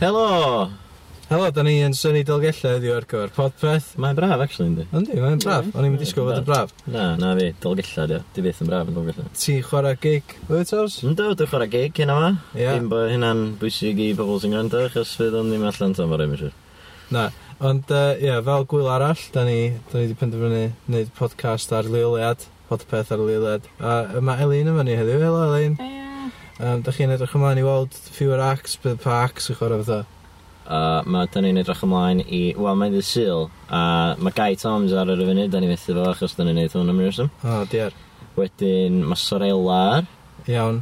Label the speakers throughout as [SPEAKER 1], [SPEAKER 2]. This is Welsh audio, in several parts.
[SPEAKER 1] Helo!
[SPEAKER 2] Helo, da ni yn syni Dolgellau heddiw ar gyfer podpeth.
[SPEAKER 1] Mae'n braf, actually, yndi?
[SPEAKER 2] Yndi, mae'n braf. O'n i'n mynd i sgwyl fod yn braf.
[SPEAKER 1] Na, na fi, dolgella di o. Di byth yn braf yn dolgella.
[SPEAKER 2] Ti'n chwarae gig Wythos?
[SPEAKER 1] Ynddo, dwi'n chwarae gig hyn yma.
[SPEAKER 2] Ie.
[SPEAKER 1] Dim bod hynna'n bwysig i pobl sy'n gwrando, achos fydd o'n ddim allan tan mor emisir.
[SPEAKER 2] Na. Ond, yy, ie, fel gwyl arall, da ni, da ni wedi penderfynu wneud podcast ar leoliad. Podpeth ar leoliad. A yy, mae Elin yma ni heddiw. Helo, Elin. Um, da chi'n edrych ymlaen i weld fewer acts, bydd pa acts yn chwarae fatha.
[SPEAKER 1] A mae da ni'n edrych ymlaen i... Wel, mae'n ddi syl. A mae Guy Toms ar yr yfynydd, da ni fethu fo, achos da ni'n neud hwn am rheswm.
[SPEAKER 2] O, diar.
[SPEAKER 1] Wedyn, mae Sorella ar.
[SPEAKER 2] Iawn.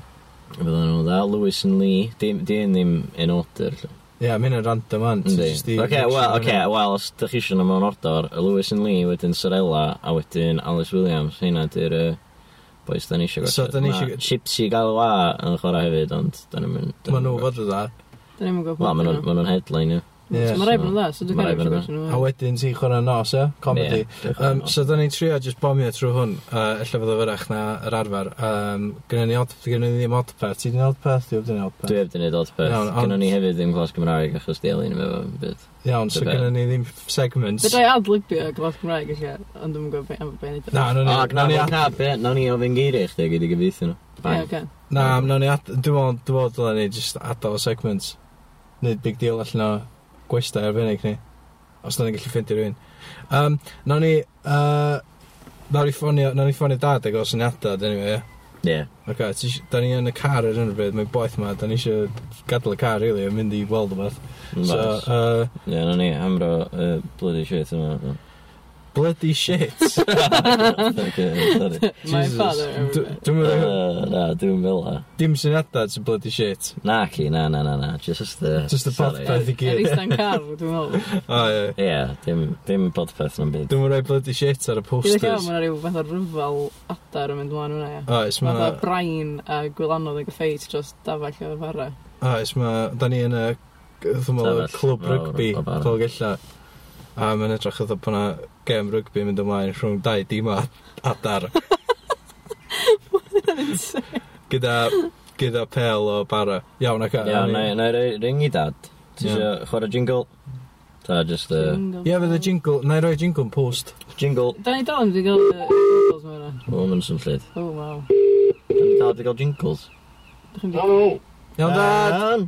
[SPEAKER 1] Fydden nhw'n dda. Lewis and Lee. Dim, dim, ddim in order. lle.
[SPEAKER 2] Ie, yeah, mynd yn random ond.
[SPEAKER 1] Yndi. Oce, wel, oce, wel, os da chi eisiau nhw mewn ordor, Lewis and Lee, wedyn Sorella, a wedyn Alice Williams, hynna di'r uh, boys da ni eisiau gwrs.
[SPEAKER 2] So, da ni isio gw-
[SPEAKER 1] Chipsy Galoa yn chwarae hefyd, ond da ni'n mynd...
[SPEAKER 2] Mae nhw fod yn dda.
[SPEAKER 3] Dyn ni'n gwybod.
[SPEAKER 1] Wel, ma' nhw'n ma' nhw'n headline, ie.
[SPEAKER 2] Ie.
[SPEAKER 3] Mae rai bod yn dda, so dwi'n
[SPEAKER 1] Ma' rai
[SPEAKER 3] cael
[SPEAKER 1] bod yn
[SPEAKER 3] ei gwneud.
[SPEAKER 2] A wedyn ti'n chwarae nos, e?
[SPEAKER 1] Ie,
[SPEAKER 2] Comedy.
[SPEAKER 1] dwi'n chwarae
[SPEAKER 2] um,
[SPEAKER 1] nos.
[SPEAKER 2] so, da ni'n trio just bomio trwy hwn, a uh, efallai fydda fyrach na yr arfer. Um, Gynna ni, od, gynna ni ddim odpeth. Ti'n odpeth? Dwi'n ddim odpeth.
[SPEAKER 1] Dwi heb di wneud odd peth.
[SPEAKER 2] Iawn, ond-
[SPEAKER 1] Gynnon ni hefyd ddim glas Gymraeg, achos di Elin efo byd.
[SPEAKER 2] Iawn, so
[SPEAKER 1] Dwi'n
[SPEAKER 2] gynna ni ddim segments.
[SPEAKER 3] Fydra i adlybio glas Cymraeg eisiau, ond dwi'n gwybod beth am beth ni'n
[SPEAKER 2] Na, nawn
[SPEAKER 1] O,
[SPEAKER 2] ni-
[SPEAKER 1] Ah, na
[SPEAKER 2] nawn
[SPEAKER 1] ni
[SPEAKER 2] ni... ad-
[SPEAKER 1] adnab, ie. Na ni ofyn geiri i chdi, gyda gyfeithio nhw. Bang.
[SPEAKER 3] Ie,
[SPEAKER 2] Na, nawn ni... ad- Dwi'n meddwl, dwi'n meddwl, dylen ni just adael y segments. Nid big deal allan o gwestai arbennig ni. Os da ni'n gallu ffeindio rhywun. Um, nawn ni... Uh, nawn ni ffonio, nawn ni ffonio dad ag o syniadau, dyn anyway, ie?
[SPEAKER 1] Ie.
[SPEAKER 2] Ok, ti isio- da ni yn y car ar hyn o bryd, mae'n boeth ma, da ni eisiau gadael y car, really, a mynd i weld yma. So,
[SPEAKER 1] Ie,
[SPEAKER 2] uh,
[SPEAKER 1] na ni, hamro yy, bloody shit yma.
[SPEAKER 2] bloody shit.
[SPEAKER 1] Okay, sorry.
[SPEAKER 3] My
[SPEAKER 2] Jesus.
[SPEAKER 3] father.
[SPEAKER 2] D- Dwi'n meddwl,
[SPEAKER 1] Yy, Na, dwi'n fel la.
[SPEAKER 2] dim syniadau sy'n bloody shit.
[SPEAKER 1] Na, ci, na, na, na, na. Just the...
[SPEAKER 2] Just y
[SPEAKER 1] sorry.
[SPEAKER 2] podpeth i
[SPEAKER 3] Yr
[SPEAKER 2] gyd.
[SPEAKER 3] eistedd car, dwi'n meddwl.
[SPEAKER 2] O, ie.
[SPEAKER 1] Ie, dim, dim podpeth na'n byd.
[SPEAKER 2] Dwi'n meddwl rhoi bloody shit ar y
[SPEAKER 3] Dwi'n cael
[SPEAKER 2] posters.
[SPEAKER 3] mae'n rhyw fath o ryfel adar yn mynd mlaen hwnna, ia.
[SPEAKER 2] Oes,
[SPEAKER 3] Mae
[SPEAKER 2] ma,
[SPEAKER 3] fatha brain a gwylanodd yn gyffeit dros dafell o'r fara.
[SPEAKER 2] oes, ma, da ni yn y, dwi'n meddwl, y
[SPEAKER 1] Stafell
[SPEAKER 2] clwb
[SPEAKER 1] mawr
[SPEAKER 2] rygbi,
[SPEAKER 1] o bara.
[SPEAKER 2] fel gella. A mae'n edrych oedd bod yna gem rygbi yn mynd ymlaen rhwng dau dim a adar. Gyda, gyda pel o bara. Iawn, ac
[SPEAKER 1] Ie, na, na, ring i dad. Ti
[SPEAKER 2] Ie.
[SPEAKER 1] eisiau chwarae jingle? Ta, just the...
[SPEAKER 3] Mm.
[SPEAKER 2] Ie, fydd y jingle, na i roi jingle yn post.
[SPEAKER 1] Jingle.
[SPEAKER 3] Da ni dal yn wedi gael y jingles mewn yna.
[SPEAKER 1] O, mae'n sy'n llyd.
[SPEAKER 3] Oh, wow.
[SPEAKER 1] Dwi'n dal wedi cael jingles.
[SPEAKER 3] Dych chi'n di...
[SPEAKER 4] Helo,
[SPEAKER 2] Iawn, dad!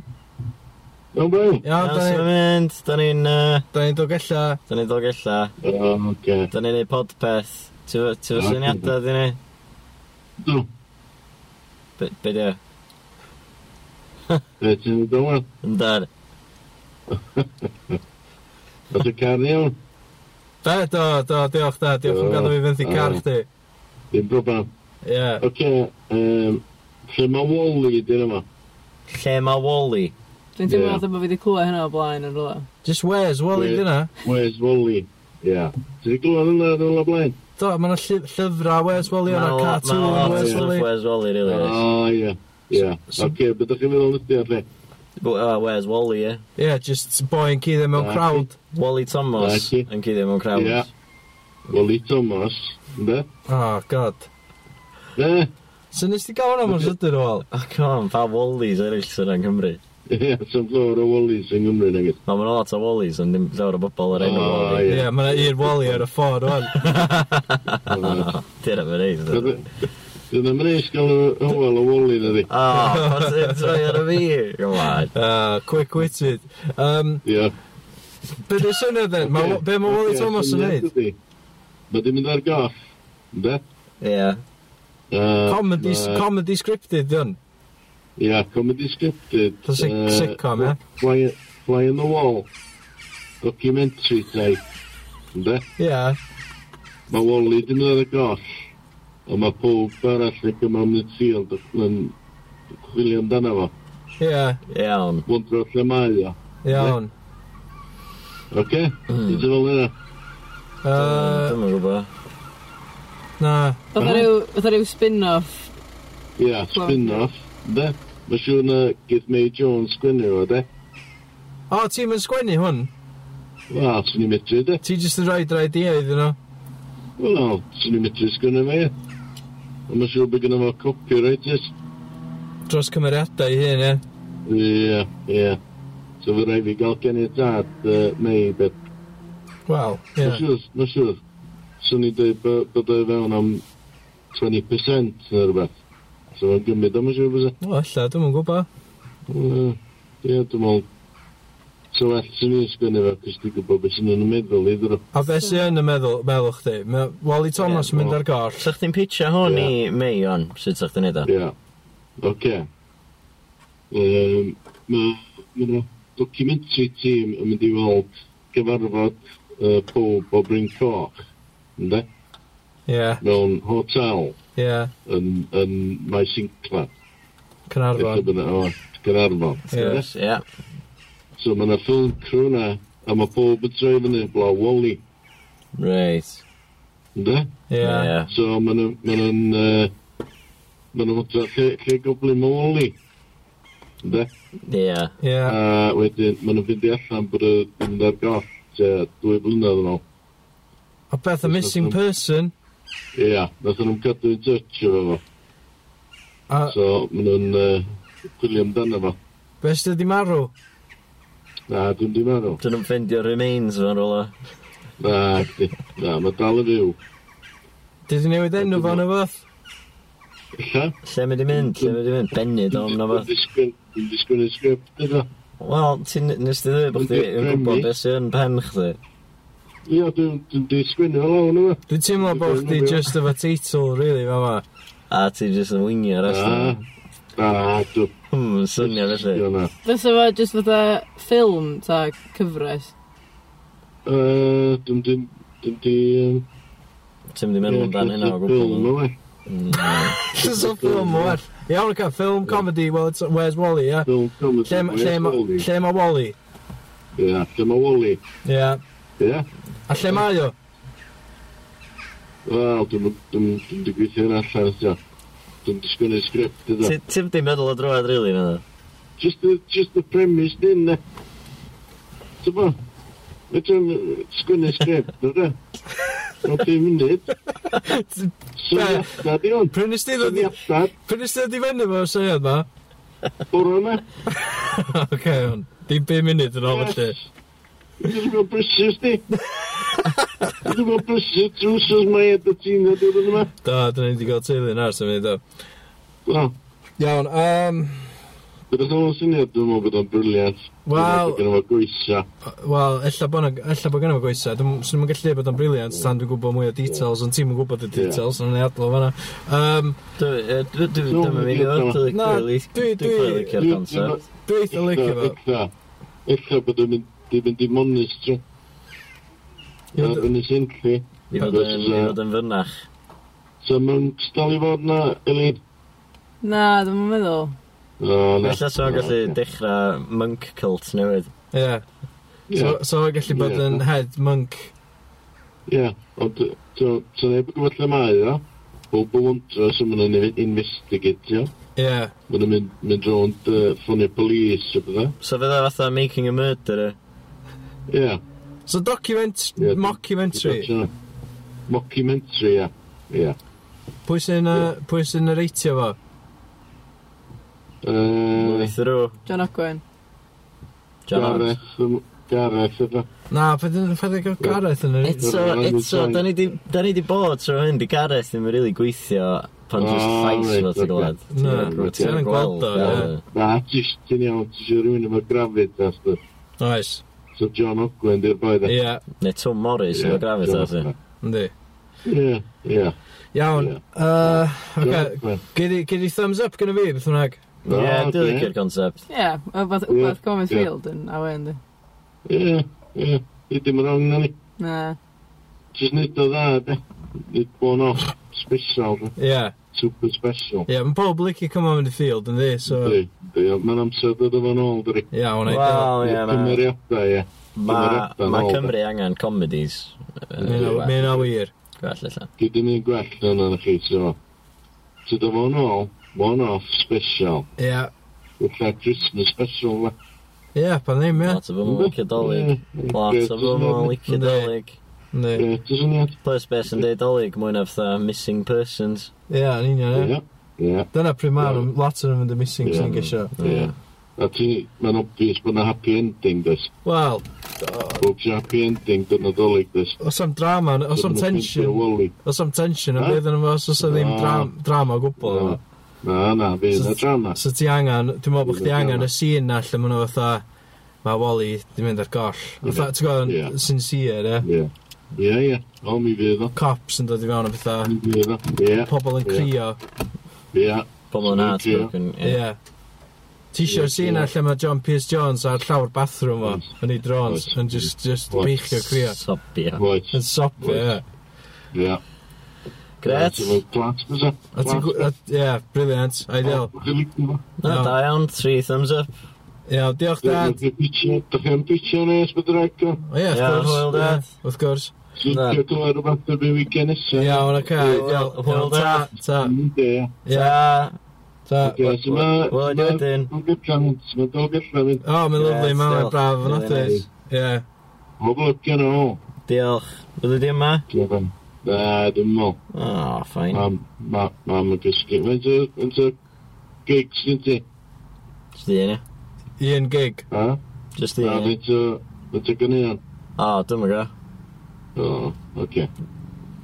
[SPEAKER 4] no brain.
[SPEAKER 2] Iawn,
[SPEAKER 1] Iawn, sy'n
[SPEAKER 2] da ni,
[SPEAKER 1] mynd. Da ni'n... yy,
[SPEAKER 2] da ni'n dod gella.
[SPEAKER 1] Da ni'n dod gella.
[SPEAKER 4] Um, okay.
[SPEAKER 1] Da ni'n neud podpeth. Ti fo ti fo
[SPEAKER 4] Na,
[SPEAKER 1] syniadau, di ni?
[SPEAKER 4] No,
[SPEAKER 1] Be- Be di o?
[SPEAKER 4] beth sy'n dod o'n?
[SPEAKER 1] Yndar.
[SPEAKER 4] Oedd y car iawn?
[SPEAKER 2] Be, do, do, diolch, da, diolch am gadw fi fynd i car
[SPEAKER 1] Mm.
[SPEAKER 2] chdi.
[SPEAKER 4] Dim problem.
[SPEAKER 2] Ie,
[SPEAKER 4] Oce, um, lle mae Wally dyn yma?
[SPEAKER 1] Lle mae Wally?
[SPEAKER 3] Dwi'n teimlo
[SPEAKER 4] Ie.
[SPEAKER 3] fatha bod fi wedi clywed hynna o blaen yn rhywle.
[SPEAKER 2] just where's Wally
[SPEAKER 4] Where-
[SPEAKER 2] dyna?
[SPEAKER 4] Where's Wally? Ia. Ti'n glwyd yna yn ola blaen?
[SPEAKER 2] Do, mae yna llyf- llyfrau, where's Wally,
[SPEAKER 1] Ma'
[SPEAKER 2] yna
[SPEAKER 1] lo-
[SPEAKER 2] cartoon,
[SPEAKER 1] ma' lot o
[SPEAKER 2] where's
[SPEAKER 1] stuff
[SPEAKER 2] Wally.
[SPEAKER 1] Where's Wally,
[SPEAKER 4] O,
[SPEAKER 1] really? oes.
[SPEAKER 4] ia. Ia.
[SPEAKER 2] So-
[SPEAKER 4] Oce, beth ydych chi'n meddwl ydy ar lle?
[SPEAKER 1] Bo- oh, Where's Wally, ie?
[SPEAKER 2] Ie, just boi yn cyd mewn
[SPEAKER 4] Na.
[SPEAKER 2] crowd.
[SPEAKER 1] Wally Thomas
[SPEAKER 4] Na, ci.
[SPEAKER 1] yn cyddio mewn crowd.
[SPEAKER 4] Ie. Wally Thomas. Be?
[SPEAKER 2] Oh, god.
[SPEAKER 4] Be?
[SPEAKER 2] So nes ti gael hwnna mor sydyn o wel?
[SPEAKER 1] Oh, come on, pa Wallys eraill sy'n yng Nghymru?
[SPEAKER 4] Ia, sy'n llawer o Wallys yng Nghymru nag ydych.
[SPEAKER 1] No, mae'n lot o Wallys, ond dim llawer o bobl ar enw
[SPEAKER 4] O,
[SPEAKER 1] Wally.
[SPEAKER 4] ie.
[SPEAKER 2] Ie, mae yna un Wally ar y ffordd o'n.
[SPEAKER 1] Dyna fe neud.
[SPEAKER 4] Dwi'n ddim e- yn eis gael hwyl o Wally na di.
[SPEAKER 1] O, pas i'n troi ar y fi. Come on.
[SPEAKER 2] Uh, quick witted. Um,
[SPEAKER 4] Ia.
[SPEAKER 2] be dwi'n syniad then? Ma- Be mae Wally Thomas yn neud?
[SPEAKER 4] Mae di mynd ar goff. Be?
[SPEAKER 1] Ie.
[SPEAKER 4] Uh,
[SPEAKER 2] Comedy,
[SPEAKER 4] ma-
[SPEAKER 2] comedy scripted, diwn.
[SPEAKER 4] Ia, comedy scripted.
[SPEAKER 2] Fatha sic-
[SPEAKER 4] yy,
[SPEAKER 2] sitcom, ie?
[SPEAKER 4] Fly, fly on the wall. Documentary type. Ynde?
[SPEAKER 2] Ie,
[SPEAKER 4] Mae Wally dim yn ar y goll. Ond mae pob arall yn gyma yn y field yn chwilio amdano fo.
[SPEAKER 2] ie,
[SPEAKER 1] Iawn.
[SPEAKER 4] Wondro lle mae o.
[SPEAKER 2] iawn.
[SPEAKER 4] Oce?
[SPEAKER 2] Hmm.
[SPEAKER 4] Ti'n fel yna?
[SPEAKER 2] Uh,
[SPEAKER 1] Dwi'n yn gwybod.
[SPEAKER 2] na,
[SPEAKER 1] Mm.
[SPEAKER 3] Fatha rhyw, fatha rhyw spin-off
[SPEAKER 4] Ia, spin-off. Ynde? Mae siŵr na Gith May Jones gwynnu o, de?
[SPEAKER 2] O, ti'n mynd sgwennu hwn?
[SPEAKER 4] Wel, swn i'n medru, de?
[SPEAKER 2] Ti jyst yn rhoi'r idea iddyn nhw?
[SPEAKER 4] Wel, swn i'n medru sgwynnu fe. Ond mae siŵr bod gynnu fo copyright, yes?
[SPEAKER 2] Dros cymeriadau i hyn, ie?
[SPEAKER 4] Ie, ie. So fy rai fi gael geniadad uh, neu beth.
[SPEAKER 2] Wel, ie.
[SPEAKER 4] Mae'n siŵr, mae'n siŵr. Swn i'n dweud bo- bod o i fewn am 20% neu rhywbeth. So mae'n gymryd am y siŵr bys e.
[SPEAKER 2] O, alla, dwi'm yn gwybod.
[SPEAKER 4] Wel, Ie, dwi'n meddwl. So well sy'n i'n sgwynnu fe, cys dwi'n gwybod beth sy'n yn y meddwl i ddro.
[SPEAKER 2] A beth sy'n yn y meddwl, meddwl chdi? Mae Wally Thomas
[SPEAKER 4] Ie,
[SPEAKER 2] yn mynd
[SPEAKER 4] wel.
[SPEAKER 2] ar goll.
[SPEAKER 1] Sa chdi'n pitcha hwn
[SPEAKER 4] Ie.
[SPEAKER 1] i mei on, sut sa chdi'n neud o?
[SPEAKER 4] Ie. Oce. Yym, Mae yna documentary team yn mynd i weld gyfarfod yy, pob o Bryn Coch, ynddo?
[SPEAKER 2] Ie,
[SPEAKER 4] Mewn hotel
[SPEAKER 2] ie.
[SPEAKER 4] yn, yn Mae Sinclair.
[SPEAKER 2] Cynarfon.
[SPEAKER 4] Efallai bod yna- o, Gaernarfon.
[SPEAKER 2] Ie.
[SPEAKER 1] Yes, Ie.
[SPEAKER 4] So mae yna ffilm crew na, a mae pob yn troi fyny blaw Wally,
[SPEAKER 1] Reit.
[SPEAKER 4] ynddo?
[SPEAKER 2] Ie.
[SPEAKER 1] Ie.
[SPEAKER 4] So mae nhw- mae nhw'n yy, mae nhw'n fodra lle, lle goblu mae Wally. Ynddo?
[SPEAKER 1] Ie.
[SPEAKER 2] Ie.
[SPEAKER 4] A wedyn, maen nhw'n fynd i allan bod y mynd ar goll, te, dwy blynedd yn ôl.
[SPEAKER 2] A beth a missing person?
[SPEAKER 4] Ia, nath nhw'n cadw yn touch efo fo.
[SPEAKER 2] A
[SPEAKER 4] So, maen nhw'n uh, chwilio amdano fo.
[SPEAKER 2] beth sydd wedi marw?
[SPEAKER 4] Na, dwi'n di marw.
[SPEAKER 1] Dyn nhw'n ffendio remains fan rola.
[SPEAKER 4] Na, chdi. Na, mae dal y fyw.
[SPEAKER 2] Dwi wedi newid enw fo neu fath?
[SPEAKER 4] Illa?
[SPEAKER 1] Lle mae di mynd? Lle mae di mynd? Benid o'n na fath.
[SPEAKER 4] Dwi'n disgwyl yn sgript yna.
[SPEAKER 1] Wel, ti'n nes ti ddweud bod chdi yn gwybod beth sy'n pen chdi.
[SPEAKER 4] Ia, dwi'n dwi disgwyl yn lawn yma.
[SPEAKER 2] Dwi'n teimlo bod
[SPEAKER 4] Dwi'n
[SPEAKER 2] chdi
[SPEAKER 4] gwybod.
[SPEAKER 2] just efo teitl, really, fa ma.
[SPEAKER 1] A ti jyst yn wingio ar
[SPEAKER 4] Na,
[SPEAKER 1] aslan.
[SPEAKER 4] na, dwi'n
[SPEAKER 1] Hmm, swnio felly.
[SPEAKER 4] disgwyl yna.
[SPEAKER 3] Fysa fo jyst fatha ffilm ta cyfres.
[SPEAKER 4] Dwi'n di... Dwi'n di...
[SPEAKER 1] Ti'n mynd i meddwl amdan hynna o gwbl.
[SPEAKER 4] gwbl.
[SPEAKER 1] Mm,
[SPEAKER 2] Cys o ffilm o well. Iawn, ca, ffilm, comedy, well, it's, where's Wally, ie?
[SPEAKER 4] Film, film,
[SPEAKER 2] Lle ma- lle ma- lle ma Wally?
[SPEAKER 4] Ia, lle mae Wally.
[SPEAKER 2] Ie.
[SPEAKER 4] Ia.
[SPEAKER 2] A lle mae o?
[SPEAKER 4] Wel, dwi'n dwi'n dwi'n dwi'n gweithio yn allan eto. Dwi'n disgwyl yn sgript eto.
[SPEAKER 1] Ti- Ti'n di meddwl o drwad rili na dda?
[SPEAKER 4] Just the, just the premise dyn na. Ti'n bo? Dwi'n sgwyn yn sgript eto. O ti'n munud. Syniadau di hwn.
[SPEAKER 2] Pryn ysdi ddod
[SPEAKER 4] Syniadau,
[SPEAKER 2] Pryn ysdi ddod i fynd efo syniad ma?
[SPEAKER 4] bwrw yma.
[SPEAKER 2] Ok, hwn. Dim 5 munud yn ôl felly.
[SPEAKER 4] Dwi'n gwybod brysys di. Dwi'n gwybod brysys trwsys mae eto ti'n na dwi'n yma.
[SPEAKER 2] Da, dyn ni wedi cael teulu yn ars yn fynd o.
[SPEAKER 4] Wel,
[SPEAKER 2] Iawn, um,
[SPEAKER 4] dwi'n ddod o'n syniad dwi'n meddwl bod o'n briliant.
[SPEAKER 2] Wel-
[SPEAKER 4] Dwi'n meddwl bod o'n gwysa.
[SPEAKER 2] wel, ella bod na- ella bod gynnu fo gweithio. Dwi'n ddim yn gallu bod o'n briliant, tan dwi'n gwybod mwy o details, ond ti'n yn gwybod y details, ond ni adlo fanna. Um,
[SPEAKER 1] Dwi'n mynd i ddweud. Dwi'n
[SPEAKER 2] Na, dwi- dwi-
[SPEAKER 1] clearly licio'r
[SPEAKER 4] Dwi'n-
[SPEAKER 1] concept.
[SPEAKER 2] Dwi eitha licio fo.
[SPEAKER 4] Ella, ella bod yn mynd i mynd i monistro.
[SPEAKER 2] Ie,
[SPEAKER 4] Ar
[SPEAKER 2] d-
[SPEAKER 4] yn y synllu.
[SPEAKER 1] I fod yn, i fod yn fynach.
[SPEAKER 4] So mae'n stali fod na, Elid?
[SPEAKER 3] Na, dwi'n meddwl.
[SPEAKER 4] O, na.
[SPEAKER 1] Felly sa'n gallu dechrau monk cult newydd.
[SPEAKER 2] Ie.
[SPEAKER 4] Ie,
[SPEAKER 2] So- So, o'n gallu bod
[SPEAKER 4] Ie.
[SPEAKER 2] yn head monk.
[SPEAKER 4] Ie, ond so neb yn gwybod lle mae o. Bobl wntro sy'n mynd yn investigatio.
[SPEAKER 2] Ie.
[SPEAKER 4] Mae'n mynd, mynd rownd uh, ffonio polis o bydda.
[SPEAKER 1] So fydda fatha making a murderer.
[SPEAKER 4] Ie.
[SPEAKER 2] So, document,
[SPEAKER 4] Ie, d-
[SPEAKER 2] mockumentary.
[SPEAKER 4] Dwi'n Mockumentary, ie. Ie.
[SPEAKER 2] Pwy sy'n, uh, pwy sy'n reitio fo?
[SPEAKER 4] Yy,
[SPEAKER 1] Mwyth rw.
[SPEAKER 3] John Ogwen.
[SPEAKER 1] John Oates.
[SPEAKER 4] Gareth, yym, Gareth, ydw.
[SPEAKER 2] Na, pwy dyn nhw'n gael Gareth yn yr...
[SPEAKER 1] Eto, eto, da ni di- da ni di bod trwy hyn, di Gareth ddim yn rili gweithio pan just
[SPEAKER 4] Oh,
[SPEAKER 1] llais
[SPEAKER 4] reit,
[SPEAKER 1] fo ti'n
[SPEAKER 4] ocê.
[SPEAKER 1] gweld.
[SPEAKER 2] Na,
[SPEAKER 1] Ti'n
[SPEAKER 2] ti yn gweld o, ie.
[SPEAKER 4] Na, jyst yn iawn, ti'n siŵr rhywun efo grafyd, asbeth.
[SPEAKER 2] Oes.
[SPEAKER 4] So John Ogwen di'r boi dda.
[SPEAKER 2] Ie,
[SPEAKER 1] Neu Tom Morris efo grafit o ti.
[SPEAKER 2] yndi.
[SPEAKER 4] Ie, ie.
[SPEAKER 2] Iawn.
[SPEAKER 4] Ie.
[SPEAKER 2] Uh,
[SPEAKER 4] John
[SPEAKER 2] okay.
[SPEAKER 4] Ogwen.
[SPEAKER 2] Gyd i- gyd i thumbs up gyda fi, beth hwnnag.
[SPEAKER 4] Na,
[SPEAKER 1] Ie,
[SPEAKER 4] oce.
[SPEAKER 1] dwi'n licio'r concept.
[SPEAKER 3] Ie, yeah, wbeth
[SPEAKER 4] Ie,
[SPEAKER 3] yeah, Common
[SPEAKER 4] ie.
[SPEAKER 3] Field yn awen, di.
[SPEAKER 4] Ie, ie. Di dim yn rong na ni.
[SPEAKER 3] Na.
[SPEAKER 4] Jyst nid o dda, de. Nid bo'n off. Special, de.
[SPEAKER 2] Ie. Yeah.
[SPEAKER 4] Super special.
[SPEAKER 2] Ie, yeah, mae pob licio cymryd mynd i field, yndi, so...
[SPEAKER 4] Di, di, mae'n amser dod o'n ôl, dri.
[SPEAKER 2] Iawn, ei ddod.
[SPEAKER 1] Wel, ie, na.
[SPEAKER 4] Cymeriadau, ie.
[SPEAKER 1] Ma-
[SPEAKER 4] Cymeriadau yn
[SPEAKER 1] Ma'
[SPEAKER 4] ôl, de.
[SPEAKER 1] Cymru angen comedies. Yy, gwell-
[SPEAKER 2] Mae'n a wir.
[SPEAKER 1] gwell allan.
[SPEAKER 4] Gyd yn un gwell yn yna chi, so. So da fo'n ôl, one off special.
[SPEAKER 2] Ie.
[SPEAKER 4] Wrth Christmas special, de.
[SPEAKER 2] Ie, pan ddim, ie.
[SPEAKER 1] Lot o bobl yn licio dolyg. Lot o bobl yn licio
[SPEAKER 2] Yndi.
[SPEAKER 1] dolyg.
[SPEAKER 2] Yndi.
[SPEAKER 4] Ie, ti'n syniad?
[SPEAKER 1] Plus beth sy'n deud dolyg, mwy na fatha missing persons.
[SPEAKER 2] Ie, yn union, ie.
[SPEAKER 4] Ie, ie.
[SPEAKER 2] Dyna pryd ma'n lot o'n mynd y missing sy'n
[SPEAKER 4] Ie.
[SPEAKER 2] gysio.
[SPEAKER 4] Ie. A ti, mae'n obvious bod na happy ending, dys.
[SPEAKER 2] Wel,
[SPEAKER 4] Bob sy'n happy ending, dyna ddolig, dys.
[SPEAKER 2] os am drama, os am tension, os am tension, yn
[SPEAKER 4] Na.
[SPEAKER 2] bydd yn efo, os oes 'na ddim
[SPEAKER 4] Na.
[SPEAKER 2] dram- drama o gwbl.
[SPEAKER 4] Na. Na, na, fi
[SPEAKER 2] So-
[SPEAKER 4] na drama.
[SPEAKER 2] So ti angen, dwi'n meddwl bod chdi
[SPEAKER 4] Ie,
[SPEAKER 2] angen
[SPEAKER 4] ie.
[SPEAKER 2] y sîn na lle maen nhw fatha, mae Wally di mynd ar goll. Fatha, ti'n gwybod,
[SPEAKER 4] Ie.
[SPEAKER 2] yn sincere, ie?
[SPEAKER 4] Ie. Ie, ie. O, mi fydd o.
[SPEAKER 2] Cops yn dod i fewn o bethau,
[SPEAKER 4] Mi fydd o. Ie,
[SPEAKER 2] pobl yn
[SPEAKER 4] Ie.
[SPEAKER 2] crio,
[SPEAKER 4] ie.
[SPEAKER 1] Pobl yn
[SPEAKER 4] Spooky,
[SPEAKER 1] heartbroken.
[SPEAKER 2] ie.
[SPEAKER 1] ie.
[SPEAKER 2] Ti
[SPEAKER 4] Ie,
[SPEAKER 2] eisiau sîn na
[SPEAKER 4] ie.
[SPEAKER 2] lle mae John Pierce Jones ar llawr bathroom o,
[SPEAKER 4] Oes.
[SPEAKER 2] yn ei drones,
[SPEAKER 4] Oes.
[SPEAKER 2] yn just, just
[SPEAKER 4] Oes.
[SPEAKER 2] beichio crio.
[SPEAKER 1] Sobio.
[SPEAKER 4] Oes.
[SPEAKER 2] Yn sopio, ie.
[SPEAKER 4] Ie.
[SPEAKER 1] Gret.
[SPEAKER 4] Ti'n meddwl glas, dys o?
[SPEAKER 2] A ti'n gw- a- Ie, brilliant, ideal.
[SPEAKER 1] Na,
[SPEAKER 2] Iawn.
[SPEAKER 1] da iawn, three thumbs up.
[SPEAKER 2] Ie, diolch dad.
[SPEAKER 4] Dwi'n chi'n bitio nes bydd rhaid o.
[SPEAKER 2] O ie, wrth
[SPEAKER 1] Ie, hwyl, Dad.
[SPEAKER 2] gwrs. Ie, Wrth gwrs.
[SPEAKER 1] Na.
[SPEAKER 4] Dwi'n gwybod rhywbeth o'r fi weekend nesaf.
[SPEAKER 2] Iawn, oce,
[SPEAKER 1] Hwyl,
[SPEAKER 2] ideal.
[SPEAKER 1] hwyl,
[SPEAKER 2] Iawn, Ta, ta,
[SPEAKER 4] Ie.
[SPEAKER 2] ie,
[SPEAKER 1] Ta.
[SPEAKER 2] ta.
[SPEAKER 4] Ie, so ma-
[SPEAKER 1] Wel, ni
[SPEAKER 4] ma-
[SPEAKER 1] wedyn.
[SPEAKER 4] Mae'n gyfran, mae'n dal gyfran, mae'n
[SPEAKER 2] O, mae'n
[SPEAKER 1] Ie,
[SPEAKER 2] lyflu, mae'n
[SPEAKER 1] diolch.
[SPEAKER 2] braf, yn
[SPEAKER 1] Really
[SPEAKER 2] oedus. Ie.
[SPEAKER 4] oblygion o.
[SPEAKER 1] Diolch. Bydde di yma?
[SPEAKER 4] Gyfran. Na, dim mol.
[SPEAKER 1] O, ffain.
[SPEAKER 4] Mam, mam, mam yn gysgu. Mae'n ty, mae'n ty gigs yn ti.
[SPEAKER 1] Just di yna.
[SPEAKER 2] un gig.
[SPEAKER 4] Ha?
[SPEAKER 1] Just di
[SPEAKER 4] Na,
[SPEAKER 1] yna.
[SPEAKER 4] mae'n ty, mae'n ty gynnion.
[SPEAKER 1] O, dwi'n mynd go.
[SPEAKER 4] O, oce.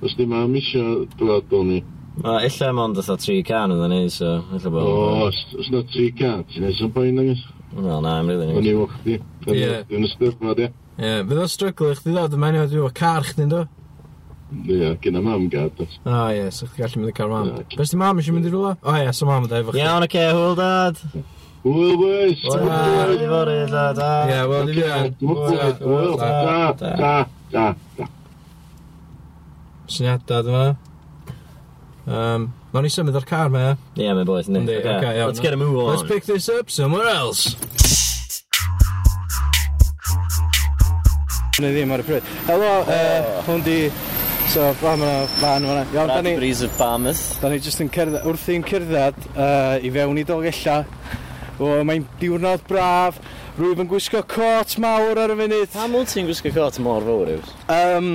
[SPEAKER 4] Os di mam isio dwad o'n i.
[SPEAKER 1] O, illa mae ond oedd 3 can oedd ni, so illa bod.
[SPEAKER 4] O, os os na tri can, ti'n neud sy'n boi'n agos?
[SPEAKER 1] Wel, na, I'm really
[SPEAKER 4] O'n
[SPEAKER 1] nervous.
[SPEAKER 4] i wach di.
[SPEAKER 2] Ie.
[SPEAKER 4] Dwi'n ystyrbod, ie.
[SPEAKER 2] Ie, fydd o'n stryglu, chdi ddod yn menyw dwi'n car chdi'n do?
[SPEAKER 4] Ie, gyda mam gad. os.
[SPEAKER 2] O ie, so chdi gallu mynd i car mam.
[SPEAKER 4] Ie, ocê.
[SPEAKER 2] Bes di mam eisiau mynd i rwla? O ie, so mam yn dweud efo chdi.
[SPEAKER 1] Iawn, oce, hwyl dad.
[SPEAKER 4] Hwyl, boys!
[SPEAKER 1] Hwyl dad, i fod i dad.
[SPEAKER 2] Ie, wel, i fi
[SPEAKER 4] Ocê, hwyl,
[SPEAKER 2] an.
[SPEAKER 4] hwyl, da, da, da, da.
[SPEAKER 2] Syniadad yma. Um, No'n i symud o'r car me, ie?
[SPEAKER 1] Ie, mae'n boeth ni.
[SPEAKER 2] Yndi,
[SPEAKER 1] Oce,
[SPEAKER 2] oce, iawn.
[SPEAKER 1] Let's get a move
[SPEAKER 2] Let's
[SPEAKER 1] on.
[SPEAKER 2] pick this up somewhere else. Neu ddim ar y pryd. Helo, uh, hwn di... So, fa ma'na fan yma. Iawn, da ni...
[SPEAKER 1] Bradbury's of Barmouth.
[SPEAKER 2] Da ni jyst yn cerdded, wrth i'n cerdded uh, i fewn i dolgella. O, mae'n diwrnod braf. Rwyf yn gwisgo cot mawr ar y funud.
[SPEAKER 1] Hamilton gwisgo cot mor fawr yw.
[SPEAKER 2] Um,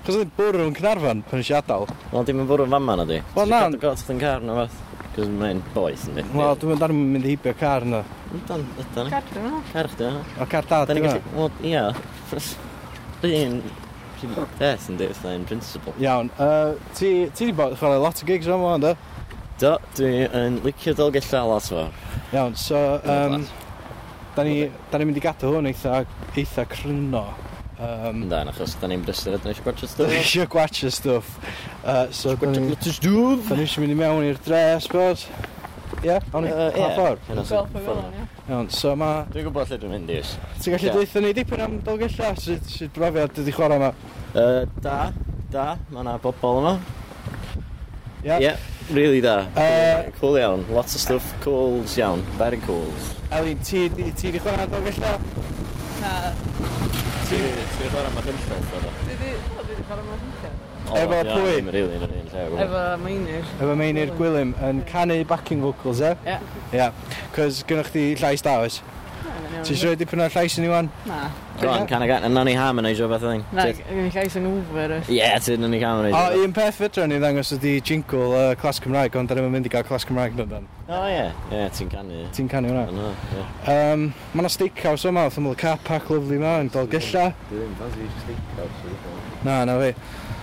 [SPEAKER 2] Chos oedd bwrw yn Cynarfon pan eisiau adael.
[SPEAKER 1] Ond dim yn bwrw fan ma na di.
[SPEAKER 2] Wel, na.
[SPEAKER 1] Ti'n got yn car na fath. Cos mae'n boeth ni.
[SPEAKER 2] Wel, dwi'n dar yn mynd i heibio car yna.
[SPEAKER 1] Ydan, ydan.
[SPEAKER 3] Gadw nhw.
[SPEAKER 1] Car chdi yna.
[SPEAKER 2] O, car dad
[SPEAKER 1] Da ni
[SPEAKER 2] yma.
[SPEAKER 1] gallu... Wel, ia. Rhyn... Beth yn dweud fatha in principle.
[SPEAKER 2] Iawn, uh, ti wedi bod chwarae lot o gigs yma o'n da?
[SPEAKER 1] Do, dwi yn licio dolgella lot fawr.
[SPEAKER 2] Iawn, so, um, da ni, da ni'n mynd i gadw hwn eitha, eitha cryno. Um,
[SPEAKER 1] Da, achos da ni'n brysur ydyn eisiau gwarchod
[SPEAKER 2] da
[SPEAKER 1] stwff.
[SPEAKER 2] ni eisiau gwachio stwff. Uh, so, da ni...
[SPEAKER 1] Gwatch dwf!
[SPEAKER 2] Da ni eisiau mynd i mewn i'r dre, I suppose. Ie, yeah, awn ni,
[SPEAKER 1] Yy, ie.
[SPEAKER 2] pa ffordd.
[SPEAKER 3] Fel pa fel ie.
[SPEAKER 2] Iawn, so ma...
[SPEAKER 1] Dwi'n gwybod lle dwi'n mynd iws.
[SPEAKER 2] Ti'n gallu
[SPEAKER 1] Ie.
[SPEAKER 2] dweithio ni dipyn am dolgella? Sut sut brofiad ydi chwarae yma?
[SPEAKER 1] Yy, Da, da, mae yna bobl yma.
[SPEAKER 2] Ie.
[SPEAKER 1] Ie, really da.
[SPEAKER 2] Yy.
[SPEAKER 1] Cool iawn, lots of stuff, cools iawn, very cools.
[SPEAKER 2] Elin, ti ti- ti wedi chwarae dolgella?
[SPEAKER 3] Na,
[SPEAKER 1] Ti'n gwybod am y gynllun?
[SPEAKER 3] dwi di... O, dwi di cael yma hynny.
[SPEAKER 2] Efo pwy?
[SPEAKER 1] Dwi'n rili yn yr un lle. gwbod.
[SPEAKER 3] Efo meinir.
[SPEAKER 2] Efo Meinir Gwilym yn canu backing vocals, e?
[SPEAKER 3] Ie.
[SPEAKER 2] Ie. Cos gynnwch chi llais da, oes? Ti'n siarad dipyn o'r llais yn i wan?
[SPEAKER 3] Na.
[SPEAKER 1] Go on, can I get a nanny harmonise o beth thing?
[SPEAKER 3] Na, gen i llais yn gwfyr.
[SPEAKER 1] Ie, ti'n nanny harmonise.
[SPEAKER 2] O, un peth fydra ni ddangos ydi jingle uh, Clas Cymraeg, ond da ni'n mynd i gael Clas Cymraeg yn dan.
[SPEAKER 1] O ie, ie, ti'n canu. ie.
[SPEAKER 2] Ti'n canu hwnna?
[SPEAKER 1] Yna, ie.
[SPEAKER 2] Um, Mae yna steakhouse yma, wrth ymwyl car park lyflu yma, yn dolgella.
[SPEAKER 1] Dwi'n fansi steakhouse.
[SPEAKER 2] Na, na fi.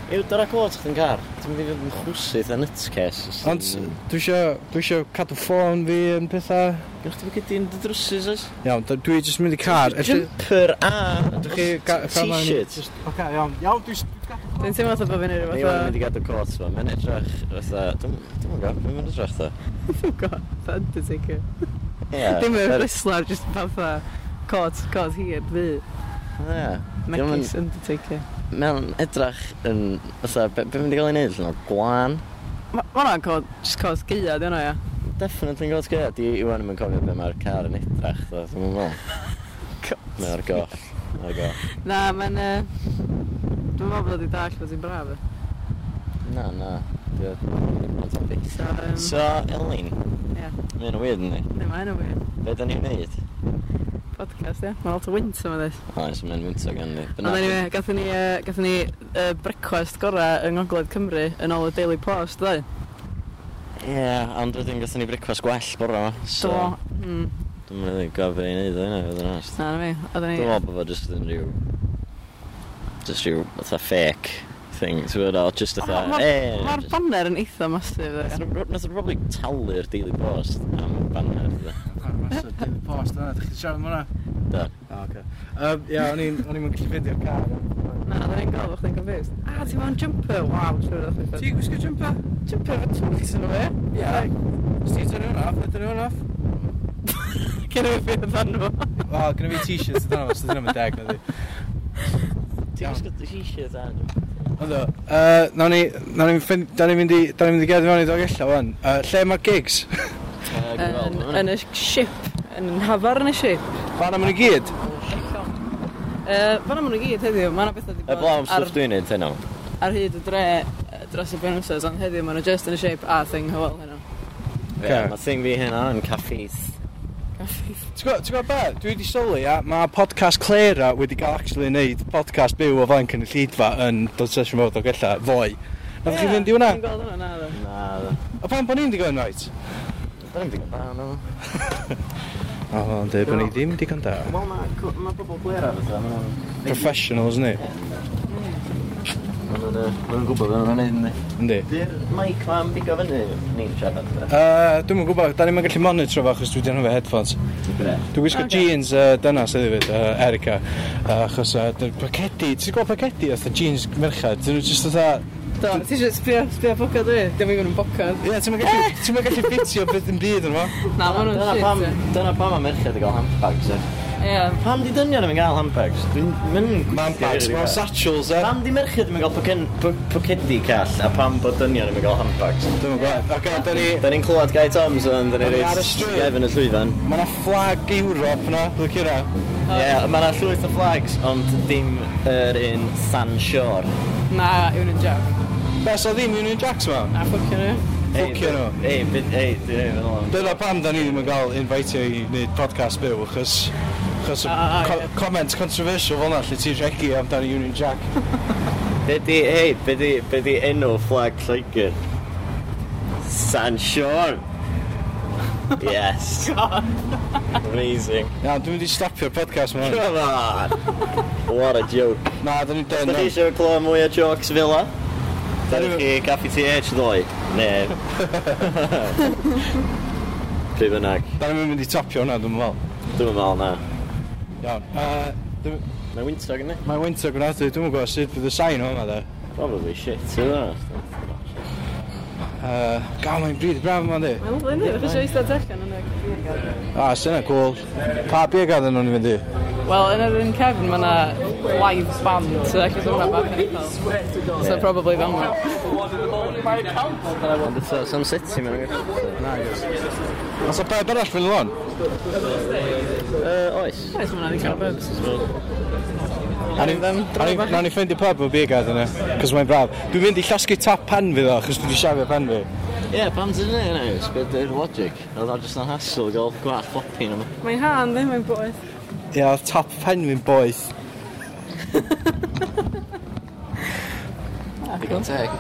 [SPEAKER 1] Yw, dyna cwrt chdi'n car. Ti'n mynd i fod yn chwsydd yn nutcase. os ti'n-
[SPEAKER 2] Ond dwi isio, dwi isio cadw ffôn fi yn pethau.
[SPEAKER 1] Gwnwch ti'n gyda'n drwsus oes?
[SPEAKER 2] Iawn, d- dwi jyst mynd i car. Ydych
[SPEAKER 1] Jumper a...
[SPEAKER 2] chi ga- cael ma'n-
[SPEAKER 1] T-shirt.
[SPEAKER 2] Oce, iawn, iawn, dwi jyst...
[SPEAKER 3] Dwi'n teimlo fatha bod fi'n ei
[SPEAKER 1] Ni o'n mynd i gadw cwrt fa. Mae'n edrych fatha... Dwi'n gwybod, dwi'n mynd edrych fatha.
[SPEAKER 3] God, Undertaker.
[SPEAKER 1] Ie.
[SPEAKER 3] Dim yn
[SPEAKER 1] yr-
[SPEAKER 3] wrestler, just fatha cod, cod hir, fi.
[SPEAKER 1] Ie. Dio'm yn-
[SPEAKER 3] Megis Undertaker.
[SPEAKER 1] Mae'n edrych yn... Fatha, be be mynd i gael ei wneud? Llyna gwan?
[SPEAKER 3] Ma' ma' hwnna'n cod, just cod gaea, di hwnna, ia.
[SPEAKER 1] Definitely yn gwrs gael. Di Iwan ddim yn cofio be mae'r car yn edrych. ddo, Dwi'n mynd fel. Mae'r goll. Mae'r goll.
[SPEAKER 3] Na, mae'n... yy, Dwi'n meddwl bod wedi dall bod hi'n braf. yy.
[SPEAKER 1] Na, na. Dwi'n...
[SPEAKER 3] So, yym,
[SPEAKER 1] So, Elin.
[SPEAKER 3] Ie.
[SPEAKER 1] Mae'n weird yn ni.
[SPEAKER 3] ne, mae hynny'n wir.
[SPEAKER 1] Be da ni'n neud?
[SPEAKER 3] Podcast, ie. Mae'n lot o wynt yma, dweud.
[SPEAKER 1] Oes, mae'n wynta gan ni.
[SPEAKER 3] Ond anyway, gathen ni, yy, gathen ni yy, brecwast gorau yng Ngogledd Cymru yn ôl y Daily Post, dweud.
[SPEAKER 1] Ie, ond wedyn gathen ni brecwas gwell bore yma.
[SPEAKER 3] So, mm,
[SPEAKER 1] Dwi'n mynd i gofio i neud o hynna, fydd yn honest.
[SPEAKER 3] Na, na fi. Oedden
[SPEAKER 1] Dwi'n
[SPEAKER 3] ni...
[SPEAKER 1] meddwl bod o just yn rhyw... Just rhyw, fatha fake thing, ti'n meddwl, o, just fatha...
[SPEAKER 3] Ma- ma-
[SPEAKER 1] eh,
[SPEAKER 3] Ma'r
[SPEAKER 1] just-
[SPEAKER 3] banner yn eitha masif.
[SPEAKER 1] Nath nhw- Nath nhw'n probably talu'r Daily Post am banner, dda.
[SPEAKER 2] Master Daily Post yna, ydych chi'n siarad am hwnna?
[SPEAKER 1] Do.
[SPEAKER 2] O, oce. Yym, Ie, o'n i'n o'n i'n gallu fydio'r car.
[SPEAKER 3] Na, oedden ni'n gofio chdi'n confused. A, ti mewn jumper? Waw, siwr o'ch
[SPEAKER 2] Ti'n
[SPEAKER 3] chi'n
[SPEAKER 2] gwisgo jumper?
[SPEAKER 3] Jumper efo twgs yn fe?
[SPEAKER 2] Ie. Os ti'n tynnu hwn off, tynnu hwn off.
[SPEAKER 3] Cyn i fi fydd fan nhw.
[SPEAKER 2] O, gyda fi t-shirt yn dano, so dyn nhw'n deg na di.
[SPEAKER 1] Ti'n gwisgo dy t-shirt a...
[SPEAKER 2] Ond o, yy, nawn ni, nawn ni'n ffin- da ni'n mynd i, da ni'n mynd i gerdd mewn i ddog illa wan. Yy, Lle mae'r gigs?
[SPEAKER 3] Yn- Yn y ship. Yn hafar yn y ship.
[SPEAKER 2] Fan am yn i gyd?
[SPEAKER 3] Yy, Fan am nhw gyd heddiw, mae yna bethau wedi
[SPEAKER 1] Y
[SPEAKER 3] bod
[SPEAKER 1] blawn
[SPEAKER 3] ar-
[SPEAKER 1] stwff dwi'n neud hynna.
[SPEAKER 3] ar hyd y dre yy, dros y benwsos, ond heddiw mae nhw just yn y shape a thing hywel hynny.
[SPEAKER 1] Ie, Mae thing fi hynna yn caffeith.
[SPEAKER 2] Ti'n gwybod- ti'n gwybod be? Dwi wedi sylwi, a mae podcast Clara wedi cael actually wneud podcast byw o flaen cynulleidfa yn dod sesiwn fawr o gella, foi. Nath chi fynd i hwnna?
[SPEAKER 3] Dwi'n gweld hwnna, na, ddo.
[SPEAKER 1] Na, dda.
[SPEAKER 2] O pan bod ni'n digon right?
[SPEAKER 1] Dwi'n ddim yn barn o.
[SPEAKER 2] O, ond dweud bod ni ddim digon da.
[SPEAKER 1] Wel, mae ma bobl blera fatha, mae nhw'n...
[SPEAKER 2] Professionals ni,
[SPEAKER 1] Mae nhw'n yy, ma' nhw'n gwybod beth nhw'n neud.
[SPEAKER 2] yndi.
[SPEAKER 1] Di'r mic ma'n bigo fyny, ni'n siarad. fatha.
[SPEAKER 2] Uh, Dwi'n yn gwybod, da ni'n gallu monitro fo achos dwi wedi anhofio headphones.
[SPEAKER 1] Gre.
[SPEAKER 2] Dwi'n gwisgo
[SPEAKER 3] Ocê.
[SPEAKER 2] jeans uh, dynas ydy fyd, uh, Erica, uh, achos uh, dy'r pacedi, ti'n gwybod pacedi oedd jeans merchad, dyn nhw jyst oedd
[SPEAKER 3] Do, ti eisiau sbio, sbio boca dwi? Dim yn gwneud bocad.
[SPEAKER 2] Ie, ti'n ma'n gallu, ti'n ma'n gallu ffitio beth yn byd yn fo.
[SPEAKER 3] Na, ma' nhw'n
[SPEAKER 1] Dyna pam,
[SPEAKER 3] shit.
[SPEAKER 1] dyna pam mae merched i gael handbags. e.
[SPEAKER 3] ie. Ie,
[SPEAKER 1] Pam di dynion yn gael handbags? Dwi'n mynd...
[SPEAKER 2] Man bags, mae'n satchels, e.
[SPEAKER 1] Pam di merched yn gael pocen- po- pocedi call, a pam bod dynion yn gael handbags?
[SPEAKER 2] Dwi'n gwybod. Ac o'n ni,
[SPEAKER 1] Da ni'n clywed Guy Toms yn dyn ni'n
[SPEAKER 2] Ar y
[SPEAKER 1] reit
[SPEAKER 2] stryd.
[SPEAKER 1] gefn y llwyfan.
[SPEAKER 2] mae yna flag Europe yna, dwi'n cyrra.
[SPEAKER 1] Ie, mae yna llwyth o flags, ond dim yr un San Shore.
[SPEAKER 3] na, yw'n yn jab.
[SPEAKER 2] Bes o ddim Union Jacks ma.
[SPEAKER 3] Na, ffwcio nhw.
[SPEAKER 1] Ei,
[SPEAKER 2] Ffwcio nhw.
[SPEAKER 1] Ei, byd- ei, dwi'n ei, fel o'n.
[SPEAKER 2] Dyna pam da ni ddim yn cael invitio i wneud podcast byw, achos... Achos y
[SPEAKER 3] Ah,
[SPEAKER 2] co-
[SPEAKER 3] ie.
[SPEAKER 2] comment controversial fel yna, lle ti'n regu amdano Union Jack.
[SPEAKER 1] Be di, ei, be di, be di enw flag Lloegr? San Shore. Yes. Amazing.
[SPEAKER 2] Iawn, dwi'n mynd i stopio'r podcast ma. hwn.
[SPEAKER 1] Come on. What a joke.
[SPEAKER 2] Na, da ni'n done.
[SPEAKER 1] Da chi
[SPEAKER 2] iawn.
[SPEAKER 1] eisiau clywed mwy o jokes fel o? Da chi Caffi TH ddoe? Ne. Pryd bynnag.
[SPEAKER 2] Da ni'n mynd i topio hwnna, dwi'n meddwl.
[SPEAKER 1] Dwi'n meddwl na.
[SPEAKER 2] Iawn.
[SPEAKER 3] Ah.
[SPEAKER 2] yy, dwi-
[SPEAKER 1] Mae winter gen i?
[SPEAKER 2] Mae winter gwnaethu, dwi'n gwybod sut bydd y sain o hwnna, da.
[SPEAKER 1] Probably shit, e? ti'n dda.
[SPEAKER 2] Uh, Gael, mae'n bryd, braf yma, di.
[SPEAKER 3] Mae'n lyfli, ydych chi eisiau eistedd allan yn y...
[SPEAKER 2] A, sy'n cool. Pa bia gadden nhw'n i fynd i?
[SPEAKER 3] Wel, yn yr un cefn, mae yna live band, so ac ydych chi'n bach yn eitha. So, probably fel yma.
[SPEAKER 1] Ond eto, Sam City mae'n gwybod.
[SPEAKER 2] Os o peb arall fynd lôn?
[SPEAKER 1] Oes.
[SPEAKER 3] Oes, mae'n adeg cael bobs.
[SPEAKER 2] A ni- a ni- Nawn ni ffeindio pub o bia gadden nhw, cos mae'n braf. Dwi'n mynd i llosgu tap pan fi, ddo, chos dwi wedi siafio pan fi.
[SPEAKER 1] Ie, pam ti'n ei wneud? Sbyd yw'r logic? Oedd o'n just yn hassle gael gwall floppy yna.
[SPEAKER 3] Mae'n han, ddim mae'n boeth.
[SPEAKER 2] Ie, oedd tap pan fi'n boeth.
[SPEAKER 1] Digon teg.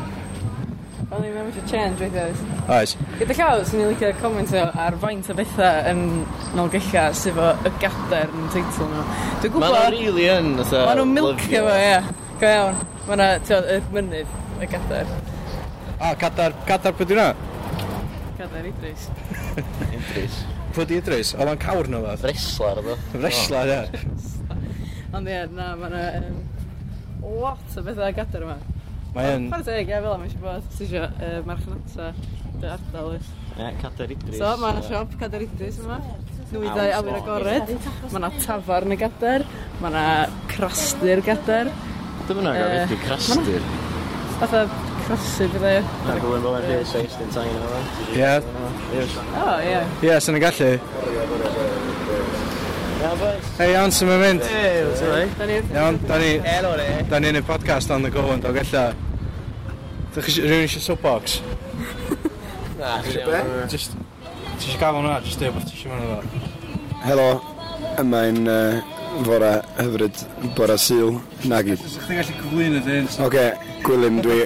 [SPEAKER 3] Wel, ni'n mynd i change, weithiau.
[SPEAKER 2] Oes.
[SPEAKER 3] Gyda llaw, swn i'n licio comentio ar faint o bethau yn nolgella sydd o y gader yn teitl nhw.
[SPEAKER 1] Mae nhw'n
[SPEAKER 3] Dwi'n gwybod,
[SPEAKER 1] really yn, fatha...
[SPEAKER 3] maen nhw'n milcio fo, ie. Go iawn. Mae yna, ti'n y mynydd, y gader.
[SPEAKER 2] A, cadar, cadar pwy dwi'n
[SPEAKER 3] Gader Idris.
[SPEAKER 1] Idris.
[SPEAKER 2] Pwy di Idris? Oedd o'n cawr nhw, fath.
[SPEAKER 1] Wrestler, oedd o.
[SPEAKER 2] Wrestler, ie.
[SPEAKER 3] Ond ie, na, mae yna um, lot o bethau y gader yma.
[SPEAKER 2] Mae'n...
[SPEAKER 3] Chwarae teg, ie, fel yma eisiau bod, sy'n eisiau uh, marchnata dy ardal oes.
[SPEAKER 1] Ie, Cader Idris.
[SPEAKER 3] So, mae yna
[SPEAKER 1] Ie.
[SPEAKER 3] siop Gader Idris yma. Nwyddau
[SPEAKER 1] Awns
[SPEAKER 3] awyr
[SPEAKER 1] long.
[SPEAKER 3] agored. Mae yna tafarn y gader. Mae yna crastu'r gader.
[SPEAKER 1] Dwi'n mynd
[SPEAKER 3] Yy,
[SPEAKER 1] agor fi crastur.
[SPEAKER 3] Fatha crasu bydde.
[SPEAKER 1] Mae'n gwybod bod e'n rhywbeth seist yn tain yna.
[SPEAKER 2] Ie.
[SPEAKER 3] O, ie.
[SPEAKER 2] Ie, sy'n ni'n gallu.
[SPEAKER 1] Ia, boys.
[SPEAKER 2] Hei, iawn, sy'n mynd mynd.
[SPEAKER 1] Hey, what's up, eh?
[SPEAKER 3] Da ni wrth
[SPEAKER 2] Iawn, da ni...
[SPEAKER 1] Helo, re.
[SPEAKER 2] Da ni'n neud podcast on the go yn dog ella. Dych chi isio- rhywun eisiau soapbox? Just... Ti eisiau gael hwnna, just dweud bod ti eisiau mewn iddo.
[SPEAKER 5] Helo, yma'n uh, fora hyfryd, bora syl, nag i. Oce,
[SPEAKER 2] Ydych chi'n gallu cyflwyn y dyn?
[SPEAKER 5] okay, Gwilym dwi,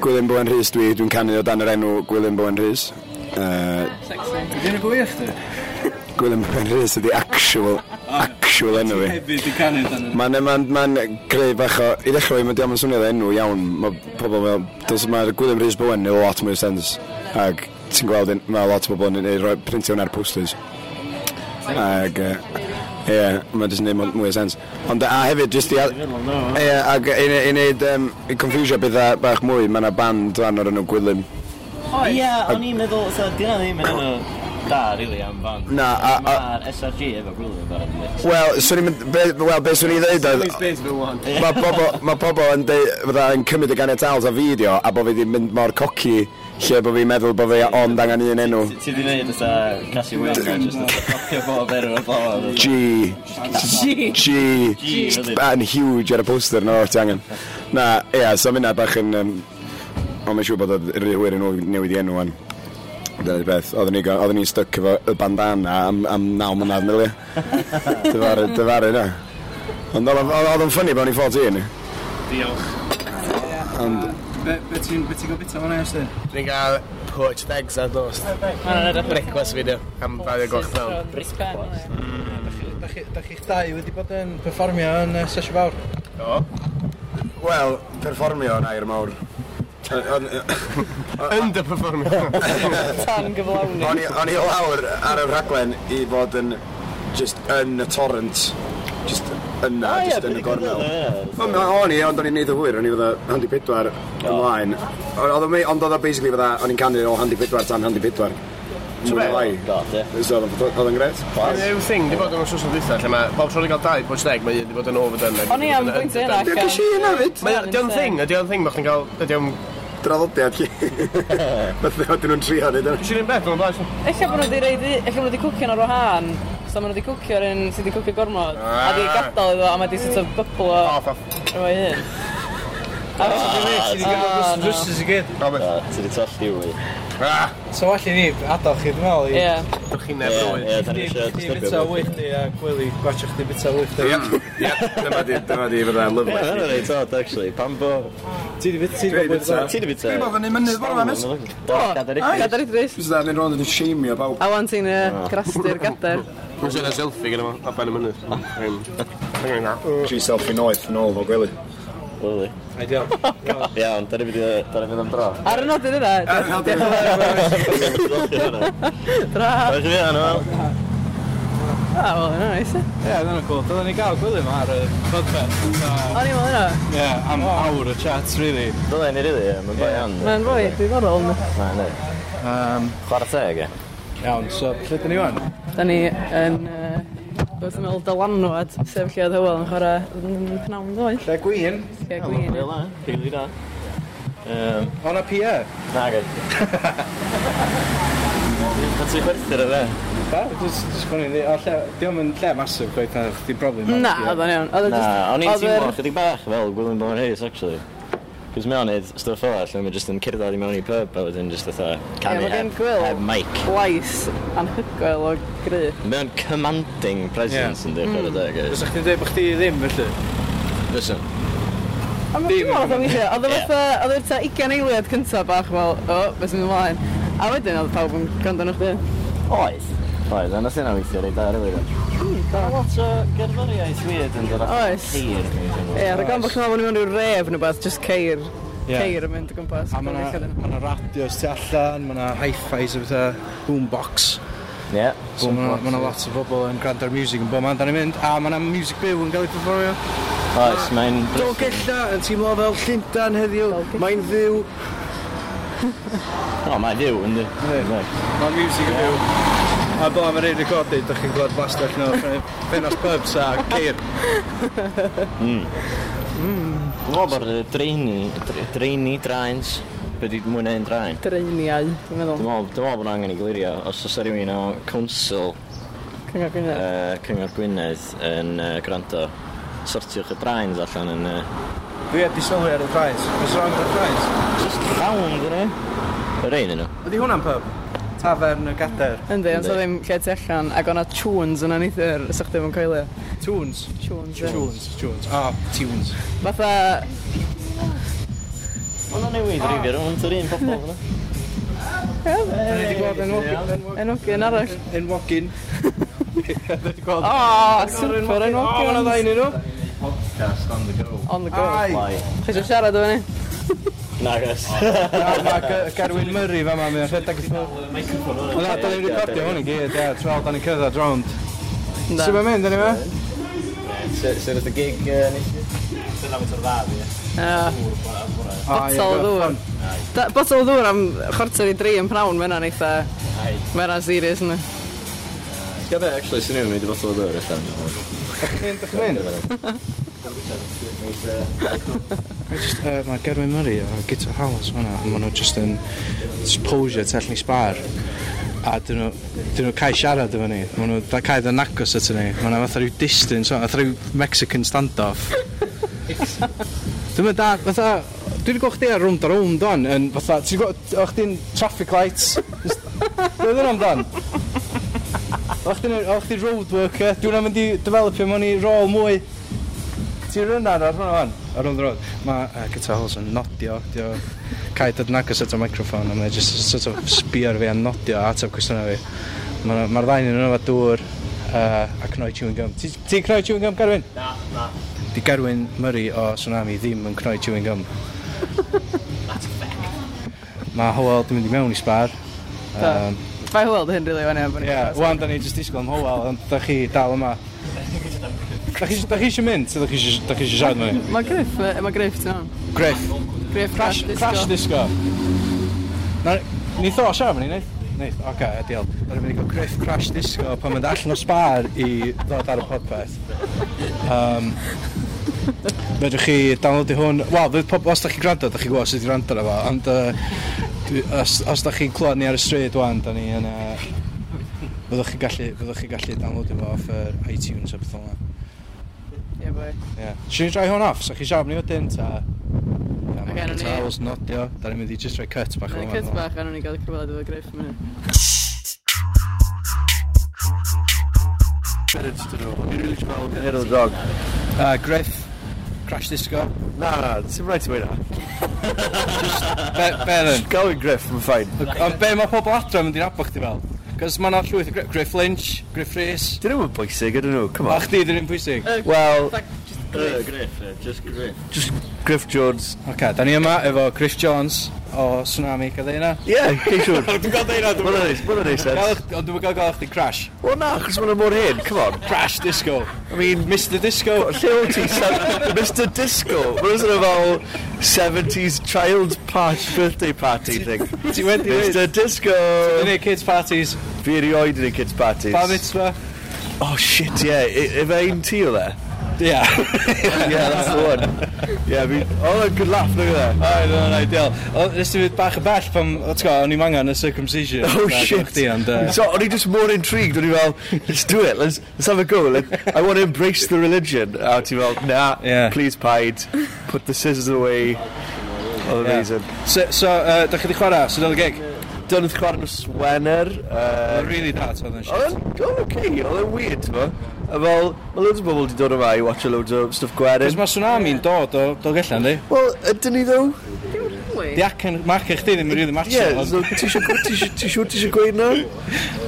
[SPEAKER 5] Gwilym Bowen Rhys dwi, dwi'n canu o dan yr enw Gwilym Bowen Rhys. Uh,
[SPEAKER 3] sexy.
[SPEAKER 2] Dyn yn gwych, dwi?
[SPEAKER 5] Gwilym Penrhys ydi actual, actual enw fi.
[SPEAKER 1] Hefyd i canu dan yn...
[SPEAKER 5] Mae'n ma ma greu fach o... I ddechrau, mae'n diolch yn swnio dda enw iawn. Mae pobl fel... Dos mae'r Gwilym Rhys Bowen neu lot mwy o sense. Ag ti'n gweld, un- mae lot o bobl yn ei roi printio hwnna'r posters. Ag... yy, Ie, yeah, mae jyst yn neud mwy o sens. Ond a hefyd, jyst i... a- Ie, ag i ne- i neud... yym, I confusio bethau bach mwy, mae yna band fan o'r enw Gwilym.
[SPEAKER 3] Oes.
[SPEAKER 1] Ie, o'n i'n meddwl, so, di hwnna ddim yn enw da, rili, am fan.
[SPEAKER 5] Na, a- a-
[SPEAKER 1] Mae'r SRG efo gwylio fan.
[SPEAKER 5] Wel, swn i'n... mynd- be- Wel, beth swn i'n ddeud oedd... Mae pobl, ma pobl yn deud, fydda yn cymryd y ganiatals a fideo a bod fi wedi mynd mor coci lle bod fi'n meddwl bod fi ond angen un enw.
[SPEAKER 1] Ti di wneud ysa Cassie Wales a just fatha copio bob erw o'r bobl.
[SPEAKER 5] G.
[SPEAKER 3] G.
[SPEAKER 5] G.
[SPEAKER 1] G, really.
[SPEAKER 5] Yn huge ar y poster na o'r ti angen. Na, ia, so minna bach yn... Um, ond mae'n siŵr bod oedd rhy hwyr yn newid i enw wan. Dyna di beth, oedden ni'n oedden ni'n styc efo y bandana am, am naw mynadd, milio. Dyfaru, dyfaru na. Ond oedd o'n- oedd o'n ffynnu bod o'n i 14.
[SPEAKER 6] Diolch.
[SPEAKER 5] Ond
[SPEAKER 6] Be ti'n gwybod beth o'n eos di?
[SPEAKER 7] Dwi'n gael poached eggs ar dost. Brecwas fideo. Am fawr o goch fel.
[SPEAKER 3] Brisbane.
[SPEAKER 2] Da chi- da chi'ch dau wedi bod yn performio yn uh, Sesi Fawr?
[SPEAKER 7] Do.
[SPEAKER 5] Wel, perfformio yn air mawr. Yy, O'n
[SPEAKER 7] Underperformio.
[SPEAKER 3] Tan gyflawni.
[SPEAKER 5] o'n i o'n i lawr ar y rhaglen i fod yn just yn y torrent. Just yna, just yn y gornel. Wel, ma- O'n i, ond o'n i'n neud y hwyr, o'n i fydda handi pedwar ymlaen. O- oedd o mei- Ond oedd o basically fydda, o'n i'n canu o handi pedwar tan handi pedwar. Mwy o lai.
[SPEAKER 1] God, ie.
[SPEAKER 5] So, oedd o'n- oedd o'n gret.
[SPEAKER 7] Yw thing, di bod yn wrthnos yn dweitha, lle mae bob tro'n gael dau poached egg, mae un di bod yn overdone.
[SPEAKER 3] O'n i am bwynt yna.
[SPEAKER 5] Ie, gysi hynna fyd.
[SPEAKER 7] Mae ydy o'n thing, ydy o'n thing, mae chdi'n gael, ydy o'n...
[SPEAKER 5] Draddodiad chi. Beth oedd nhw'n trio neud o.
[SPEAKER 7] Si'n un beth, mae'n blaen.
[SPEAKER 3] Ella bod nhw wedi reid, ella bod nhw wedi cwcio yn o'r whan. So maen nhw wedi cwcio'r un sydd wedi cwcio gormod. A di gadael iddo, a mae di sort of byblo
[SPEAKER 7] Off, off.
[SPEAKER 3] efo'i hun. A
[SPEAKER 2] Ti wedi
[SPEAKER 3] Ah,
[SPEAKER 2] gael drwsus i gyd.
[SPEAKER 7] Robert.
[SPEAKER 1] Ti di toll i wy.
[SPEAKER 7] Ah,
[SPEAKER 2] So well i ni adael chi, dwi'n meddwl, i...
[SPEAKER 3] Ie.
[SPEAKER 7] Dwi'n chi'n neb
[SPEAKER 1] Ie,
[SPEAKER 7] rwy.
[SPEAKER 1] ie, da ni eisiau
[SPEAKER 2] Chdi
[SPEAKER 1] stopio.
[SPEAKER 2] bita wych di a Gwili gwachio chdi bita wych di.
[SPEAKER 5] Ie, ie, dyma di, dyma di
[SPEAKER 1] Ie,
[SPEAKER 5] fydda lyfle.
[SPEAKER 1] hwnna'n reit od, actually. Pam bo...
[SPEAKER 2] Ti di bita, ti di
[SPEAKER 5] Dwi
[SPEAKER 2] bod
[SPEAKER 5] bita.
[SPEAKER 2] yn
[SPEAKER 1] Ti di bita...
[SPEAKER 5] Dwi'n bod fyny mynydd bore ma, mis.
[SPEAKER 1] Gadar i chi.
[SPEAKER 3] Gadar i dris.
[SPEAKER 5] Dwi'n dda, ni'n rôn yn sheimio pawb.
[SPEAKER 3] A wan ti'n
[SPEAKER 1] Oh.
[SPEAKER 3] yy, crastu'r gadar.
[SPEAKER 7] Dwi'n siarad selfie gyda fo, a ben y mynydd. Dwi'n
[SPEAKER 5] Tri selfie noeth yn ôl fo gwely.
[SPEAKER 1] Lili.
[SPEAKER 2] Ideal.
[SPEAKER 1] Iawn, da ni fydd da ni fydd am dro.
[SPEAKER 3] Ar y nodyn
[SPEAKER 5] Ah.
[SPEAKER 3] yna, dra.
[SPEAKER 1] Oes i fi yna, wel.
[SPEAKER 3] A, wel, yna, neis. O'n
[SPEAKER 2] Ie, dyna cool. Dyna ni gael Gwili ma ar y podfest. So,
[SPEAKER 3] i'n meddwl yna.
[SPEAKER 2] Ie, am awr o chats, really.
[SPEAKER 1] Dyna ni rili, ie, mae'n boi iawn.
[SPEAKER 3] Mae'n fwy, diddorol yna.
[SPEAKER 1] Na, ne. Chwarae teg, ie.
[SPEAKER 2] Iawn, so, lle dyn ni wan?
[SPEAKER 3] Da ni yn... yy, Wrth ymwyl dylanwad, sef lle oedd Hywel yn chwarae yn pnawn ddoe.
[SPEAKER 2] Lle gwyn?
[SPEAKER 3] Lle gwyn.
[SPEAKER 1] Rili da, rili da. Yym,
[SPEAKER 2] O'na pia.
[SPEAKER 1] na, gai. Pan ti'n gwerthu'r yna?
[SPEAKER 2] Ba? Just, just gwni, di- o lle, diolch yn lle masif gweith na, di broblem.
[SPEAKER 3] Na, oedd o'n iawn. Oedd o
[SPEAKER 1] Na,
[SPEAKER 3] jyst-
[SPEAKER 1] o'n i'n
[SPEAKER 3] oedd yr-
[SPEAKER 1] teimlo chydig bach fel Gwilym Bowen Hayes, actually. Cos mae o'n neud stuff fel all, mae jyst yn cerdded i mewn i pub a wedyn jyst fatha canu
[SPEAKER 3] Ie, ma' gen
[SPEAKER 1] heb,
[SPEAKER 3] Gwyl-
[SPEAKER 1] heb mic.
[SPEAKER 3] Lais anhygoel o gry.
[SPEAKER 1] Mae o'n commanding presence yn dechrau'r
[SPEAKER 3] Hmm.
[SPEAKER 1] deg, ie.
[SPEAKER 2] Fysa chdi'n dweud bod chdi ddim, felly?
[SPEAKER 1] Fysa.
[SPEAKER 3] A mae'n dim ond o'n eisiau, oedd o
[SPEAKER 1] Ie.
[SPEAKER 3] fatha, oedd o'n ta 20 eiliad cyntaf bach fel, o, beth sy'n mynd ymlaen. A wedyn oedd pawb yn gwrando yn chdi.
[SPEAKER 1] Oedd. Oedd, a nath yna weithio reit ar ydw i. Da lot o gerddoriaeth weird yn dod
[SPEAKER 3] Oes. Ie, ar y gan bach nôl o'n i mewn rhyw ref neu beth, just ceir.
[SPEAKER 2] Ie.
[SPEAKER 3] Ceir yn mynd o gwmpas.
[SPEAKER 2] A mae yna radios tu allan, mae yna hi-fis o bethau, boombox.
[SPEAKER 1] Ie.
[SPEAKER 2] So mae yna lot o bobl yn gwrando'r music yn bob man, da ni'n mynd. A mae yna music byw yn cael ei performio.
[SPEAKER 1] Oes, mae'n...
[SPEAKER 2] Dolgella yn teimlo fel Llundan heddiw. Mae'n ddiw.
[SPEAKER 1] O, mae'n fyw, ynddi.
[SPEAKER 2] Yndi. Mae music yn byw. A bo am yr un recordi, dych chi'n gwlad blastach nhw. Fenos pubs a ceir.
[SPEAKER 1] Dwi'n gwybod bod y dreini, dre- dreini drains, be di mwy neu'n draen.
[SPEAKER 3] Dreiniau, dwi'n
[SPEAKER 1] Dwi'n meddwl
[SPEAKER 3] meddwl.
[SPEAKER 1] dwi'n meddwl bod angen i glirio, os oes rhywun o Council
[SPEAKER 3] Cyngor Gwynedd.
[SPEAKER 1] uh, Cyngor Gwynedd yn uh, gwrando, sortiwch y drains allan yn... Uh,
[SPEAKER 2] Dwi wedi sylwi ar y prize. What's wrong with the prize?
[SPEAKER 1] just llawn, dyn nhw. Yr ein yn nhw.
[SPEAKER 2] Ydy hwnna'n pub? Tafern y gader.
[SPEAKER 3] Yndi, ond so
[SPEAKER 1] Yndi.
[SPEAKER 3] ddim lle tu allan, ac o'na tunes yn anithir, sa'ch ddim yn coelio.
[SPEAKER 2] Tunes.
[SPEAKER 3] Tunes, ie.
[SPEAKER 2] Tunes. Tunes. Ah, tunes.
[SPEAKER 3] Fatha,
[SPEAKER 1] Ond o'n newid rifio rhwng yr un pobol yna.
[SPEAKER 2] Dwi wedi gweld enwogyn.
[SPEAKER 3] enwogyn arall.
[SPEAKER 2] Enwogyn. Dwi'n gweld...
[SPEAKER 3] O, super
[SPEAKER 2] O, mae'n
[SPEAKER 3] enwog.
[SPEAKER 2] ddain i nhw.
[SPEAKER 1] Podcast on the go.
[SPEAKER 3] On the go.
[SPEAKER 2] Ai.
[SPEAKER 3] Chi eisiau siarad o'n i?
[SPEAKER 1] Nagos.
[SPEAKER 2] Na, ma' Ger- Gerwyn Murray fa ma, mae'n rhedeg i ffwrdd. Na, da ni'n recordio hwn i gyd, ia, trwy'n da ni'n cyrraedd rownd.
[SPEAKER 3] Na.
[SPEAKER 2] Sut mae'n mynd, da ni fe?
[SPEAKER 1] Sut oedd y gig uh, nes
[SPEAKER 3] Na. Botol o ddŵr. Da- Botol o ddŵr am chwarter i dri yn prawn, mae'n an eitha... Mae'n an serious, yna.
[SPEAKER 1] Gael be, actually, sy'n ni'n mynd i botol o ddwyr allan.
[SPEAKER 2] Chi'n dychmyn? Mae Gerwyn Murray a uh, Guitar House fan'na, a maen nhw just yn jyst posio tu allan i spar. A dyn nhw, dyn nhw cael siarad efo ni. Maen nhw da cael yn agos ato ni. Maen nhw fatha rhyw distance, o, fatha rhyw Mexican standoff. Dwi'n mynd dar, fatha, dwi'n gweld chdi ar rwnd ar rwnd o'n, yn fatha, ti'n gweld, o'ch chdi'n traffic lights. Dwi'n dyn amdan. O'ch chdi'n o'ch chdi'n road worker, dwi'n mynd i developio mewn i rôl mwy. Ti'n rynnar ar hwnna fan, ar hwnna roedd. Mae uh, Guitar Halls yn nodio, dio cael dod yn agos at y microffon, a mae'n just sort of sbio ar fi a nodio a ateb cwestiynau fi. Mae'r ma ddain yn yma dŵr uh, a cnoi chewing gum. Ti- Ti'n cnoi chewing gum, Gerwyn? Na, na. Di Gerwyn Murray o Tsunami ddim yn cnoi chewing gum. Mae Howell di mynd i mewn i sbar.
[SPEAKER 3] Da.
[SPEAKER 2] Um,
[SPEAKER 3] Fai hwyl dy hyn, rili, fan hyn.
[SPEAKER 2] Ie, wan da ni jyst disgwyl am Howell, ond da chi dal yma. Da chi da chi eisiau mynd, ta da chi isio- da chi eisiau siarad mwy?
[SPEAKER 3] Mae griff, yy, mae griff, ti'n iawn.
[SPEAKER 2] Griff,
[SPEAKER 3] Griff,
[SPEAKER 2] crash, crash disco. Na, ni tho siarad fan ni, neith? Neith, oce, okay, ideal. Da ni'n mynd i gael Griff crash disco pan mynd allan o spar i ddod ar y podpeth. Um, Fedrwch chi downloadu hwn. Wel, fydd pob- os da chi gwrando, da chi gwybod sut i gwrando ar efo, ond uh, dwi- os, os da chi'n clywed ni ar y stryd wan, da ni yn... Uh, fyddwch chi gallu, fyddwch chi gallu downloadio fo off yr iTunes a beth o'n
[SPEAKER 3] Ie, boi.
[SPEAKER 2] Ie. Swn i'n try hwn off, so chi siarad ni wedyn, ta... Ia,
[SPEAKER 3] Ocê,
[SPEAKER 2] mae'n
[SPEAKER 3] nawn ni-
[SPEAKER 2] towels nodio. Da ni'n mynd i just rhoi cut bach
[SPEAKER 3] Mae'n
[SPEAKER 2] o'n
[SPEAKER 3] cyt bach, anon ni gael cyflad efo griff. am hynny.
[SPEAKER 1] Little dog.
[SPEAKER 2] Uh, Griff, Crash Disco.
[SPEAKER 7] Na, na, ti'n rhaid i mi na.
[SPEAKER 2] Be, be yn?
[SPEAKER 7] Gawin Griff, mae'n ffain.
[SPEAKER 2] Ond be mae pobl adra yn mynd i'n abo chdi fel? Cos mae yna llwyth o Griff, Griff Lynch, Griff Rhys.
[SPEAKER 7] Dyn nhw'n bwysig, ydyn nhw, come
[SPEAKER 2] A
[SPEAKER 7] on.
[SPEAKER 2] chdi dyn nhw'n pwysig. Oce,
[SPEAKER 7] Wel,
[SPEAKER 1] Griff, ie, just griff.
[SPEAKER 7] just Griff Jones.
[SPEAKER 2] okay, da ni yma efo Griff Jones o Tsunami Cadeina.
[SPEAKER 7] Ie, chi'n siŵr.
[SPEAKER 2] Dwi'n gael deina,
[SPEAKER 7] Mae'n neis, mae'n neis.
[SPEAKER 2] Gael, ond dwi'n gael gael chdi Crash.
[SPEAKER 7] Wel na, chos mae'n mor hyn, come on.
[SPEAKER 2] Crash Disco.
[SPEAKER 7] I mean,
[SPEAKER 2] Mr Disco.
[SPEAKER 7] Lle o ti, Sam? Mr Disco? Mae'n sort of fel 70s child party, birthday party thing.
[SPEAKER 2] Ti wedi dweud.
[SPEAKER 7] Mr Disco!
[SPEAKER 2] Yn ei kids parties,
[SPEAKER 7] Fi erioed yn y kids parties.
[SPEAKER 2] bar mitzvah.
[SPEAKER 7] Oh shit, yeah. I- Ife ein ti e? o dde?
[SPEAKER 2] Ia.
[SPEAKER 7] Yeah, that's the one. Yeah, fi... Oh, good laugh, look at that.
[SPEAKER 2] Oedd yn ideal. Oedd nes ti fydd bach yn bell pan, o ti'n gwybod, o'n i'n angen y circumcision.
[SPEAKER 7] Oh
[SPEAKER 2] Na,
[SPEAKER 7] shit.
[SPEAKER 2] Chdi, ond, uh,
[SPEAKER 7] So, o'n i just more intrigued, o'n i fel, let's do it, let's, let's have a go. Let, I want to embrace the religion. A ti fel, nah,
[SPEAKER 2] Yeah.
[SPEAKER 7] please paid, put the scissors away. Oedd
[SPEAKER 2] Yeah.
[SPEAKER 7] amazing.
[SPEAKER 2] So, so uh, da chi di chwarae, sydd oedd y gig?
[SPEAKER 7] Dyna chwarae nos Wener.
[SPEAKER 2] Uh,
[SPEAKER 7] Uh,
[SPEAKER 2] really dat, oedd yn shit.
[SPEAKER 7] Oedd yn oedd yn okay, oedd yn weird, ti'n A fel, mae loads o bobl wedi dod yma i watch a loads o stuff
[SPEAKER 2] Cos
[SPEAKER 7] gwerin.
[SPEAKER 2] mae tsunami'n dod o Dolgellan, di?
[SPEAKER 7] Wel, ydyn ni ddo?
[SPEAKER 3] Wait.
[SPEAKER 2] Di acen, mae acen chdi ddim yn rili match.
[SPEAKER 7] Ie, so ti isio ti isio- ti isio- ti isio gweud na?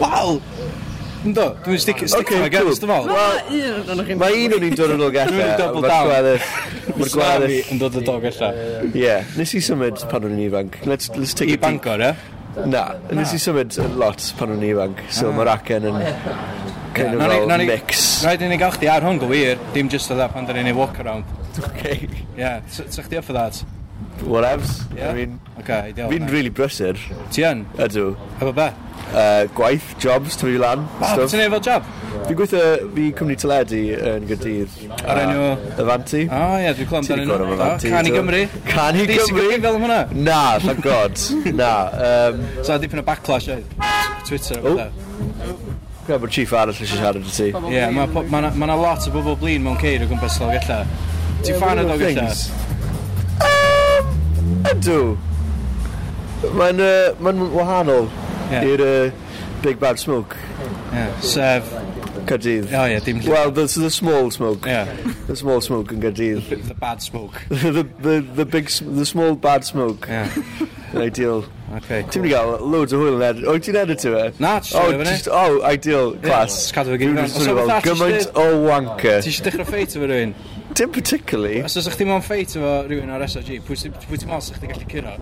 [SPEAKER 2] Wel! Ynddo, dwi'n sticio
[SPEAKER 7] Okay,
[SPEAKER 2] okay, against
[SPEAKER 7] cool.
[SPEAKER 2] the wall.
[SPEAKER 3] Un o'n chi'n...
[SPEAKER 7] Mae un o'n i'n dod yn ôl
[SPEAKER 2] Dwi'n mynd i
[SPEAKER 7] gallai.
[SPEAKER 2] double down.
[SPEAKER 7] Mae'r
[SPEAKER 2] Tsunami
[SPEAKER 7] gweddill.
[SPEAKER 2] yn dod o Dolgellan.
[SPEAKER 7] Ie, nes i symud pan o'n i'n ifanc. Let's, let's
[SPEAKER 2] I
[SPEAKER 7] take a deep-
[SPEAKER 2] Bangor, ie?
[SPEAKER 7] Na, nes i symud lot pan o'n i'n ifanc. So mae'r acen yn kind of
[SPEAKER 2] Ah. Oh, Nawn ni- nawn
[SPEAKER 7] fel
[SPEAKER 2] ni-
[SPEAKER 7] mix.
[SPEAKER 2] Rhaid i ni gael chdi ar hwn gywir, dim just o dda pan da ni'n ei walk around.
[SPEAKER 7] Okay,
[SPEAKER 2] Ie, so so chdi up for that?
[SPEAKER 7] whatevs.
[SPEAKER 2] Yeah.
[SPEAKER 7] I mean,
[SPEAKER 2] Okay, ideal.
[SPEAKER 7] fi'n
[SPEAKER 2] man.
[SPEAKER 7] really brysur.
[SPEAKER 2] Ti yn?
[SPEAKER 7] Ydw.
[SPEAKER 2] Efo be?
[SPEAKER 7] Uh, gwaith, jobs, tyfu lan,
[SPEAKER 2] Wow,
[SPEAKER 7] stuff.
[SPEAKER 2] Ah, ti'n ei fel job?
[SPEAKER 7] Fi gweithio, fi cwmni teledu yn gydydd.
[SPEAKER 2] O'r enw- Ah. O
[SPEAKER 7] Avanti.
[SPEAKER 2] ie, dwi'n clywed
[SPEAKER 7] Ti 'di
[SPEAKER 2] amdanyn
[SPEAKER 7] clywed am
[SPEAKER 2] nhw.
[SPEAKER 7] Avanti,
[SPEAKER 2] O, Can i
[SPEAKER 7] do?
[SPEAKER 2] Gymru.
[SPEAKER 7] Can i
[SPEAKER 2] Di sy'n
[SPEAKER 7] Gymru?
[SPEAKER 2] gyfri fel hwnna.
[SPEAKER 7] Na, thank god. Na. Um,
[SPEAKER 2] So, dipyn o backlash oedd. Twitter o
[SPEAKER 7] O.
[SPEAKER 2] bethau.
[SPEAKER 7] Gwna bod chief arall eisiau siarad y ti.
[SPEAKER 2] Ie, yeah, mae ma, na- ma na lot o bobl blin mewn ceir o gwmpas Dolgella. Ti'n fan o Dolgella?
[SPEAKER 7] Things. Um, Ydw. Mae'n uh, mae'n wahanol
[SPEAKER 2] Ie.
[SPEAKER 7] i'r uh, Big Bad Smoke,
[SPEAKER 2] Ie, sef...
[SPEAKER 7] Cadydd.
[SPEAKER 2] O ie, dim lle.
[SPEAKER 7] Well, the, the small smoke.
[SPEAKER 2] Ie,
[SPEAKER 7] The small smoke yn Cadydd.
[SPEAKER 2] the bad smoke.
[SPEAKER 7] the, the, the, big, s- the small bad smoke.
[SPEAKER 2] Ie.
[SPEAKER 8] ideal.
[SPEAKER 2] Okay,
[SPEAKER 8] Ti'n mynd i gael loads o hwyl yn edrych. O, ti'n edrych ti fe?
[SPEAKER 2] Na, ti isio
[SPEAKER 8] O,
[SPEAKER 2] rhoi fyny?
[SPEAKER 8] jyst- O, ideal, class.
[SPEAKER 2] jyst cadw fe gyd
[SPEAKER 8] Dwi'n
[SPEAKER 2] fewn.
[SPEAKER 8] just
[SPEAKER 2] Os
[SPEAKER 8] yn
[SPEAKER 2] o
[SPEAKER 8] fel
[SPEAKER 2] fatha ti
[SPEAKER 8] gymaint
[SPEAKER 2] isio
[SPEAKER 8] o wanker.
[SPEAKER 2] Ti eisiau dechrau ffeit efo rhywun?
[SPEAKER 8] Dim particularly.
[SPEAKER 2] Os oes chdi mewn ffeit efo rhywun ar SOG, pwy ti- pwy ti'n meddwl sy'ch chdi gallu cyrra?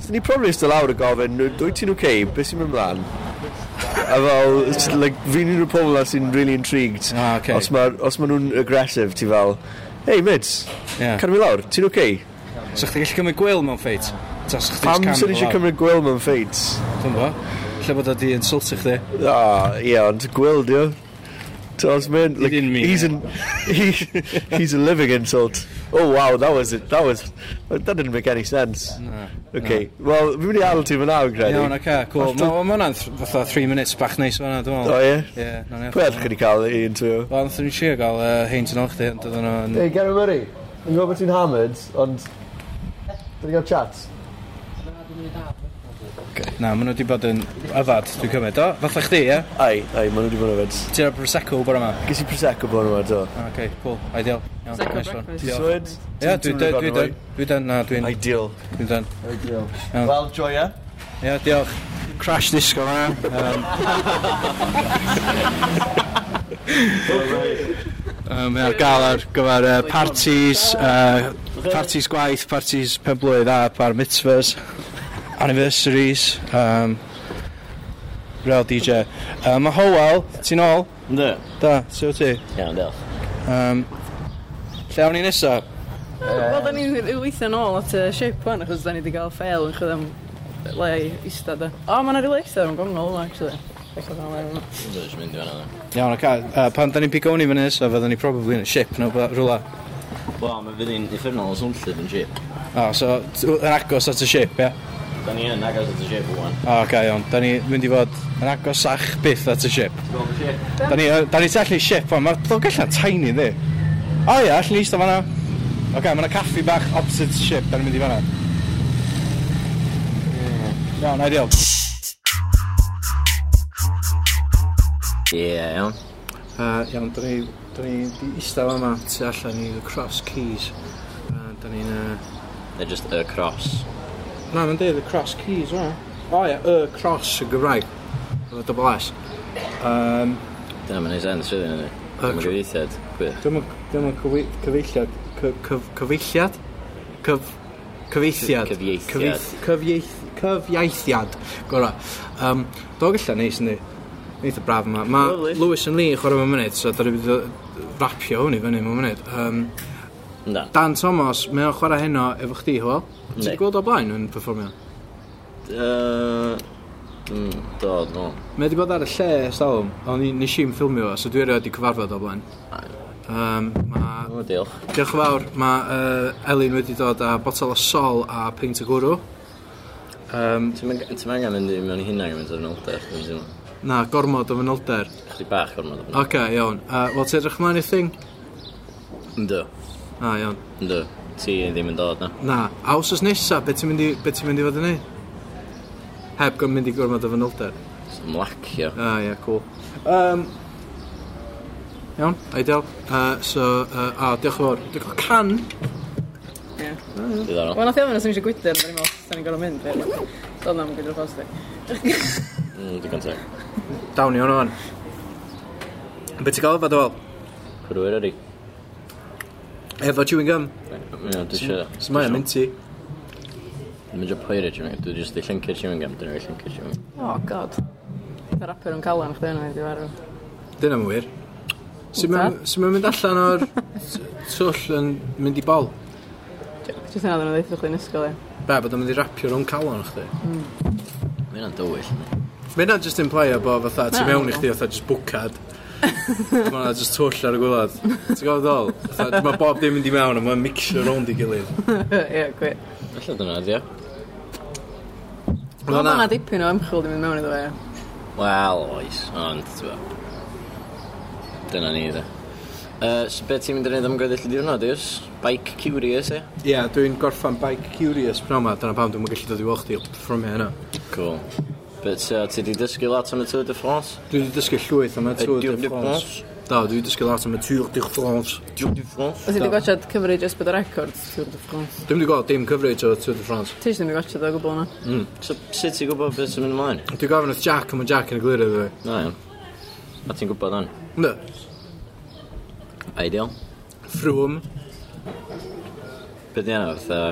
[SPEAKER 8] Dyn ni probably ystod lawr y gofyn, dwi ti'n okay, beth sy'n mynd mlaen? A fel, it's like, fi'n un o'r pobol na sy'n really intrigued.
[SPEAKER 2] Ah, okay.
[SPEAKER 8] Os ma, os ma nhw'n aggressive, ti fel, hey mids,
[SPEAKER 2] Ie.
[SPEAKER 8] cadw mi lawr, ti'n okay?
[SPEAKER 2] Sy'ch chdi gallu cymryd gwyl mewn ffeit? Ta os chdi
[SPEAKER 8] Pam
[SPEAKER 2] jyst
[SPEAKER 8] sy'n
[SPEAKER 2] cam
[SPEAKER 8] eisiau
[SPEAKER 2] fel 'na?
[SPEAKER 8] cymryd gwyl mewn ffeit?
[SPEAKER 2] Dwi'm bo. Lle bod o di insultio chdi?
[SPEAKER 8] Ah, ie, ond gwyl, di o. Tels man, like,
[SPEAKER 2] didn't mean
[SPEAKER 8] he's
[SPEAKER 2] it.
[SPEAKER 8] an, he, he's a living insult. Oh wow, that was it. That was that didn't make any sense.
[SPEAKER 2] Na.
[SPEAKER 8] Okay, well, fi'n mynd i adl ti fy nawr, Gredi.
[SPEAKER 2] Iawn, oce, cool. Ma ma' hwnna'n th- fatha 3 minutes bach neis fan'na, dwi'n
[SPEAKER 8] O
[SPEAKER 2] meddwl.
[SPEAKER 8] ie?
[SPEAKER 2] Ie, nawn ni.
[SPEAKER 8] Pwy edrych chi wedi cael un tu?
[SPEAKER 2] Wel, nath ni siarad gael yy, hein sy'n olch di, ond oedden nhw'n...
[SPEAKER 8] Gary Murray, yn gwybod bod ti'n hammered, ond... Dwi'n gael chat.
[SPEAKER 2] Na, maen nhw wedi bod yn yfad, dwi'n cymryd. O, fatha chdi, ie?
[SPEAKER 8] Ai, ai, maen nhw wedi bod yn yfed.
[SPEAKER 2] Ti'n ar Prosecco bore yma?
[SPEAKER 8] Ges i Prosecco bod yma, do.
[SPEAKER 2] OK, cool, ideal. Iawn,
[SPEAKER 3] Prosecco
[SPEAKER 2] nice one.
[SPEAKER 3] breakfast.
[SPEAKER 8] Ti
[SPEAKER 2] Diolch.
[SPEAKER 8] swyd?
[SPEAKER 2] Ie, dwi'n dweud, dwi'n dweud, dwi'n dweud, na, dwi'n
[SPEAKER 8] Ideal.
[SPEAKER 2] dwi'n dweud.
[SPEAKER 8] Ideal.
[SPEAKER 2] Iawn.
[SPEAKER 8] Wel, joia.
[SPEAKER 2] Ie, diolch.
[SPEAKER 9] Crash disco fan'na.
[SPEAKER 2] Um, Mae ar gael ar gyfer uh, parties, uh, parties gwaith, parties pen blwydd a bar mitzvahs, anniversaries, um, real DJ. Uh, Mae Howell, ti'n ôl?
[SPEAKER 1] Ynddo?
[SPEAKER 2] Da, sy'n ti?
[SPEAKER 1] Iawn, diolch.
[SPEAKER 2] Um, lle awn ni nesa?
[SPEAKER 3] Wel, da ni'n weithio'n ôl at y ship wan, achos da ni wedi cael ffeil yn chyd am le i eistedd da. O, mae yna rhywle eistedd yn gongol yna, actually. Felly, fel yna, yna.
[SPEAKER 1] Ynddo, jyst mynd i fan yna.
[SPEAKER 2] Iawn, ac uh, pan da ni'n pigo ni fyny nesa, fydden ni probably yn y ship neu rhywle- rhywle.
[SPEAKER 1] Wel, mae fydd i'n effernol o swnllid yn ship.
[SPEAKER 2] O, so, t- yn agos at y ship, ie?
[SPEAKER 1] Da ni yn agos at y ship o'n.
[SPEAKER 2] O, okay, iawn. Da ni mynd i fod yn agosach byth at y ship. Da ni, da ni tu allan i ship, ond mae'r llywogaellan tiny, ddi. O ia, allan ni eistedd fan'na. Oce, okay, mae'na caffi bach opposite ship, da ni'n mynd i fan'na. Iawn, ideal.
[SPEAKER 1] Ie, iawn.
[SPEAKER 2] Uh, iawn, da ni, da ni di eistedd fan'ma tu allan i The Cross Keys. Uh, da ni'n... Uh...
[SPEAKER 1] They're just a cross.
[SPEAKER 2] Na, mae'n deud The Cross Keys, o. O ia, Y Cross y Gymraeg. Y double S. Um,
[SPEAKER 1] Dyna mae'n ei sens rydyn ni.
[SPEAKER 2] A-
[SPEAKER 1] Mae'n gyfeithiad. Gwych.
[SPEAKER 2] Dwi'n yn cyfeilliad. Cy- cyf- Cyfeilliad? Cyf... Cyfeithiad.
[SPEAKER 1] Cyfieithiad.
[SPEAKER 2] Cyfieith- cyfieith- Cyfieithiad. Gora. Um, Dog allan neis ni. Neith y braf yma. Ma
[SPEAKER 1] Lovely.
[SPEAKER 2] Lewis yn Lee yn chwarae mewn munud, so da ni wedi rapio hwn i fyny mewn munud. Um,
[SPEAKER 1] Na,
[SPEAKER 2] Dan Thomas, mae o'n chwarae heno efo chdi, Hywel. Ti
[SPEAKER 1] Ne.
[SPEAKER 2] wedi gweld o blaen yn performio?
[SPEAKER 1] Yy... mm, Do, do.
[SPEAKER 2] Mae wedi bod ar y lle stalwm, ond ni- nes i'n ffilmio fo, so dwi erioed wedi cyfarfod o blaen. Um, mae
[SPEAKER 1] O, diolch.
[SPEAKER 2] Diolch yn fawr. Mae uh, Elin wedi dod â botel o sol a peint o gwrw. Um,
[SPEAKER 1] Ti'n mynd- ti'n angen mynd i mewn i hynna gymaint o'r nolder, dwi'n teimlo.
[SPEAKER 2] na, gormod o fanylder.
[SPEAKER 1] Chdi bach gormod o
[SPEAKER 2] Oce, okay, iawn. Uh, Wel, ti edrych mlaen i thing?
[SPEAKER 1] Ynddo,
[SPEAKER 2] Na, iawn.
[SPEAKER 1] ynddo. Ti ddim yn dod, na.
[SPEAKER 2] Na. A os oes nesa, beth ti'n mynd, i- be ti'n mynd i fod yn ei? Heb gan mynd i gormod o fanylder.
[SPEAKER 1] Dwi'n lacio.
[SPEAKER 2] Ah, ie, yeah, cool. Um, iawn, ideal. Uh, so, uh, a, diolch yn fawr. Dwi'n cael can.
[SPEAKER 1] Diddorol.
[SPEAKER 3] Wel, nath i ofyn os ymwysio gwydr, da ni'n meddwl, da ni'n gorau mynd, fe. Doedd na'm gwydr ffos di.
[SPEAKER 1] Mm, Digon teg.
[SPEAKER 2] Dawn i hwnnw fan. Beth ti'n gael o fod o fel?
[SPEAKER 1] Cwrwyr ydi.
[SPEAKER 2] Efo chewing gum.
[SPEAKER 1] Ie, dwi isio...
[SPEAKER 2] So mae'n minty.
[SPEAKER 1] Dwi'n mynd poeri chewing gum. Dwi'n just di llyncu chewing gum. Dwi'n rhaid llyncu chewing gum.
[SPEAKER 3] O, Oh, god. Y rapper yn calan, chdi hwnna, di farw.
[SPEAKER 2] Dyna mae'n wir. Sut
[SPEAKER 3] Da.
[SPEAKER 2] mae'n mynd allan o'r t- twll yn mynd i bol?
[SPEAKER 3] Jyst yna, dyna ddeithio chdi'n ysgol, ie.
[SPEAKER 2] Be, bod o'n mynd i rapio rhwng calon chdi?
[SPEAKER 1] Mae'n an dywyll.
[SPEAKER 2] Mae hynna just implio bod fatha, ti
[SPEAKER 3] Na,
[SPEAKER 2] mewn i
[SPEAKER 3] no.
[SPEAKER 2] chdi fatha just bwcad. Mae hwnna just twll ar y gwylod. Ti'n gofod ddol? Fatha, Mae bob dim yn mynd i mewn a mae'n mixio rownd i gilydd.
[SPEAKER 3] Ie, gwi.
[SPEAKER 1] Alla dyna, ydi o?
[SPEAKER 3] Wel, ma'na dipyn o ymchwil di mynd mewn iddo fe, ie.
[SPEAKER 1] Wel, oes. Ond, ti'n fawr. Dyna ni, dda. Uh, so beth ti'n mynd i wneud am gweddill i diwrnod, Iws? Bike Curious, e?
[SPEAKER 2] Ie, yeah, dwi'n gorffan Bike Curious pnawn ma, dyna pam dwi'n gallu dod i weld chdi ffrom hynna.
[SPEAKER 1] Cool. But uh, ti di dysgu lot am y Tour de France?
[SPEAKER 2] Dwi wedi dysgu llwyth am y Tour
[SPEAKER 1] Tour
[SPEAKER 2] de France.
[SPEAKER 6] Da, dwi dysgu lot am y Tŵr du France.
[SPEAKER 1] Tour du France.
[SPEAKER 3] Os i
[SPEAKER 6] Da.
[SPEAKER 3] wedi gochod cyfrif jyst bod y record Tour de France.
[SPEAKER 6] Dwi'n mynd i gweld dim cyfreid o Tŵr du France.
[SPEAKER 3] Ti eisiau ddim i gochod o gwbl yna.
[SPEAKER 1] So, sut ti'n gwybod beth sy'n mynd ymlaen?
[SPEAKER 6] Dwi'n gofyn wrth Jack, ond mae Jack yn y glir iddo fi.
[SPEAKER 1] Na iawn. A ti'n gwybod o'n?
[SPEAKER 6] Ynddo,
[SPEAKER 1] Ideal.
[SPEAKER 6] ffrwm.
[SPEAKER 1] Be di yna, fatha...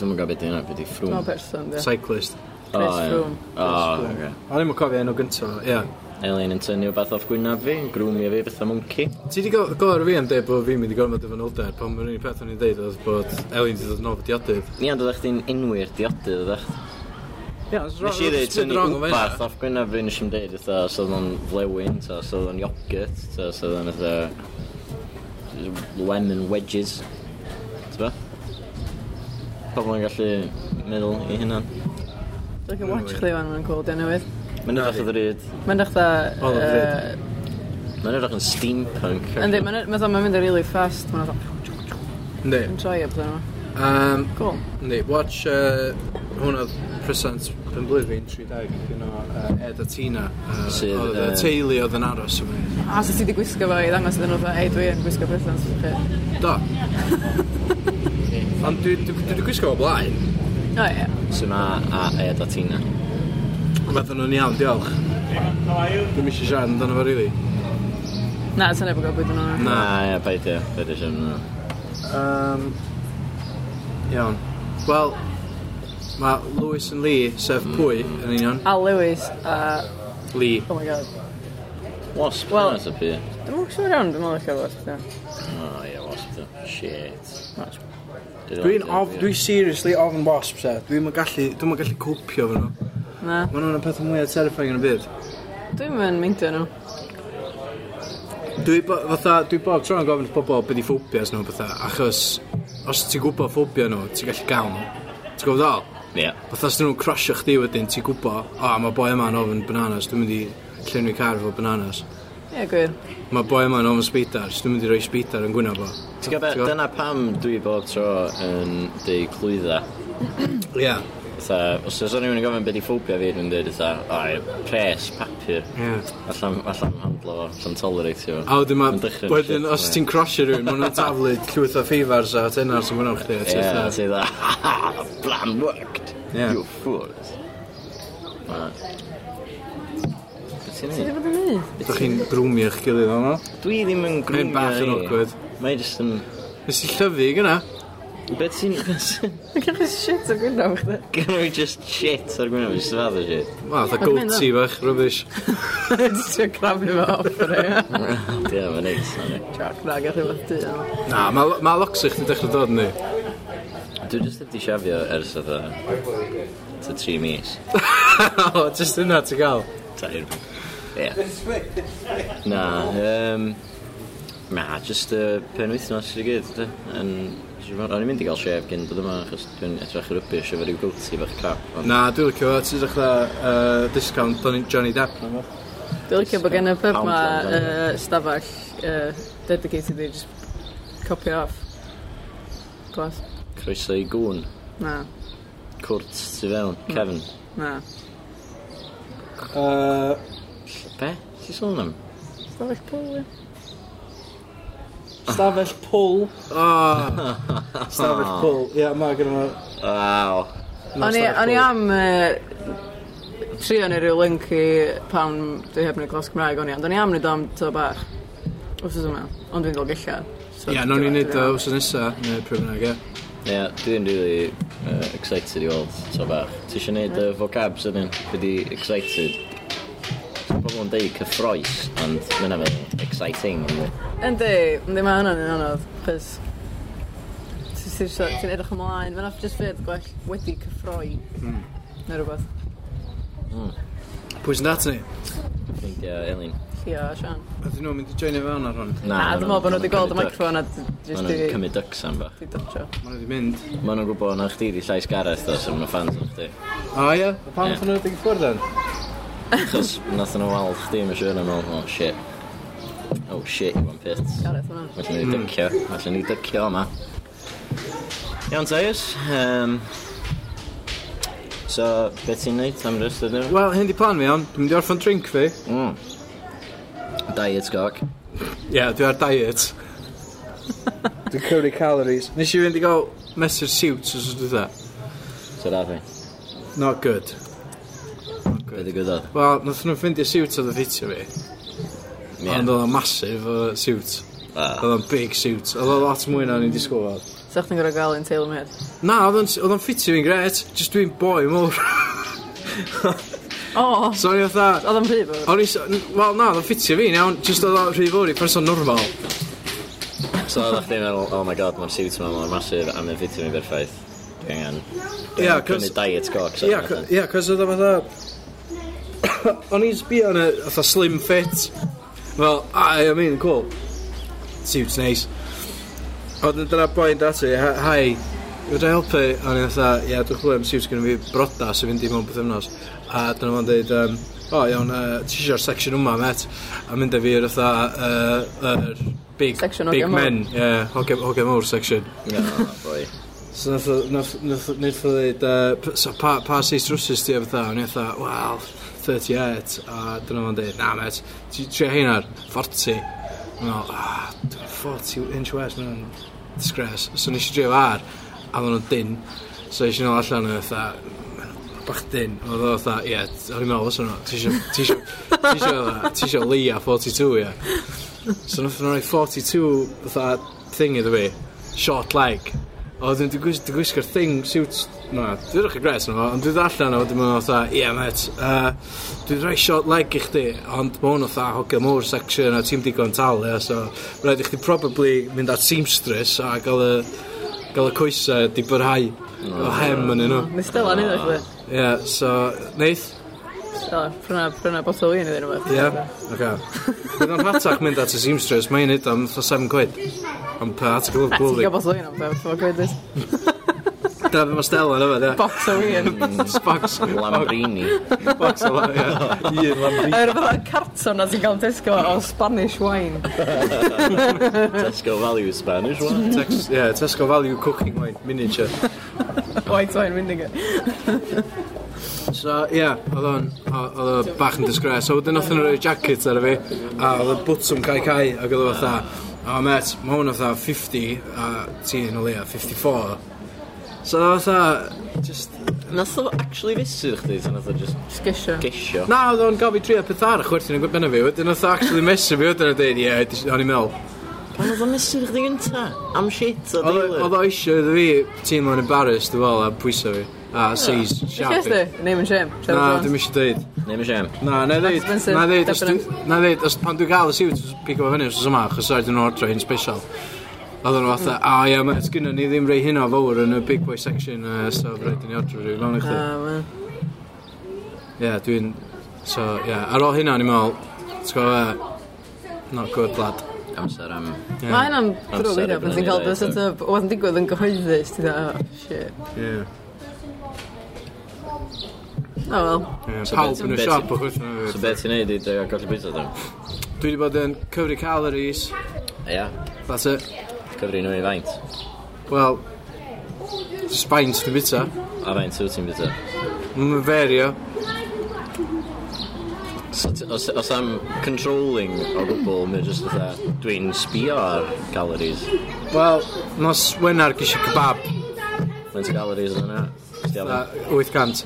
[SPEAKER 1] Dwi'n gwybod beth di yna, beth di Oh, ffrwm.
[SPEAKER 3] Mae person, ie.
[SPEAKER 6] cyclist.
[SPEAKER 1] O,
[SPEAKER 3] Oh, Chris
[SPEAKER 1] ie.
[SPEAKER 3] Froome.
[SPEAKER 1] O, oce.
[SPEAKER 6] A ni'n cofio enw gynta, ie.
[SPEAKER 1] Oh, Eileen yn tynnu o beth off gwynaf fi, yn grwmio fi beth am mwnci.
[SPEAKER 6] Ti di gofyn fi am dweud bod fi'n mynd i gorfod efo nolder, pan mae'n un peth o'n i'n dweud oedd bod Elin wedi dod yn ofod diodydd.
[SPEAKER 1] Ni ond oeddech chi'n enwi'r diodydd, oeddech?
[SPEAKER 6] Ie, ond
[SPEAKER 1] Nes i ddeud, tynnu wbath off gwynaf fi, nes i'n dweud, eitha, os oedd o'n flewyn, ta, os oedd o'n iogurt, ta, os oedd o'n eitha... lemon wedges. Ti'n ba? Pobl yn gallu meddwl i hynna.
[SPEAKER 3] Dwi'n cael watch chdi fan mae'n cool, dyn newydd.
[SPEAKER 1] Mae'n edrych yn ryd.
[SPEAKER 3] Mae'n dach
[SPEAKER 6] O,
[SPEAKER 3] da...
[SPEAKER 6] lyfli.
[SPEAKER 1] Mae'n edrych yn steampunk.
[SPEAKER 3] Yndi, mae'n mae'n mynd yn really fast. Mae'n dda,
[SPEAKER 6] Ne,
[SPEAKER 3] yn troi up dyn nhw.
[SPEAKER 6] um,
[SPEAKER 3] Cool.
[SPEAKER 6] ne, watch uh, hwn oedd present pen blwydd fi'n 30, gyno uh, Ed a Tina. Uh,
[SPEAKER 1] Sydd,
[SPEAKER 6] oedd y
[SPEAKER 1] yy,
[SPEAKER 6] teulu oedd yn aros efo ni.
[SPEAKER 3] A so ti wedi gwisgo fo i ddangos iddyn nhw dda, ei dwi yn gwisgo presents. chi."
[SPEAKER 6] Do. Ond dwi dwi- dwi wedi gwisgo o blaen.
[SPEAKER 3] O ie.
[SPEAKER 1] Sy'n ma a Ed a Tina.
[SPEAKER 6] Meddyn nhw'n iawn, diolch. Dwi'n eisiau siarad amdano fo, rili. Really.
[SPEAKER 3] Na, ti'n efo gobyd yn hwnna.
[SPEAKER 1] Na, ia, baidio. Baidio siarad yna.
[SPEAKER 6] Um, iawn. Wel, mae Lewis yn Lee, sef pwy, yn union.
[SPEAKER 3] Al Lewis a...
[SPEAKER 6] Mm. Lee.
[SPEAKER 3] Oh my god.
[SPEAKER 1] Wasp,
[SPEAKER 3] Wel-
[SPEAKER 1] well, yna sy'n pwy.
[SPEAKER 3] Dwi'n mwyn siŵr iawn, dwi'n mwyn siŵr iawn.
[SPEAKER 1] O, ia, wasp, dwi. Shit.
[SPEAKER 6] Dwi'n of, dwi seriously ofn wasp, se. Dwi'n ma gallu, dwi'n ma gallu cwpio fo nhw.
[SPEAKER 3] Na.
[SPEAKER 6] Mae nhw'n y peth mwyaf terrifying yn y byd.
[SPEAKER 3] Dwi'n mynd meindio nhw.
[SPEAKER 6] Dwi, bo- fatha, dwi bob tro'n gofyn wrth pobol beth i ffobias nhw, fatha, achos os ti'n gwybod ffobia nhw, ti'n gallu gael nhw. Ti'n gwybod ddol?
[SPEAKER 1] Ia.
[SPEAKER 6] Fatha os dyn nhw'n crasio chdi wedyn, ti'n gwybod, o, mae boi yma'n ofyn bananas, dwi'n mynd i llenwi car efo bananas.
[SPEAKER 3] Ie, gwir.
[SPEAKER 6] Mae boi yma'n ofyn speidar, dwi'n mynd i roi speidar yn gwyna fo.
[SPEAKER 1] Ti'n gwybod, dyna pam dwi bob tro yn deu clwydda.
[SPEAKER 6] Ie.
[SPEAKER 1] Tha, os oes o'n rhywun yn gofyn beth i ffobia fi, dwi'n dweud, tha, o, pres, papur.
[SPEAKER 6] Ie.
[SPEAKER 1] Allan, allan handlo fo, allan tolerate fo.
[SPEAKER 6] A wedyn ma,
[SPEAKER 1] Ma'n dechrau'n
[SPEAKER 6] wedyn,
[SPEAKER 1] shit,
[SPEAKER 6] os
[SPEAKER 1] mae.
[SPEAKER 6] ti'n crasio rhywun, maen nhw'n taflid llwyth o ffeifars a tenar sy'n gwneud chdi. a ti
[SPEAKER 1] Ie,
[SPEAKER 6] fatha-
[SPEAKER 1] ti dda, ha ha, ha, plan worked.
[SPEAKER 6] Ie.
[SPEAKER 1] You fools. Ma- Beth ti'n
[SPEAKER 3] Ti
[SPEAKER 1] neud?
[SPEAKER 3] wedi bod yn neud?
[SPEAKER 6] Ydych chi'n grwmio eich gilydd o'n o?
[SPEAKER 1] Dwi ddim yn grwmio
[SPEAKER 6] Mae'n bach yn
[SPEAKER 1] i.
[SPEAKER 6] awkward.
[SPEAKER 1] Mae jyst yn...
[SPEAKER 6] Nes i llyfu gyna?
[SPEAKER 1] Beth ti'n... Gynna
[SPEAKER 3] Dwi'n cael shit o gwneud am chdi.
[SPEAKER 1] fi just shit ar gwneud, just fath o shit.
[SPEAKER 6] Wel, dda
[SPEAKER 3] Mae'n mynd,
[SPEAKER 6] goatee bach, rubbish.
[SPEAKER 3] Dwi'n siŵr grafnu fo off yr un.
[SPEAKER 1] Ie, mae'n neis. ma'n neis.
[SPEAKER 3] Joc na, gallu bod di.
[SPEAKER 6] Na, mae locks eich di dechrau dod ni.
[SPEAKER 1] Dwi jyst wedi siafio ers oedd e... Ta tri mis.
[SPEAKER 6] O, jyst yna ti gael.
[SPEAKER 1] Tair. Ie. Na, yym... Na, jyst y pen wythnos i gyd, dy. Yn... O'n i'n mynd i gael shef gyn bod yma, achos dwi'n edrych yr ybyr shef ar i'w gwlti bach crap. ond-
[SPEAKER 6] Na, dwi'n licio fo, ti'n dechrau uh, discount Don- Johnny Depp.
[SPEAKER 3] Dwi'n licio bod gen y pub ma
[SPEAKER 1] Pound land,
[SPEAKER 3] yy, stafell yy, dedicated i just copy off. Glas.
[SPEAKER 1] Croeso i gŵn.
[SPEAKER 3] Na,
[SPEAKER 1] Cwrt tu fewn. Kevin.
[SPEAKER 3] na.
[SPEAKER 6] Uh,
[SPEAKER 1] Be? Ti'n sôn am?
[SPEAKER 3] Stafell pwl, ie.
[SPEAKER 6] Stafell pwl. O, stafell pwl. Ie, yeah, mae gyda ma...
[SPEAKER 1] Waw.
[SPEAKER 3] O'n i- o'n i am yy, trio neu ryw link i pan dwi heb wneud glas Cymraeg o'n i, ond o'n i am wneud o am to bach. Wrth yma, ond dwi'n gael gilla. So
[SPEAKER 6] Ie, yeah,
[SPEAKER 3] dwi'n-
[SPEAKER 6] nawn ni
[SPEAKER 3] dwi'n-
[SPEAKER 6] wneud o wrth nesa, neu pryd bynnag, ie.
[SPEAKER 1] Ie, yeah, dwi'n really uh, excited i weld to bach. Ti eisiau gwneud y vocab sydyn? Fi di excited. So, Pobl yn deud cyffroes, ond mae'n efo exciting. yndi?
[SPEAKER 3] Yndi, yndi mae hwnna'n un anodd, chys ti- ti- ti- ti'n edrych ymlaen, mae'n off just fydd gwell wedi cyffroi, neu rhywbeth,
[SPEAKER 6] Pwy sy'n dat ni?
[SPEAKER 1] Ffeindio Elin.
[SPEAKER 3] Llia a Sian.
[SPEAKER 6] Ydyn nhw'n mynd i joinio fewn ar hwn.
[SPEAKER 3] Na, dwi'n meddwl bod nhw wedi gweld y microfon a d-
[SPEAKER 1] Maen
[SPEAKER 3] jyst
[SPEAKER 1] nhw'n
[SPEAKER 3] di
[SPEAKER 1] cymryd dycs am bach.
[SPEAKER 3] di dotio.
[SPEAKER 6] Maen nhw wedi mynd.
[SPEAKER 1] Maen nhw'n gwybod na chdi di llais gareth o, so maen nhw'n fans o'n chdi.
[SPEAKER 6] O, ie. Pan
[SPEAKER 1] Ie.
[SPEAKER 6] wnaethon nhw wedi gwrdd yn?
[SPEAKER 1] Chos nath nhw weld chdi, mae'n siŵr yn ymwneud, oh shit. Oh shit, you want pits.
[SPEAKER 3] Gareth hwnna.
[SPEAKER 1] Felly
[SPEAKER 6] Hmm.
[SPEAKER 1] ni dycio, felly ni dycio yma. Iawn, Teus. Um, so, beth ti'n neud am rest ydyn nhw? Hmm.
[SPEAKER 6] Wel, hyn di plan fi, ond. Dwi'n mynd i orffan drink fi.
[SPEAKER 1] Mm. Diet cock.
[SPEAKER 6] Ie, dwi ar diet.
[SPEAKER 10] Dwi'n cymryd calories.
[SPEAKER 6] Nes i fynd i gael mesur siwt os dwi dda.
[SPEAKER 1] So da fi.
[SPEAKER 6] Not good.
[SPEAKER 1] Be dy gyda?
[SPEAKER 6] Wel, nath nhw ffindio siwt oedd y ffitio fi.
[SPEAKER 1] Ie.
[SPEAKER 6] Ond oedd o'n masif o siwt.
[SPEAKER 1] Ah.
[SPEAKER 6] Oedd o'n big siwt. Oedd o'n lot mwy na o'n i'n disgwyl.
[SPEAKER 3] Sa'ch chi'n gorau gael un teulu med.
[SPEAKER 6] Na, oedd o'n- oedd o'n ffitio fi'n gret. Just dwi'n boi mwr.
[SPEAKER 3] O,
[SPEAKER 6] So o'n i fatha...
[SPEAKER 3] oedd yn rhy fawr.
[SPEAKER 6] O'n i... s- n- Wel, na, oedd o'n ffitio fi'n iawn. Just oedd o'n rhy fawr i person normal.
[SPEAKER 1] So oedd chdi'n meddwl, oh my god, mae'r siwt yma mor masif a mae'n ffitio mi berffaith. Dwi angen... Dwi
[SPEAKER 6] Ie,
[SPEAKER 1] angen
[SPEAKER 6] cos-
[SPEAKER 1] cymryd diet cock. so
[SPEAKER 6] Ia,
[SPEAKER 1] fatha.
[SPEAKER 6] ia, cos oedd o fatha... O'n i'n sbio yn y fatha slim fit. Fel, "Ah, I am in, cool. Suits nice. Oedd yn dyna boi'n dati, "Hi- hi, fydra helpu? A o'n i'n fatha, ia, dwi'n chlwy am suits gyda fi broda sy'n fynd i mewn beth ymnos. A dyna fo'n dweud, um, o iawn, uh, ti eisiau'r section yma, met? A mynd â fi i'r fatha, uh, yr big,
[SPEAKER 3] Section hogia
[SPEAKER 6] big
[SPEAKER 3] mawr.
[SPEAKER 6] men. Ie, yeah, hogia mawr section.
[SPEAKER 1] No, boi.
[SPEAKER 6] So nath o- nath nath o ddweud, uh, p- so pa, pa seis drwsus di o fatha? O'n i fatha, wel, 38. A dyna fo'n dweud, na met, ti trio heinar, 40. O'n i'n ah, 40 inch west, mae'n disgres. So nes i drio ar, a o'n nhw'n dyn. So eisiau nhw allan o'n fatha, "Ma' nhw bach dyn. Oedd o fatha, ie, t- o'n i'n meddwl, os o'n nhw, ti isio- ti isio- ti isio- ti isio leia 42, ie. So nath nhw'n rhoi 42 fatha thing iddo fi, short leg. O, dwi'n dwi gwis- dwi gwisgo'r thing suit... Na, dwi'n rhaid gres na fo, ond dwi'n allan o, dwi'n meddwl fatha, ie, yeah, met, uh, dwi'n rhoi short leg i chdi, ond mae hwn fatha hogia mwr section a ti'n digon tal, ie, so rhaid i chdi probably mynd at seamstress a gael y, gael y coesau di byrhau o hem yn nhw.
[SPEAKER 3] Nes Stella neud o'ch dweud.
[SPEAKER 6] Ie, yeah, so, neith?
[SPEAKER 3] Stella, pryna, pryna botol win i ddyn nhw.
[SPEAKER 6] Ie, yeah. oce. Bydd o'n hatach mynd at y seamstress, mae'n neud am fatha 7 quid. Am per article of
[SPEAKER 3] A ti'n
[SPEAKER 6] clothing.
[SPEAKER 3] gael botol win am dweud, ffordd gwedus.
[SPEAKER 6] Dyna beth mae Stella yn yfed, ie.
[SPEAKER 3] Box o win.
[SPEAKER 6] Box.
[SPEAKER 1] Lambrini.
[SPEAKER 6] Box o la, ie. Un lambri.
[SPEAKER 3] A yw'r fatha carton na ti'n gael yn Tesco o Spanish wine.
[SPEAKER 1] Tesco Value Spanish one.
[SPEAKER 6] Tex- Ie, Tesco Value Cooking Wine, miniature.
[SPEAKER 3] White wine vinegar.
[SPEAKER 6] So, ie, oedd o'n, o- oedd o bach yn disgres. So, wedyn oedd o'n rhoi jacket ar y fi, a oedd y bwtwm cae cae, ac oedd o fatha, o met, mae hwn oedd 50, a ti yn o leia, 54. So, oedd o fatha, just,
[SPEAKER 1] Nath o actually fesur chdi, so nath o just
[SPEAKER 3] Sgisio.
[SPEAKER 1] gesio.
[SPEAKER 6] Na, oedd o'n gofio trio peth arach chwerthin yn gwybod fi, wedyn oedd o actually mesur fi, wedyn oedd o'n dweud, ie, dis- o'n i'n meddwl.
[SPEAKER 1] Pan oedd o mesur chdi gynta? Am shit o
[SPEAKER 6] Oedd o-
[SPEAKER 1] deulu.
[SPEAKER 6] Oedd o eisiau iddo fi teimlo'n embarrassed, dwi'n fel, a pwyso fi. A seis, siarp
[SPEAKER 3] Sgis
[SPEAKER 6] fi.
[SPEAKER 3] di? Name and shame.
[SPEAKER 6] Na, dwi'n eisiau dweud.
[SPEAKER 1] Neu mae siam.
[SPEAKER 6] Na, na i ddeud,
[SPEAKER 3] Expensive,
[SPEAKER 6] na i ddeud, os
[SPEAKER 3] definite.
[SPEAKER 6] dwi- na i ddeud, os pan dwi'n gael y siwt, os pigo fo fyny, os oes yma, achos oedd yn ordro un special. Oedd o'n fatha, a ie, mae gynnu ni ddim rei hynna fawr yn y big boy section, yy, so rhaid i ni ordro rhyw mewn i
[SPEAKER 1] Ah.
[SPEAKER 6] chdi. Ie, dwi'n... So, ie, ar ôl hynna, o'n i'n meddwl, ti'n gwybod, not good lad.
[SPEAKER 1] Amser am...
[SPEAKER 6] Ie.
[SPEAKER 3] Mae hynna'n
[SPEAKER 1] Amser
[SPEAKER 3] drwy
[SPEAKER 1] erbyn
[SPEAKER 3] lirio pan ti'n
[SPEAKER 1] hynny,
[SPEAKER 3] cael
[SPEAKER 1] dweud,
[SPEAKER 3] dy sort of, oedd yn digwydd yn gyhoeddus, ti'n dda, oh, shit.
[SPEAKER 6] Ie.
[SPEAKER 3] O Oh, wel,
[SPEAKER 6] Ie,
[SPEAKER 1] So
[SPEAKER 6] Pawb
[SPEAKER 1] beth-
[SPEAKER 6] yn y
[SPEAKER 1] beth-
[SPEAKER 6] siop o chwythno
[SPEAKER 1] So beth ti'n neud i dy golli bwyta dyn?
[SPEAKER 6] Dwi wedi bod yn cyfri calories
[SPEAKER 1] Ia,
[SPEAKER 6] That's it
[SPEAKER 1] cyfri nhw i faint.
[SPEAKER 6] Wel Sbaint dwi'n bita
[SPEAKER 1] A faint wyt ti'n bwyta?
[SPEAKER 6] Mae'n ferio
[SPEAKER 1] So ti- Os os am controlling o gwbl, mae'n just fatha, dwi'n sbio ar calories.
[SPEAKER 6] Wel Nos wenar gysi kebab
[SPEAKER 1] Mae'n calories yn yna.
[SPEAKER 6] a 800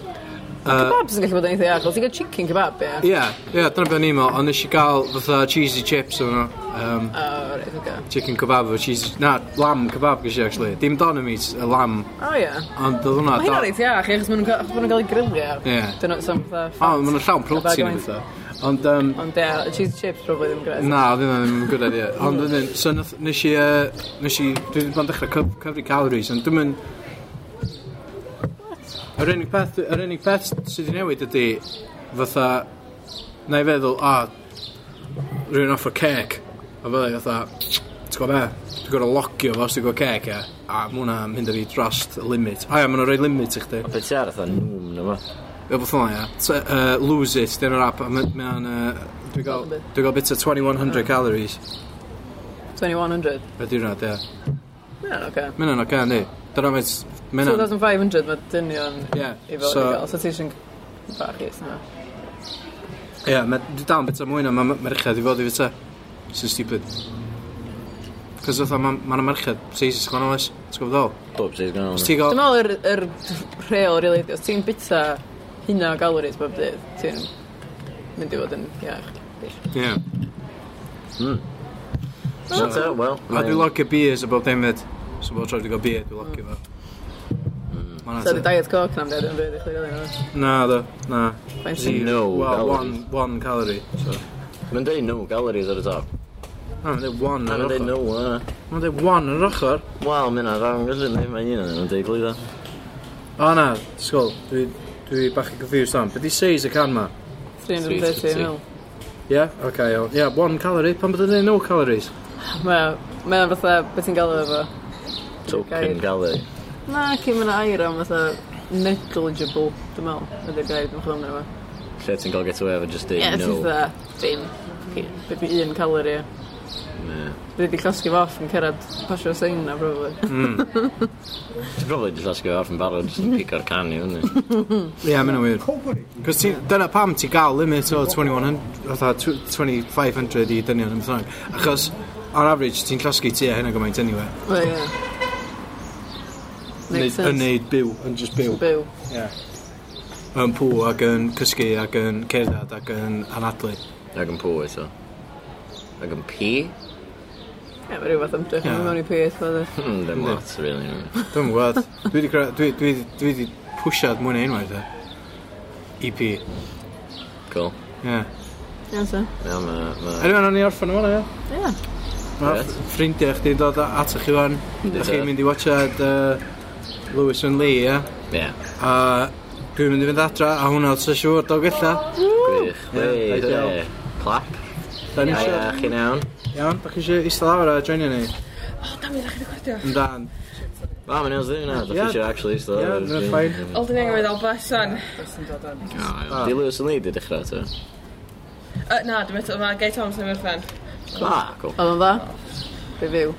[SPEAKER 3] kebabs yn gallu bod yn eitha iach, ti'n cael chicken kebab, ie?
[SPEAKER 6] Ie, ie, dyna beth o'n i'n meddwl Ond nes i gael fatha cheesy chips o'n um,
[SPEAKER 3] O, reit, oce.
[SPEAKER 6] Chicken kebab o cheesy Na, lamb kebab gysi actually Dim doner meat, y lamb
[SPEAKER 3] O ie.
[SPEAKER 6] Ond oedd hwnna
[SPEAKER 3] Mae hynna reit iach, ie, chos maen nhw'n ca- achos ma' nhw'n cael ei grilio.
[SPEAKER 6] Ie.
[SPEAKER 3] Dyn nhw'n sam fatha fat.
[SPEAKER 6] O, maen nhw'n llawn protein
[SPEAKER 3] Kebab
[SPEAKER 6] yn fatha Ond um,
[SPEAKER 3] Ond ie, y cheese chips probably ddim gres.
[SPEAKER 6] Na, oedd hynna ddim yn good idea. Ond wedyn, so nath- nes i, yy, nes i, dwi wedi bod yn dechrau cyf- cyfri calories, ond dwi'n mynd... Yr unig peth, yr unig peth sydd wedi newid ydy, fatha, na i feddwl, a, rhywun off o cake, a fel i fatha, ti'n gwybod be, dwi'n gorau locio fo os dwi'n gwybod cake, ia, a mae hwnna'n mynd â fi drost y limit. A ia, mae hwnna'n rhoi limit i chdi.
[SPEAKER 1] Beth ti ar fatha nwm na fo?
[SPEAKER 6] Fel beth o'n ia. T- uh, Lose it, dyn o'r app, a mae mae o'n, uh, dwi'n gael, dwi'n gael bit o
[SPEAKER 3] Ah.
[SPEAKER 6] 2100 calories.
[SPEAKER 3] 2100.
[SPEAKER 6] Y diwrnod, ie.
[SPEAKER 3] Mae'n oce.
[SPEAKER 6] Mae'n yno gan i. Dyna mae'n... Mae'n yno...
[SPEAKER 3] 2500 mae dynion
[SPEAKER 6] Ie.
[SPEAKER 3] i fel i
[SPEAKER 6] So,
[SPEAKER 3] gael, so ti eisiau'n bach is yna.
[SPEAKER 6] Ie, yeah, dwi dal yn bita mwy na ma- ma- merched i fod i bita. Sy'n stupid. Cos oedd ma'n ma 'na merched, seisys gwahanol oes, ti'n gwybod ddol?
[SPEAKER 1] Bob sydd gan
[SPEAKER 6] Os
[SPEAKER 1] o'n.
[SPEAKER 6] ti'n
[SPEAKER 3] Dwi'n
[SPEAKER 6] gael...
[SPEAKER 3] meddwl yr, yr rheol, really, os ti'n bita hynna o galories bob dydd, ti'n mynd i fod yn iach.
[SPEAKER 6] Ie.
[SPEAKER 1] Wel,
[SPEAKER 6] A dwi locio beers a bob dim fyd. So bob tro dwi'n gael beer, dwi'n locio fo. Ma' hwnna
[SPEAKER 3] So
[SPEAKER 6] te.
[SPEAKER 3] di diet coke na'n dweud yn byd i chdi rili na.
[SPEAKER 6] Na, do, na.
[SPEAKER 3] Faint
[SPEAKER 1] No
[SPEAKER 6] Well,
[SPEAKER 1] calories.
[SPEAKER 6] one, one calorie. So.
[SPEAKER 1] Mae'n deud no calories ar y top.
[SPEAKER 6] Na, mae'n dweud one
[SPEAKER 1] A
[SPEAKER 6] yn
[SPEAKER 1] mae'n
[SPEAKER 6] yr
[SPEAKER 1] deud
[SPEAKER 6] ochr.
[SPEAKER 1] no, uh,
[SPEAKER 6] Mae'n dweud one yn yr ochr.
[SPEAKER 1] Wel, mae'n ar rong, ysyn ni, mae'n un o'n yn deud glwyddo.
[SPEAKER 6] O na, sgol, dwi, dwi bach yn confused am. Be di seis y can ma?
[SPEAKER 3] 330 mil.
[SPEAKER 6] Ie, yeah? oce, okay, iawn. Ie, yeah, one calorie, pan bod yn no calories?
[SPEAKER 3] Mae'n fatha, beth ti'n galw efo?
[SPEAKER 1] Token
[SPEAKER 3] Gair.
[SPEAKER 1] calorie.
[SPEAKER 3] Na, cyn mynd air am fatha negligible, dwi'n meddwl, ydy'r gair dwi'n chwilio amdano fo.
[SPEAKER 1] Lle ti'n gael get away efo just
[SPEAKER 3] Ie,
[SPEAKER 1] deud
[SPEAKER 3] ti'n
[SPEAKER 1] no.
[SPEAKER 3] fatha, dim, c- beth i un calorie.
[SPEAKER 1] Ie.
[SPEAKER 3] Bydd wedi llosgi fo off yn cerdded pasio sein na, probably.
[SPEAKER 1] Ti'n probably just asgo off yn barod, just yn pico'r can i hwnnw.
[SPEAKER 6] Ie, yeah, mae'n wir. Cos ti, dyna pam ti gael limit o 2100, fatha tw- 2500 i dynion yn bythang. Achos, ar average, ti'n llosgu tu a hynna gymaint anyway.
[SPEAKER 3] Wel, ie. Makes
[SPEAKER 6] Neud- Yn
[SPEAKER 3] sense.
[SPEAKER 6] neud byw, yn just byw.
[SPEAKER 3] Byw.
[SPEAKER 6] Yn pŵ ac yn cysgu ac yn cerdded ac yn anadlu.
[SPEAKER 1] Ac yn pwy eto. Ac yn pi?
[SPEAKER 3] Ie, mae rhywbeth ymdrech yn
[SPEAKER 6] Ie.
[SPEAKER 3] mewn i peth, fydde.
[SPEAKER 1] Hmm, dim lot, really. no.
[SPEAKER 6] Dwi'n gwybod. Dwi wedi cra- dwi, dwi, dwi wedi pwysiad mwy na unwaith e. EP. Ie.
[SPEAKER 1] Cool.
[SPEAKER 6] Yeah.
[SPEAKER 3] Iawn, so.
[SPEAKER 1] Ie, ma- ma-
[SPEAKER 6] Anyway, o'n i orffen yma, ie?
[SPEAKER 3] Ie.
[SPEAKER 6] Mae
[SPEAKER 1] Reit.
[SPEAKER 6] ffrindiau chdi'n dod a- atoch chi fan. Da chi'n mynd i watchad uh, Lewis and Lee, ie?
[SPEAKER 1] Ie,
[SPEAKER 6] A dwi'n mynd i fynd adra, a hwnna oedd sy'n siŵr dog illa.
[SPEAKER 1] gwych.
[SPEAKER 6] Ie,
[SPEAKER 1] Wei,
[SPEAKER 6] ideal.
[SPEAKER 1] ie. Clap.
[SPEAKER 6] Da ni
[SPEAKER 1] Ie,
[SPEAKER 6] eisiau.
[SPEAKER 1] chi'n iawn.
[SPEAKER 6] Iawn, da chi eisiau eistedd lawr a joinio ni. O, da mi, da chi'n recordio. Yndan.
[SPEAKER 1] Wel, mae'n iawn ddyn nhw. Da
[SPEAKER 6] Ie.
[SPEAKER 1] chi eisiau actually still.
[SPEAKER 6] Ie, mae'n ffain.
[SPEAKER 11] Old yn enghraifft o bus o'n.
[SPEAKER 1] Di Lewis yn lead i dechrau eto.
[SPEAKER 11] Yy, Na, dwi'n meddwl, mae Gay Thomas yn ymwyrfan.
[SPEAKER 1] Ah, cool.
[SPEAKER 3] Oedd o'n dda? Be fyw.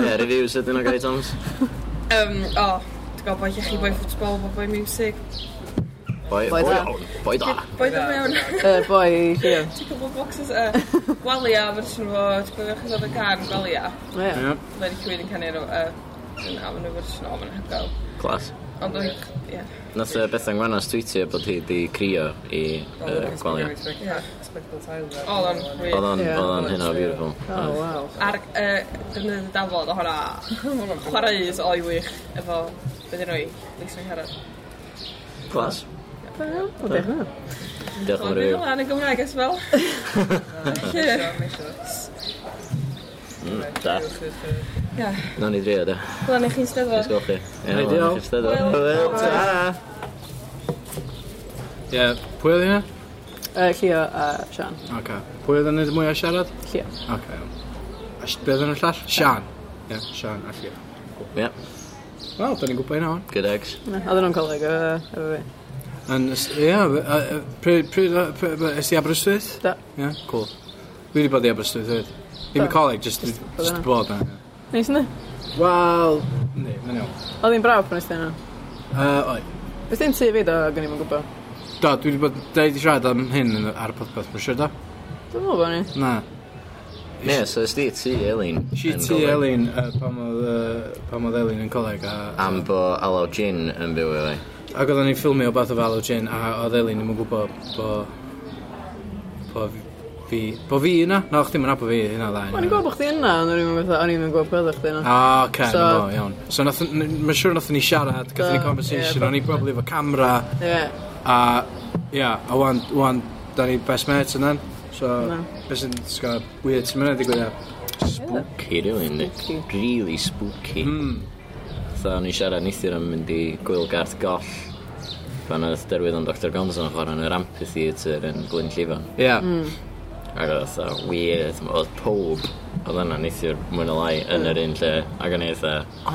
[SPEAKER 1] Ie, reviews ydyn nhw gai, Thomas.
[SPEAKER 11] Um, o, dwi'n gael boi llechi, boi ffwtbol, boi- boi music.
[SPEAKER 1] Boi,
[SPEAKER 3] Boi
[SPEAKER 1] boi
[SPEAKER 3] da.
[SPEAKER 1] da. Boi da.
[SPEAKER 11] Boi ddim mewn.
[SPEAKER 3] Y boi, ie.
[SPEAKER 11] Ti'n gwybod boxes y gwalia, fersiwn fo, ti'n gwybod achos oedd y can gwalia.
[SPEAKER 3] Ie.
[SPEAKER 11] Mae wedi cywir yn canu nhw, yn amyn nhw fersiwn o'n hygol.
[SPEAKER 1] Class.
[SPEAKER 11] Ond dwi'n, ie.
[SPEAKER 1] Nath uh, Bethan Gwanas tweetio bod hi di crio i uh, gwalia.
[SPEAKER 11] Oedd o'n
[SPEAKER 1] Oedd
[SPEAKER 11] wir.
[SPEAKER 1] o'n
[SPEAKER 3] Ie.
[SPEAKER 1] yeah, hynna o beautiful.
[SPEAKER 3] O,
[SPEAKER 6] Oh,
[SPEAKER 3] waw.
[SPEAKER 11] Ar yy, defnydd y dafod o hwnna, chwaraeus o'i wych efo, beth ydyn nhw i, Lisa Herod.
[SPEAKER 1] Class.
[SPEAKER 3] O, beth yna?
[SPEAKER 1] Diolch
[SPEAKER 11] Ond
[SPEAKER 1] yn fawr i
[SPEAKER 11] dwi'n
[SPEAKER 1] fi.
[SPEAKER 11] lan y Gymraeg as well. Felly,
[SPEAKER 1] Da.
[SPEAKER 11] Ie.
[SPEAKER 1] Nawn ni drio, da.
[SPEAKER 11] Lan i chi'n
[SPEAKER 1] Os
[SPEAKER 11] steddfod.
[SPEAKER 1] gwelwch chi. Ie, wel,
[SPEAKER 6] Ideal.
[SPEAKER 1] chi'n steddfod. Wel, ta.
[SPEAKER 6] Ie, pwy oedd hynna?
[SPEAKER 3] Y Llio a Sian.
[SPEAKER 6] Oce. Pwy oedd yn neud mwy o siarad?
[SPEAKER 3] Llio.
[SPEAKER 6] Oce, iawn. A s- beth yn y llall? Sian. Ie, Sian, allu.
[SPEAKER 1] Ie,
[SPEAKER 6] Wel, da ni'n gwybod hynna hwn.
[SPEAKER 1] good eggs.
[SPEAKER 3] Na, Oedden nhw'n coleg yy, efo fi.
[SPEAKER 6] Yn, ys- ie, yy, yy, pryd, pryd, yy, pryd, yy, ysdi Aberystwyth?
[SPEAKER 3] Da.
[SPEAKER 6] Ie, cool. Dwi wedi bod i Aberystwyth hefyd. Ddim
[SPEAKER 3] Do.
[SPEAKER 6] i coleg, just,
[SPEAKER 3] Jyst
[SPEAKER 6] just
[SPEAKER 3] bod yna.
[SPEAKER 6] bod yna. ie.
[SPEAKER 3] Neis yna?
[SPEAKER 6] Wel, ne, mae'n iawn.
[SPEAKER 3] Oedd hi'n braf pan ysdyn nhw.
[SPEAKER 6] Uh, oed.
[SPEAKER 3] Beth ti'n tu fi do, gan i'm yn gwybod.
[SPEAKER 6] Do, dwi wedi bod, da i wedi siarad am hyn yn- ar y podpeth, mae'n siarad o?
[SPEAKER 3] Dwi'n meddwl bod ni.
[SPEAKER 6] Na.
[SPEAKER 1] Ie, so ysdi ti, Elin.
[SPEAKER 6] Si
[SPEAKER 1] yn
[SPEAKER 6] ti
[SPEAKER 1] golyg-
[SPEAKER 6] Elin, yy, pam oedd, yy, pam oedd Elin yn coleg a...
[SPEAKER 1] Am bo Alaw Gin yn byw efo fi.
[SPEAKER 6] Ac oedden ni'n ffilmio bath o Fallow Gin a oedd Elin ddim yn gwybod bo... bo fi... bo fi yna? Na, o'ch ddim yn abo fi, hynna dda.
[SPEAKER 3] O'n i'n gwybod bod chdi yna, ond o'n i'n meddwl, o'n i'n gwybod peth o'ch di yna.
[SPEAKER 6] Ah, oce, okay,
[SPEAKER 3] So-
[SPEAKER 6] so, no, iawn. So, nath- n- mae'n siŵr nath ni siarad, gath ni
[SPEAKER 3] Do,
[SPEAKER 6] conversation,
[SPEAKER 3] ie,
[SPEAKER 6] o'n i probably efo camera,
[SPEAKER 3] Ie.
[SPEAKER 6] a, ia, a wan, wan, da ni best mates yn then. So,
[SPEAKER 3] Na.
[SPEAKER 6] beth sy'n sgol weird sy'n mynd i gwylio.
[SPEAKER 1] Spooky, really, yndi?
[SPEAKER 3] Spooky.
[SPEAKER 1] Really spooky.
[SPEAKER 6] Mm. Hmm.
[SPEAKER 1] Tha, o'n i siarad neithio'r am mynd i gwyl garth goll. Pan oedd derwydd o'n Dr Gonzo yn chwarae yn yr amphitheatr yn Glyn Llifan.
[SPEAKER 6] Ia,
[SPEAKER 3] Hmm.
[SPEAKER 1] Ac oedd oedd weird, ma- oedd pob oedd yna neithio'r mwyn o lai yn yr un lle. Ac o'n i oedd o'n i'n fan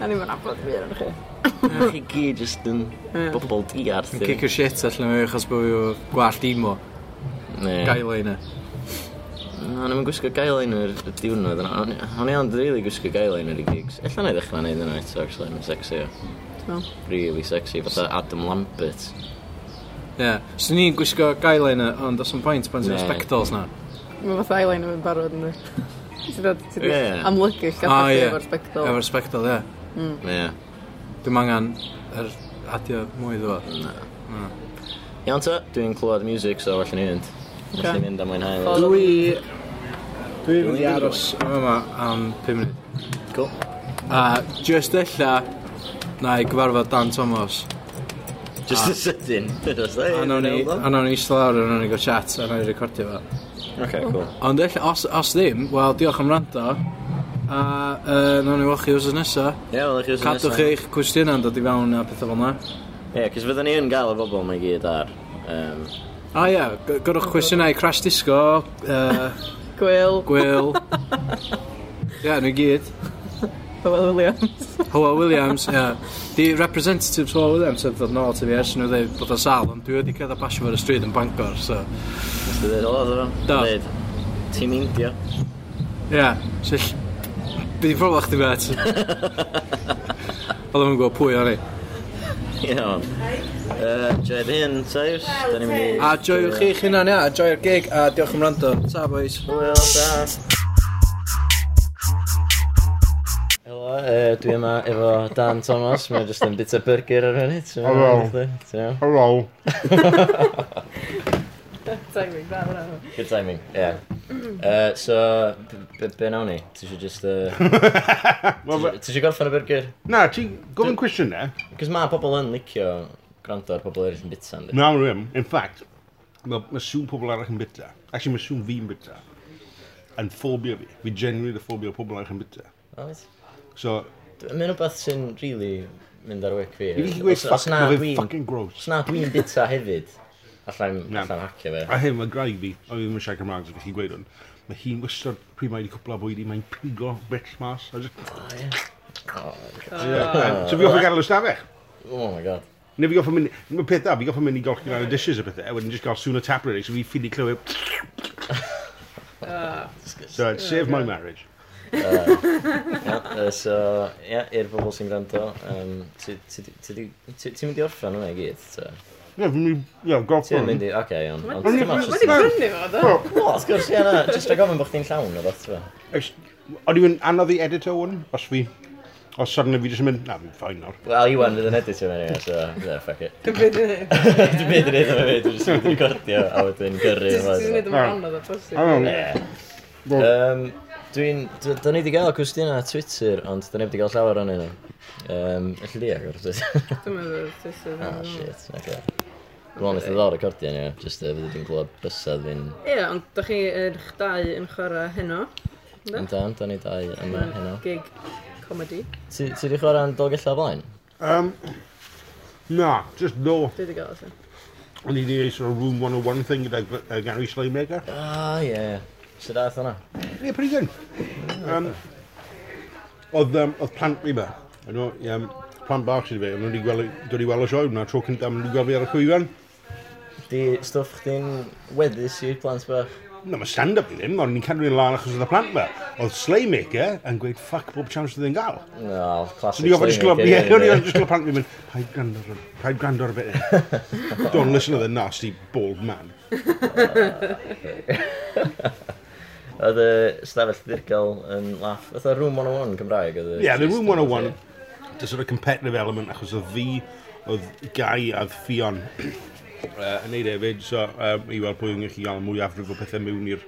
[SPEAKER 3] A ni'n mynd abod fi yn chi.
[SPEAKER 1] na. Chi gyd jyst yn bobl diarth.
[SPEAKER 6] yn cicio shit allan o fi achos bod fi o gwallt emo,
[SPEAKER 1] Gael.
[SPEAKER 6] gael ei yna.
[SPEAKER 1] O'n i'n gwisgo gael ein yr y diwrnod yna. O'n i- O'n i'n really gwisgo gael ein yr i gigs. Ella na i ddechrau neud yna eto, actually, mae'n sexy o.
[SPEAKER 3] Wel.
[SPEAKER 1] Really sexy, fatha Adam Lambert.
[SPEAKER 6] Ie. So ni'n gwisgo gaelena, ond os yn paint pan sy'n
[SPEAKER 1] Ne.
[SPEAKER 6] spectacles na.
[SPEAKER 3] Mae fath eyeliner yn barod yn dweud. Ti'n dod, ti'n
[SPEAKER 1] Ie.
[SPEAKER 3] dod amlygu
[SPEAKER 6] Ah,
[SPEAKER 3] gael
[SPEAKER 6] ie.
[SPEAKER 3] efo'r spectol.
[SPEAKER 6] Efo'r spectacles, ie.
[SPEAKER 1] Ie.
[SPEAKER 6] Dwi'n angen yr adio mwy iddo fo.
[SPEAKER 1] Iawn ta, dwi'n clywed music, so well ni fynd.
[SPEAKER 3] Ocê.
[SPEAKER 1] Nes ni mynd am mwynhau.
[SPEAKER 3] Follow
[SPEAKER 6] Dwi... Dwi mynd i
[SPEAKER 1] Dwi'n
[SPEAKER 6] aros yn yma am 5 munud.
[SPEAKER 1] Cool.
[SPEAKER 6] A just ella, na i gyfarfod Dan Thomas.
[SPEAKER 1] Just a sydyn. Just hey,
[SPEAKER 6] A nawn ni, a
[SPEAKER 1] nawn
[SPEAKER 6] nawn ni slawr, a nawn ni gael chat, a nawn ni recordio fo.
[SPEAKER 1] ni. Okay, cool.
[SPEAKER 6] Ond ella, os, os ddim, wel, diolch am rando. A uh, nawn ni wach chi wrth nesa.
[SPEAKER 1] Ie, wel, chi'n
[SPEAKER 6] Cadwch eich cwestiynau'n dod i fewn a pethau fel yna.
[SPEAKER 1] Ie, cos fyddwn ni yn gael y bobl mae gyd ar. Um,
[SPEAKER 6] A ie, g- gorwch cwestiynau Crash Disco, uh,
[SPEAKER 3] Gwyl,
[SPEAKER 6] Gwyl. Ie, nhw i gyd.
[SPEAKER 3] Powell Williams.
[SPEAKER 6] Howell Williams, ie. Di representatives Howell Williams yn ddod nôl ti fi ers nhw dweud bod o'n sal, ond dwi wedi cael basio fo'r y stryd yn Bangor, so...
[SPEAKER 1] Dwi'n dweud, o, dwi'n
[SPEAKER 6] Do.
[SPEAKER 1] dweud. Tîm India.
[SPEAKER 6] Ie, so... ll- Bydd i'n ffrwel chdi fe, ti. Oedd o'n gwybod pwy o'n i.
[SPEAKER 1] Iawn. Yy, Joed hyn, Sayus. Da ni'n mynd i...
[SPEAKER 6] A joiwch chi'ch hunan, ia, a joi'r gig, a diolch am rando. Ta, boys.
[SPEAKER 1] Hwyl, da. Helo, uh, dwi yma efo Dan Thomas. Mae'n just yn bit o burger ar hynny. Hello. Hello.
[SPEAKER 3] Timing, da, da, da.
[SPEAKER 1] Good timing, yeah. Uh, so, b- b- be nawn ni? Ti eisiau just... Uh, ti eisiau gorffen y burger?
[SPEAKER 5] Na, ti'n gofyn cwestiwn e. na?
[SPEAKER 1] Cos mae pobl yn licio gwrando ar pobl eraill yn bita, ynddi?
[SPEAKER 5] Na, rhywun. In fact, mae ma sŵn pobl arall yn bita. Actually, mae sŵn fi'n bita. Yn ffobio fi. Fi genuinely ffobio pobl arall yn bita.
[SPEAKER 1] Alright.
[SPEAKER 5] So,
[SPEAKER 1] Mae'n rhywbeth sy'n really mynd ar wic fi.
[SPEAKER 5] fi wedi gweud
[SPEAKER 1] Os- os
[SPEAKER 5] ffuck,
[SPEAKER 1] na
[SPEAKER 5] mae fi'n
[SPEAKER 1] dwi'n-
[SPEAKER 5] fucking gross.
[SPEAKER 1] Os na dwi'n bita hefyd, allan
[SPEAKER 5] Na.
[SPEAKER 1] allan hacio fe.
[SPEAKER 5] A hyn, mae graig fi, o fi ddim yn siarad Cymraeg, so gallu gweud hwn. Mae hi'n wystod pryd mae wedi cwpla bwyd i, mae'n pigo bitch mas. A jyst- Ie. So fi goffa gadael y stafell.
[SPEAKER 1] Oh my god.
[SPEAKER 5] Neu fi goffa mynd, mae peth da, fi goffa mynd i golchi lan y dishes a pethau, a wedyn jyst gael sŵn o tap ready, so fi ffili clywed. So it saved my marriage.
[SPEAKER 1] Ia, yy, so, ia, i'r bobl sy'n gwrando, yym, ti- ti- ti- ti 'di- ti- ti'n mynd i orffen hwnna i gyd? ta?
[SPEAKER 5] Ie, fi'n mynd, ie, golchi
[SPEAKER 1] Ti'n mynd
[SPEAKER 5] lan.
[SPEAKER 1] i, oce iawn. Ond
[SPEAKER 5] Ond
[SPEAKER 1] ti'n
[SPEAKER 5] i-
[SPEAKER 1] match
[SPEAKER 5] ma'
[SPEAKER 1] os ti'n...
[SPEAKER 5] di-
[SPEAKER 3] Fyny fo, da.
[SPEAKER 1] O, wrth gwrs, ia na, jyst rhaid gofyn bod chdi'n llawn o beth, fe.
[SPEAKER 5] Ex- O'n i'n anodd i edito hwn, os fi... Os suddenly fi jyst yn mynd, na, fi'n ffain nawr.
[SPEAKER 1] Wel, Iwan fydd yn editio fe anyway, so, yeah, fuck it.
[SPEAKER 3] Dwi'n byd yn ei.
[SPEAKER 1] Dwi'n byd yn edrych fe, dwi'n just yn recordio, a wedyn gyrru.
[SPEAKER 3] Dwi'n
[SPEAKER 1] fo, so.
[SPEAKER 3] gwneud yn anodd o
[SPEAKER 5] I
[SPEAKER 3] posib.
[SPEAKER 5] don't know.
[SPEAKER 1] Ie. Yym, Dwi'n... d- Da ni wedi gael cwestiwn ar Twitter, ond da ni wedi gael llawer o'n nhw. Um, Elli di agor, dwi'n...
[SPEAKER 3] Dwi'n meddwl, dwi'n
[SPEAKER 1] Ah, shit, oce. Dwi'n meddwl, wnaeth o ddod recordio ni, jyst uh, fyddi dwi'n clywed bysedd fi'n...
[SPEAKER 3] Ie, ond da chi eich dau yn chwarae heno.
[SPEAKER 1] Yn dan, da ni dau yma heno.
[SPEAKER 3] Gig comedy.
[SPEAKER 1] Ti ti di chwarae'n dolgella blaen?
[SPEAKER 5] Um, na, just no.
[SPEAKER 3] Dwi wedi gael ysyn.
[SPEAKER 5] O'n i wedi gwneud sort of room 101 thing gyda uh, Gary Slaymaker.
[SPEAKER 1] Ah, ie. Sut aeth hwnna?
[SPEAKER 5] Yeah, pretty good. Um, oedd, um, oedd plant fi yma. Yn o, um, plant bach sydd fi, ond wedi gweld, dod i weld y sioe hwnna, tro cyntaf, ond wedi gweld fi ar y chwyfan.
[SPEAKER 1] Di stwff chdi'n weddus i'r plant bach?
[SPEAKER 5] Na, mae stand-up i ddim, ond ni'n cadw ni'n lan achos oedd y plant yma. Oedd Slaymaker yn gweud, ffuck, bob chance oedd yn gael.
[SPEAKER 1] No, classic
[SPEAKER 5] So ni ofyn ysgol, ie, o'n i
[SPEAKER 1] Slaymaker,
[SPEAKER 5] ofyn ysgol plant fi'n mynd, paid gwrando ar y- paid gwrando ar y bit. Don't listen to the nasty bald man.
[SPEAKER 1] Oedd y stafell ddirgel yn laff. Oedd y Room 101 Cymraeg oedd y...
[SPEAKER 5] Yeah, the Room 101, the sort of competitive element, achos oedd fi, oedd Gai a oedd Fion uh, yn neud hefyd, so um, i weld pwy yn gallu gael mwy afrif o pethau mewn i'r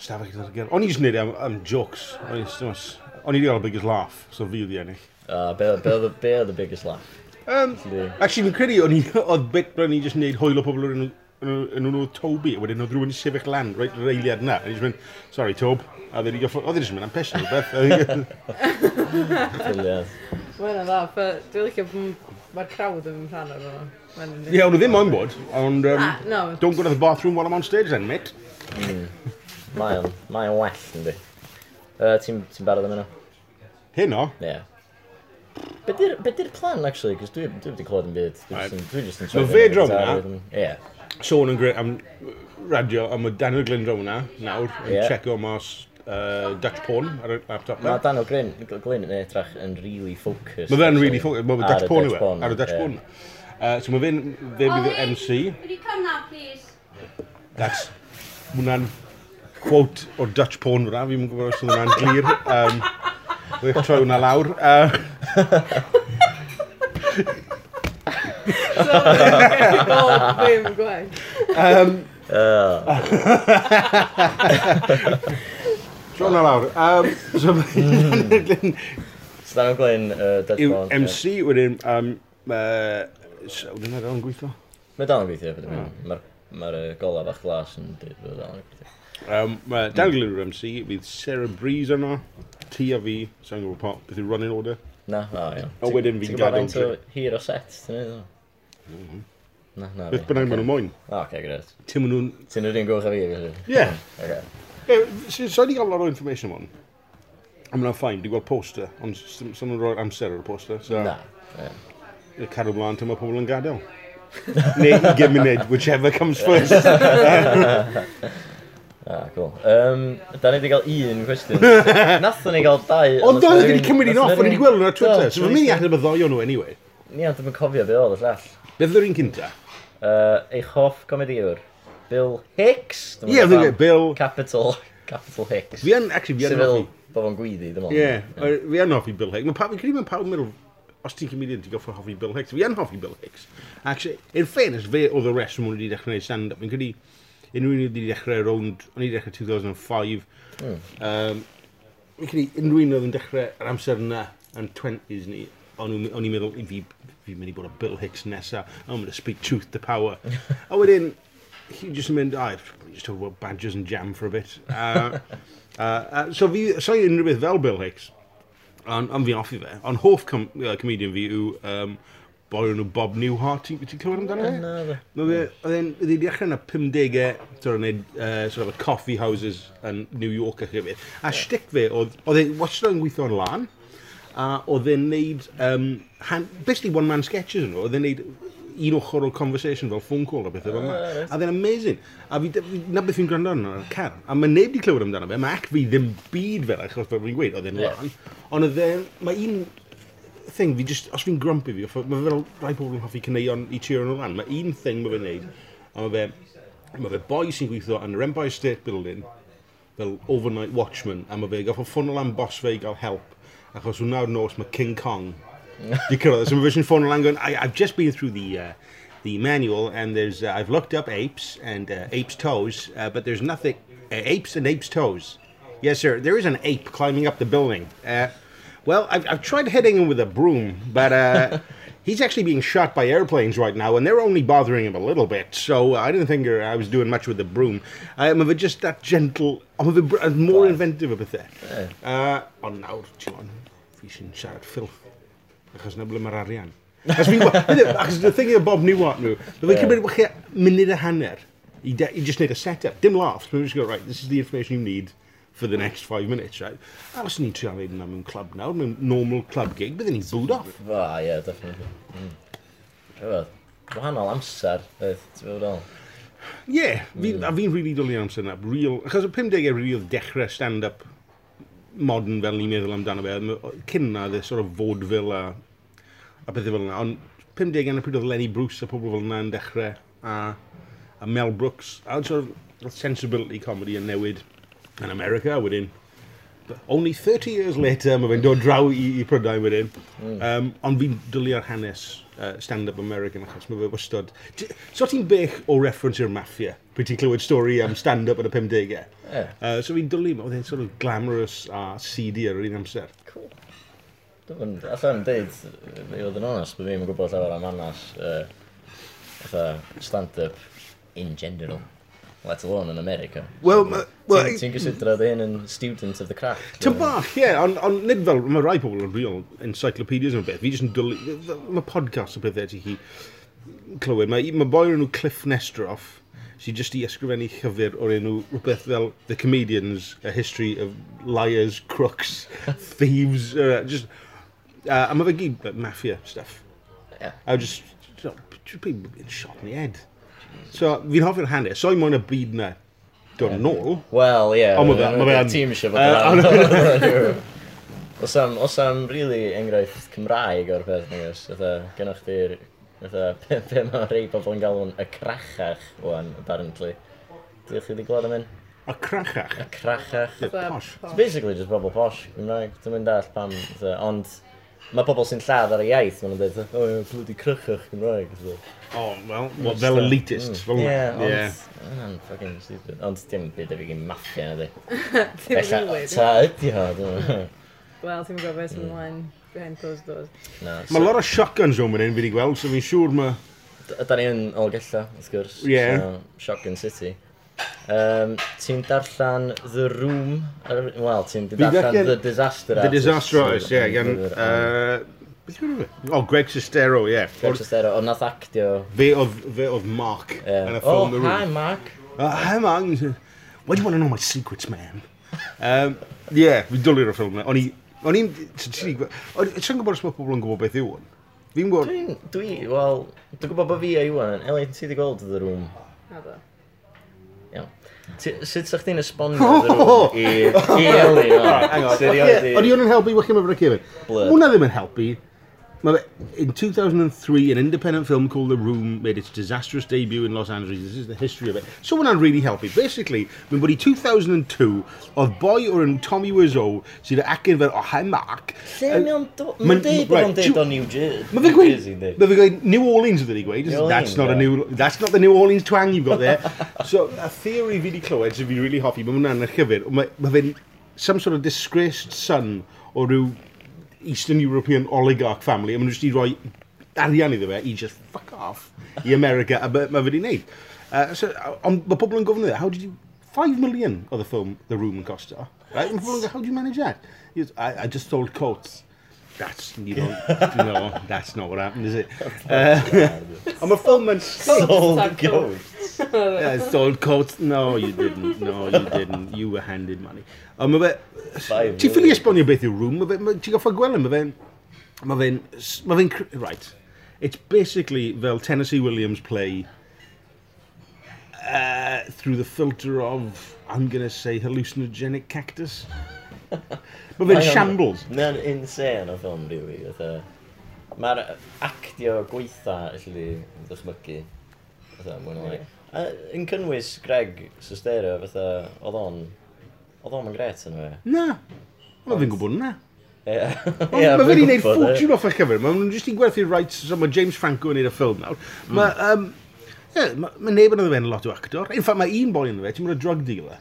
[SPEAKER 5] stafell gyda'r gael. O'n i jyst yn neud e am, am jokes, o'n i jyst yn mas- o'n i wedi gael y biggest laugh, so fi wedi ennill.
[SPEAKER 1] Ah, Be be oedd y- be oedd y biggest laff?
[SPEAKER 5] Um,
[SPEAKER 1] Felly,
[SPEAKER 5] actually, fi'n credu, o'n i, oedd bit rhan i jyst neud hwyl o pobl o'r enw- yn o'r nhw Toby, a wedyn oedd rhywun i sefyll lan, reit yr eiliad yna, a ni jyst mynd, sorry Tob, a oedd wedi goffo, oedd wedi mynd am pesyn o beth.
[SPEAKER 1] Briliant.
[SPEAKER 3] Mae'n dda, pe- dwi'n licio bod mae'r crowd yn rhan o'r hwnna. Mae'n
[SPEAKER 5] Ie, o'n nhw ddim o'n bod, ond... Um,
[SPEAKER 3] Ah, no.
[SPEAKER 5] Don't go to the bathroom while I'm on stage then, mate.
[SPEAKER 1] Mae o'n mae o'n well, yndi. Yy, Ti'n ti'n barod am hynna?
[SPEAKER 5] Hyn o.
[SPEAKER 1] Ie. Be di'r be di'r plan, actually? Cos dwi dwi wedi clywed yn byd. Dwi jyst yn- dwi jyst yn...
[SPEAKER 5] Ma'
[SPEAKER 1] troi
[SPEAKER 5] fe
[SPEAKER 1] fyny
[SPEAKER 5] drom
[SPEAKER 1] gyda
[SPEAKER 5] na.
[SPEAKER 1] rhythm. Ie.
[SPEAKER 5] Sôn yn greu am radio, a mae Daniel Glyn draw hwnna nawr, yn
[SPEAKER 1] Ie.
[SPEAKER 5] yeah. checo mas uh, Dutch porn ar y laptop na.
[SPEAKER 1] Mae Daniel Glyn, Glyn yn edrach yn really focused.
[SPEAKER 5] Mae fe'n
[SPEAKER 1] actually,
[SPEAKER 5] really ffocus, mae
[SPEAKER 1] ar y
[SPEAKER 5] Dutch porn yw e,
[SPEAKER 1] porn,
[SPEAKER 5] ar y Dutch
[SPEAKER 1] ie.
[SPEAKER 5] porn.
[SPEAKER 8] Uh, so mae fe'n fe bydd yr MC.
[SPEAKER 6] Would you come now, please?
[SPEAKER 8] That's... ma' Hwnna'n quote o Dutch porn fyna, fi'n gwybod os oedd hwnna'n glir. Um, Wy'ch troi hwnna lawr.
[SPEAKER 3] ddim
[SPEAKER 8] Uh,
[SPEAKER 3] gwaith.
[SPEAKER 8] um,
[SPEAKER 1] Tro
[SPEAKER 8] na lawr. Um, so mae'n...
[SPEAKER 1] Stan o'n glen uh, Dutch
[SPEAKER 8] Yw
[SPEAKER 1] Bond.
[SPEAKER 8] MC wedyn... Um, uh, so, wedyn ar o'n gweithio? Hmm.
[SPEAKER 1] Mae dal yn gweithio, beth yw'n Mae'r uh, gola bach glas yn dweud bod dal yn gweithio.
[SPEAKER 8] Um, mae Dan Glynn MC, fydd Sarah Breeze yno, ti a fi, sa'n gwybod pa, beth yw running order.
[SPEAKER 1] Na, o iawn.
[SPEAKER 8] A wedyn fi'n gadw. Mhm.
[SPEAKER 1] Ti'n gwybod faint o hir o set, ti'n ei ddweud? Na, na.
[SPEAKER 8] Beth bynnag maen nhw moyn.
[SPEAKER 1] O, oce, gred.
[SPEAKER 8] Ti'n nhw'n...
[SPEAKER 1] Ti'n yr un gwch a fi, felly?
[SPEAKER 8] Ie.
[SPEAKER 1] Oce.
[SPEAKER 8] Sa'n i gael lot o information o'n? A mae'n ffain, di gweld poster, ond sa'n nhw'n rhoi'r amser o'r poster. So,
[SPEAKER 1] Na,
[SPEAKER 8] Y cadw blaen, ti'n mae pobl yn gadael. Neu i gymuned, whichever comes first.
[SPEAKER 1] Ah, cool. Um, da ni wedi cael un cwestiwn. Nathon ni gael dau...
[SPEAKER 8] Ond da ni wedi cymryd un off, o'n i wedi gweld nhw ar Twitter. So mae'n mynd i adnod y ddoi o'n nhw anyway.
[SPEAKER 1] Ni ond yn cofio be oedd y llall.
[SPEAKER 8] Beth ddwy'r un cynta?
[SPEAKER 1] Uh, eich hoff comediwr. Bill Hicks. Dyma
[SPEAKER 8] Ie,
[SPEAKER 1] fan.
[SPEAKER 8] dwi'n gweld Bill...
[SPEAKER 1] Capital, Capital Hicks.
[SPEAKER 8] Fi yn, actually, fi yn
[SPEAKER 1] Civil
[SPEAKER 8] hoffi.
[SPEAKER 1] bobl yn gweiddi, dim ond.
[SPEAKER 8] Ie, o- fi yn hoffi Bill Hicks. Mae pawb, fi'n credu mae'n pawb yn meddwl, os ti'n comedian, ti'n goffa hoffi Bill Hicks. Fi yn hoffi Bill Hicks. Actually, in fairness, fe oedd y reswm o'n i wedi dechrau gwneud stand-up. Fi'n credu, unrhyw un wedi dechrau rownd, o'n i wedi dechrau 2005.
[SPEAKER 1] Mm.
[SPEAKER 8] Um, fi'n credu, unrhyw un oedd yn dechrau yr amser yna, yn 20s ni, o'n nhw- o'n i'n meddwl, i fi, fi'n mynd i bod y Bill Hicks nesa, I'm going to speak truth to power. a wedyn, he just mynd, I just talk about badgers and jam for a bit. Uh, uh, uh, so fi, so i unrhyw beth fel Bill Hicks, ond on fi offi fe, ond hoff com uh, comedian fi yw um, boi o'n nhw Bob Newhart, ti'n ti clywed amdano fe?
[SPEAKER 1] Na, fe.
[SPEAKER 8] No, fe, oedd e'n, oedd e'n dechrau yn y 50au, sort of, neud, uh, sort of coffee houses yn New York ac hefyd. A yeah. shtick fe, oedd, oedd e'n wastad yn gweithio yn lan, a oedd e'n neud, um, hand, basically one man sketches yn nhw, oedd e'n neud un ochr o'r conversation fel phone call a bethau fel yma.
[SPEAKER 1] Ah, right.
[SPEAKER 8] A oedd e'n amazing. A fi, fi- na beth fi'n gwrando arno yn y car. A mae neb wedi clywed amdano fe, mae ac fi ddim byd fel achos fel fi'n gweud, oedd e'n
[SPEAKER 1] Ie.
[SPEAKER 8] lan. Ond oedd e'n, mae un thing fi just, os fi'n grumpy fi, off- mae fel rai pobl yn hoffi cyneuon i cheer nhw lan. Mae un thing mae fe'n neud, a mae fe, mae fe boi sy'n gweithio yn yr Empire State Building, fel overnight watchman, a mae fe gaffo ffonol am bos fe i gael help, achos hwnna o'r nos mae King Kong Di cyrraedd, so mae fe sy'n ffonol am going, "I- I've just been through the, uh, the manual, and there's, uh, I've looked up apes and uh, apes' toes, uh, but there's nothing, uh, apes and apes' toes. Yes, sir, there is an ape climbing up the building. Uh, well, I've, I've tried hitting him with a broom, but uh, he's actually being shot by airplanes right now, and they're only bothering him a little bit. So uh, I didn't think I was doing much with the broom. I'm of just that gentle. I'm of br- I'm more inventive about that. Uh, ond nawr, ti'n on, fi sy'n siarad ffilff. Achos na ble mae'r arian. Achos fi'n gwybod, achos the thing about Bob Newhart nhw, mae fe'n
[SPEAKER 1] Ie.
[SPEAKER 8] cymryd wachia munud a hanner i, de, i just neud a set-up. Dim laughs, but we just go, right, this is the information you need for the next five minutes, right? A os ni'n trio neud yna mewn club nawr, mewn normal club gig, bydden ni'n booed off.
[SPEAKER 1] Fa, ie, definitely. Mm. Efo, Wahanol amser, beth, ti'n fawr dal.
[SPEAKER 8] Ie, yeah, fi, a fi'n rili really dwlu amser yna. Real, achos y 50au rili oedd dechrau stand-up modern fel ni'n meddwl amdano fe. M- o- Cyn na, dde sort of vaudeville a, a bethau fel yna. Ond 50 gan y pryd oedd Lenny Bruce a pobl fel yna yn dechrau. A, a Mel Brooks. A oedd sort of oedd sensibility comedy yn newid yn America a wedyn. But only 30 years later, mae fe'n dod draw i, i Prydain wedyn.
[SPEAKER 1] Mm.
[SPEAKER 8] Um, ond fi'n dylu ar hanes uh, stand-up American achos mae fe wastod... Ti- So ti'n bech o reference i'r maffia, pwy ti'n clywed stori am stand-up yn y 50au.
[SPEAKER 1] Ie.
[SPEAKER 8] Uh, so fi'n dylu, oedd e'n sort of glamorous a seedy ar yr un amser.
[SPEAKER 1] Cool. Dwi'n allan deud, fi oedd yn onest, bod fi'n gwybod llawer am annas uh, stand-up in general, let alone in America.
[SPEAKER 8] Wel, ma- wel,
[SPEAKER 1] Ti'n- Ti'n gysidro dy hyn yn student of the craft?
[SPEAKER 8] Ti'n bach, ie, ond on, nid fel, mae rai pobl yn real encyclopedias yn beth, fi jyst yn dwlu, mae podcast o bethau ti hi clywed, mae ma boi o'r enw Cliff Nestroff, sy'n jyst i ysgrifennu llyfr o'r enw rhywbeth fel The Comedians, A History of Liars, Crooks, Thieves, uh, just, uh, a mae fe gyd like, mafia stuff.
[SPEAKER 1] Yeah.
[SPEAKER 8] I was just, just, just being shot in the head. So, fi'n hoffi'r hanes, so i moyn y byd na, dod yn ôl.
[SPEAKER 1] Wel, ie.
[SPEAKER 8] Ond ma' fe- ma' fe yn-
[SPEAKER 1] Tîm eisiau
[SPEAKER 8] Yy,
[SPEAKER 1] fod
[SPEAKER 8] ond-
[SPEAKER 1] yn... Os am, os am really enghraifft Cymraeg o'r peth, nag oes? Ytha, gennych chi'r Fytha, be, be mae rei pobl yn galw'n y crachach, wan, apparently. Dwi'n chi wedi glod am hyn?
[SPEAKER 8] Y crachach?
[SPEAKER 1] Y crachach.
[SPEAKER 8] Ie, posh.
[SPEAKER 1] It's basically just bobl posh, Gymraeg. Dwi'n mynd all pam, fytha, ond... Mae pobl sy'n lladd ar y iaith, maen nhw'n dweud, o, ie, bloody crachach Gymraeg. O,
[SPEAKER 8] oh, well, well, fel elitist, fel
[SPEAKER 1] mm. Ie,
[SPEAKER 8] hwnna.
[SPEAKER 1] ond...
[SPEAKER 8] Ie.
[SPEAKER 1] ma' hwnna'n fucking stupid. Ond dim byd ar i gyn maffia, na di.
[SPEAKER 3] Dim rili,
[SPEAKER 1] Ta ydi ho, dwi'n meddwl.
[SPEAKER 3] Wel, ti'n gwybod beth sy'n
[SPEAKER 1] Mm.
[SPEAKER 3] ymlaen behind closed doors.
[SPEAKER 1] Na,
[SPEAKER 8] Mae lot o shotguns o'n mynd fi wedi gweld, so fi'n siŵr mae...
[SPEAKER 1] Da ni yn Olgella, wrth gwrs.
[SPEAKER 8] Ie.
[SPEAKER 1] So, Shotgun City. Um, ti'n darllan The Room, ar- wel, ti'n
[SPEAKER 8] Fi
[SPEAKER 1] darllan
[SPEAKER 8] darllen-
[SPEAKER 1] The Disaster
[SPEAKER 8] The
[SPEAKER 1] Artist.
[SPEAKER 8] Disaster Artist, ie,
[SPEAKER 1] Yn
[SPEAKER 8] gan...
[SPEAKER 1] lyfr,
[SPEAKER 8] yy, Beth yw'n O, Greg Sestero, ie.
[SPEAKER 1] Greg Sestero, ond nath actio...
[SPEAKER 8] Fe oedd, fe oedd Mark yn y
[SPEAKER 1] Oh,
[SPEAKER 8] ffilm The Room.
[SPEAKER 1] hi, Mark.
[SPEAKER 8] Uh, hi, Mark. He said, Why do you want to know my secrets, man? Um, yeah, fi dwlir o'r ffilm yna. O'n i... O'n i'n... Ti'n ti'n gwybod... O'n i'n gwybod os mae pobl yn gwybod beth yw hwn. Fi'n gwybod...
[SPEAKER 1] Dwi'n, dwi, wel, dwi'n gwybod bod fi a Iwan. Elin, ti wedi gweld The Room?
[SPEAKER 3] Na do.
[SPEAKER 1] Iawn. Ti- Sut sa'ch ti'n esbonio The Room i, i Elin? o? Sut i oedd
[SPEAKER 8] O'n
[SPEAKER 1] hi-
[SPEAKER 8] i'n helpu wach chi'n meddwl Kevin.
[SPEAKER 1] Blur.
[SPEAKER 8] Hwna ddim yn helpu. Mae fe, in 2003, an independent film called The Room made its disastrous debut in Los Angeles. This is the history of it. So hwnna'n really helpu. Basically, mae'n bod i 2002, oedd boi o'r yn Tommy Wiseau sydd â acen fel, oh, hi Mark.
[SPEAKER 1] Lle
[SPEAKER 8] Yn-
[SPEAKER 1] mae o'n do-
[SPEAKER 8] Ma'n-
[SPEAKER 1] mae'n deud bod o'n
[SPEAKER 8] right,
[SPEAKER 1] deud
[SPEAKER 8] two-
[SPEAKER 1] o New Jersey.
[SPEAKER 8] Mae fe'n gweud, mae fe'n gweud New Orleans ydyn ni gweud,
[SPEAKER 1] New
[SPEAKER 8] that's
[SPEAKER 1] Orleans,
[SPEAKER 8] not, a
[SPEAKER 1] yeah.
[SPEAKER 8] new, that's not the New Orleans twang you've got there. so, a theory fi di clywed sy'n fi really hoffi, mae hwnna'n yr chyfyr, mae ma fe'n some sort of disgraced son o ryw Eastern European oligarch family, a maen nhw jyst i roi arian iddo fe, i just fuck off i America, a mae ma fe di wneud. Uh, so, a- ond mae pobl yn gofyn iddo, how did you, 5 million oedd y ffilm The Room yn costo. Right? Mae pobl yn gofyn, how do you manage that? He goes, I, I just sold coats. That's, you know, no, that's not what happened, is it? Uh, I'm a film
[SPEAKER 1] Oh,
[SPEAKER 8] and sold ghosts. yeah, sold coats. No, you didn't. No, you didn't. You were handed money. A mae fe... Ti'n ffili esbonio beth yw room? Mae fe- mae- Ti'n goffa gweld e? Mae fe'n... Mae fe'n... s- Mae fe'n... cr- Right. It's basically fel Tennessee Williams play uh, through the filter of, I'm going to say, hallucinogenic cactus. Mae fe'n
[SPEAKER 1] Hang on.
[SPEAKER 8] shambles.
[SPEAKER 1] Mae'n insane o ffilm, really. fatha. Mae'r actio gweitha, allu ddychmygu. Fatha, mwy na lai. A Yn cynnwys Greg Sestero, fatha, oedd o'n... Oedd o'n ma'n gret yn fe.
[SPEAKER 8] Na. Mae fe'n gwybod na.
[SPEAKER 1] Ie.
[SPEAKER 8] Mae
[SPEAKER 1] Ie,
[SPEAKER 8] yeah,
[SPEAKER 1] fi'n
[SPEAKER 8] fe'n
[SPEAKER 1] gwbod,
[SPEAKER 8] gwneud
[SPEAKER 1] e. ie.
[SPEAKER 8] ffortiwn off eich cyfer. Mae nhw'n jyst i gwerthu'r rights. So mae James Franco yn neud y ffilm nawr. Mae... Um, yeah, mae neb yn oedd fe'n lot o actor. In fact, mae un boi yn fe, ti'n mynd o drug dealer.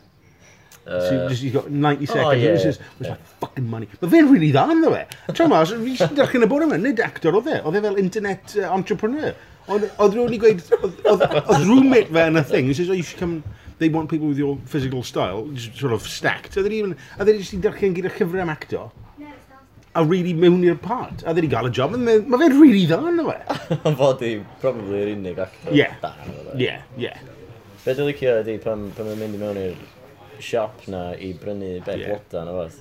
[SPEAKER 8] So just, he's got 90
[SPEAKER 1] oh,
[SPEAKER 8] seconds. Oh,
[SPEAKER 1] yeah,
[SPEAKER 8] yeah, says, where's my fucking money? Mae fe'n really dda yn ddo fe. Tra ma, fi sy'n darllen y bod yma, nid actor oedd e. Oedd e fel internet uh, entrepreneur. Ond- Oedd rhywun i gweud, oedd- oedd oedd roommate fe yn y thing, he says, oh, you should come, they want people with your physical style, just sort of stacked. Oedd e'n just i darllen gyda chyfrau am actor. A really mewn i'r part. A ddim i gael y job, mae ma fe'n really dda yn ddo fe.
[SPEAKER 1] Ond fod i, probably, yr unig actor.
[SPEAKER 8] Ie.
[SPEAKER 1] da oedd e.
[SPEAKER 8] Ie, ie.
[SPEAKER 1] Be dwi'n licio ydi pan, pan mae'n mynd i mewn i'r siop na i brynu be
[SPEAKER 8] Ie.
[SPEAKER 1] yeah. bloda na fath.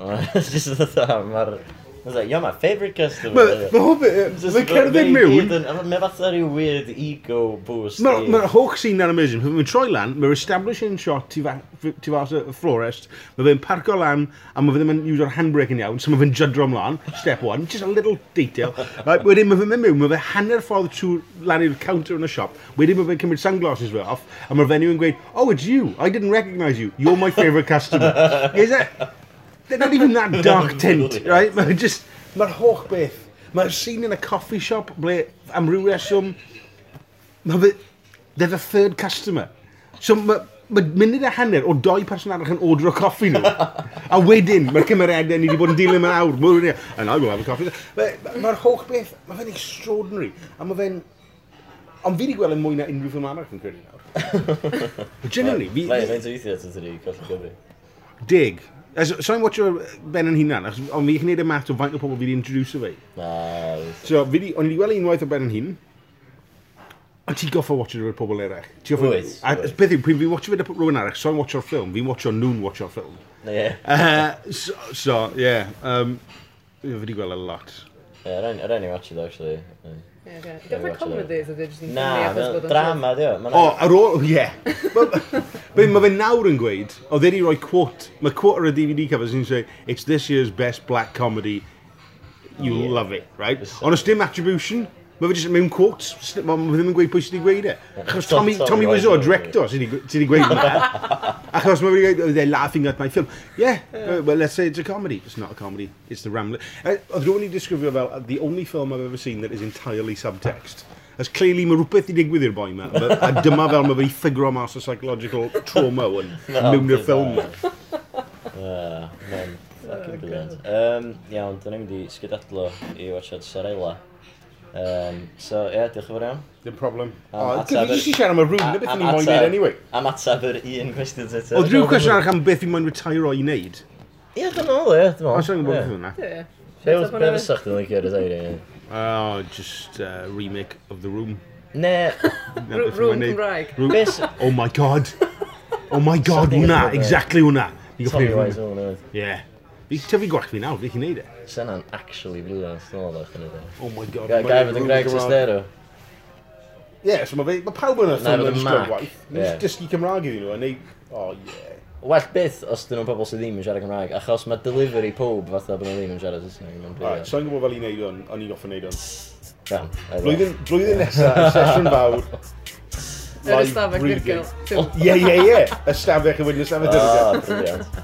[SPEAKER 1] Just oedd dda, mae'r... Oedd you're my favourite customer.
[SPEAKER 8] Ma- ma' hwn be-
[SPEAKER 1] Just
[SPEAKER 8] ma'n
[SPEAKER 1] bo-
[SPEAKER 8] cerdded
[SPEAKER 1] mae i
[SPEAKER 8] mewn.
[SPEAKER 1] gyd yn- Mae fatha rhyw weird ego boost.
[SPEAKER 8] Mae'r
[SPEAKER 1] i-
[SPEAKER 8] ma hoch scene na'n amazing. Pan mae'n troi lan, mae'r establishing shot tu fa- f- tu fas y y florist, mae fe'n parco lan, a mae fe ddim yn usio'r handbrake yn iawn, so mae fe'n jydro ymlaen, step one, just a little detail. Right, wedyn mae fe'n mynd mewn, mae fe hanner ffordd trwy lan i'r counter yn y siop, wedyn mae fe'n cymryd sunglasses fe off, a mae'r fenyw yn gweud, oh, it's you, I didn't recognise you, you're my favourite customer. Is that, they're not even that dark tint, right? Mae'n just, mae'r hoch beth. Mae'r scene yn y coffee shop ble am ryw reswm Mae fe... They're the third customer. So mae ma munud a hanner o doi person arall yn ordro coffi nhw. a wedyn, mae'r cymeriadau ni wedi bod yn dilyn mewn awr. Mwy ni, and I will have a coffee. Mae'r ma ma'r holl beth, mae fe'n extraordinary. A mae fe'n... Ond fi wedi gweld yn mwy na unrhyw ffilm arall yn credu nawr. Genuinely, fi...
[SPEAKER 1] Mae fe'n teithio at ydy, colli gyfri.
[SPEAKER 8] Dig. As- So i'n watcho Ben yn hunan, achos- ond fi'n gwneud y mat o faint o pobl fi wedi introduce fe. So, fi di, o'n i wedi gweld unwaith o Ben yn hun, ond ti goffa watcho rhywbeth pobl eraill. Ti goffa...
[SPEAKER 1] Wyt,
[SPEAKER 8] A
[SPEAKER 1] wyt.
[SPEAKER 8] beth yw, pryd fi'n watcho fe da rhywun arall, so i'n watcho'r ffilm, fi'n watcho nhw'n watcho'r ffilm.
[SPEAKER 1] Ie.
[SPEAKER 8] Uh, so, so, yeah, um, fi wedi gweld a lot.
[SPEAKER 1] Ie, rhaid ni watch it, actually. Ie.
[SPEAKER 3] Ie,
[SPEAKER 1] Rhaid
[SPEAKER 3] ie.
[SPEAKER 1] ni
[SPEAKER 3] Dio fe
[SPEAKER 1] watch it.
[SPEAKER 3] comedies ydy, jyst yn
[SPEAKER 1] Na,
[SPEAKER 3] ffynu achos
[SPEAKER 1] mae-
[SPEAKER 3] bod o'n
[SPEAKER 1] drama
[SPEAKER 3] shit.
[SPEAKER 1] dio.
[SPEAKER 8] O, ar ôl, ie. Be mae fe nawr yn gweud, oedd wedi rhoi quote, mae quote ar y DVD cover sy'n dweud, it's this year's best black comedy, you love it, right? Ond os dim attribution, Mae fe jyst mewn quotes, s- ma' ma' fe ddim yn gweud pwy sydd wedi gweud e. Achos Tommy,
[SPEAKER 5] Tom-
[SPEAKER 8] Tommy
[SPEAKER 5] Tommy
[SPEAKER 8] Wiseau,
[SPEAKER 5] Wiseau,
[SPEAKER 8] director, sydd wedi gw- sydd wedi gweud hwnna. Achos mae fe wedi gweud, they're laughing at my film. Yeah,
[SPEAKER 5] Yeah.
[SPEAKER 8] uh, well, let's say it's a comedy. It's not a comedy, it's the Rambler. Uh, Oedd rhywun i disgrifio fel, uh, the only film I've ever seen that is entirely subtext. As clearly mae rhywbeth i digwydd i'r boi yma, a dyma fel mae fe'i ffigro mas o psychological trauma hwn
[SPEAKER 1] Na,
[SPEAKER 8] mewn i'r
[SPEAKER 1] bydd
[SPEAKER 8] ffilm.
[SPEAKER 1] na. Ah, man, fucking brilliant. Um, iawn, da ni'n mynd i sgydadlo i watchad Sarela. Um, so, ie, yeah, diolch yn fawr iawn.
[SPEAKER 8] Dim problem.
[SPEAKER 1] Am
[SPEAKER 8] O,
[SPEAKER 1] ateb
[SPEAKER 8] gei
[SPEAKER 1] yr-
[SPEAKER 8] di siarad am y rŵn, na beth
[SPEAKER 1] am
[SPEAKER 8] o'n i'n moyn
[SPEAKER 1] ateb-
[SPEAKER 8] neud anyway.
[SPEAKER 1] Am ateb yr un cwestiwn eto.
[SPEAKER 8] Oedd rhyw cwestiwn arall am beth i moyn retire o i wneud?
[SPEAKER 1] Ie, dwi'n meddwl, ie, dwi'n meddwl.
[SPEAKER 8] O, siarad am beth hwnna.
[SPEAKER 3] Ie.
[SPEAKER 1] Be was- be fysa chdi'n licio retire i?
[SPEAKER 8] Oh, just uh, remake of The Room.
[SPEAKER 1] Ne.
[SPEAKER 8] Rŵ-
[SPEAKER 3] Rŵm Cymraeg. Bes-
[SPEAKER 8] Oh my god. Oh my god,
[SPEAKER 1] Something
[SPEAKER 8] hwnna,
[SPEAKER 1] about
[SPEAKER 8] exactly hwnna. Fi
[SPEAKER 1] Tommy
[SPEAKER 8] gwybod
[SPEAKER 1] Wiseau,
[SPEAKER 8] hwnna.
[SPEAKER 1] hwnna.
[SPEAKER 8] Ie. Fi tyfu gwach fi nawr, fi chi'n neud e.
[SPEAKER 1] Sena'n actually brilliant, dwi'n meddwl o'ch yn edrych.
[SPEAKER 8] Oh my god.
[SPEAKER 1] Gai fod yn Greg Sestero.
[SPEAKER 8] Ie, so mae fe, mae pawb yn y
[SPEAKER 1] Na,
[SPEAKER 8] ffilm
[SPEAKER 1] fydd yn
[SPEAKER 8] yn ysgrifennu
[SPEAKER 1] Mac,
[SPEAKER 8] gwaith.
[SPEAKER 1] ie.
[SPEAKER 8] Nes dysgu Cymraeg iddyn nhw, a neu... O, ie.
[SPEAKER 1] Well byth os dyn nhw'n pobl sydd ddim yn siarad Cymraeg, achos mae delivery pob fatha bod nhw ddim yn siarad Saesneg. mae'n
[SPEAKER 8] Right,
[SPEAKER 1] brilliant.
[SPEAKER 8] so i'n gwybod fel i'n neud hwn, o'n i'n goffa neud hwn.
[SPEAKER 1] Iawn, I will.
[SPEAKER 8] Blwyddyn, blwyddyn nesaf, sesiwn fawr.
[SPEAKER 3] Yr
[SPEAKER 8] live
[SPEAKER 3] ystafell
[SPEAKER 8] reading.
[SPEAKER 3] gyrgel.
[SPEAKER 8] Ie, ie, ie. Ystafell yn wedyn ystafell
[SPEAKER 1] O,
[SPEAKER 8] dyrgol.
[SPEAKER 1] brilliant.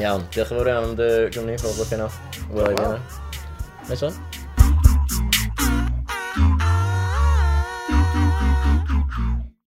[SPEAKER 1] Iawn, diolch yn fawr iawn am dy gwmni, pob lwc yna. Wel, i fi yna. Nice one.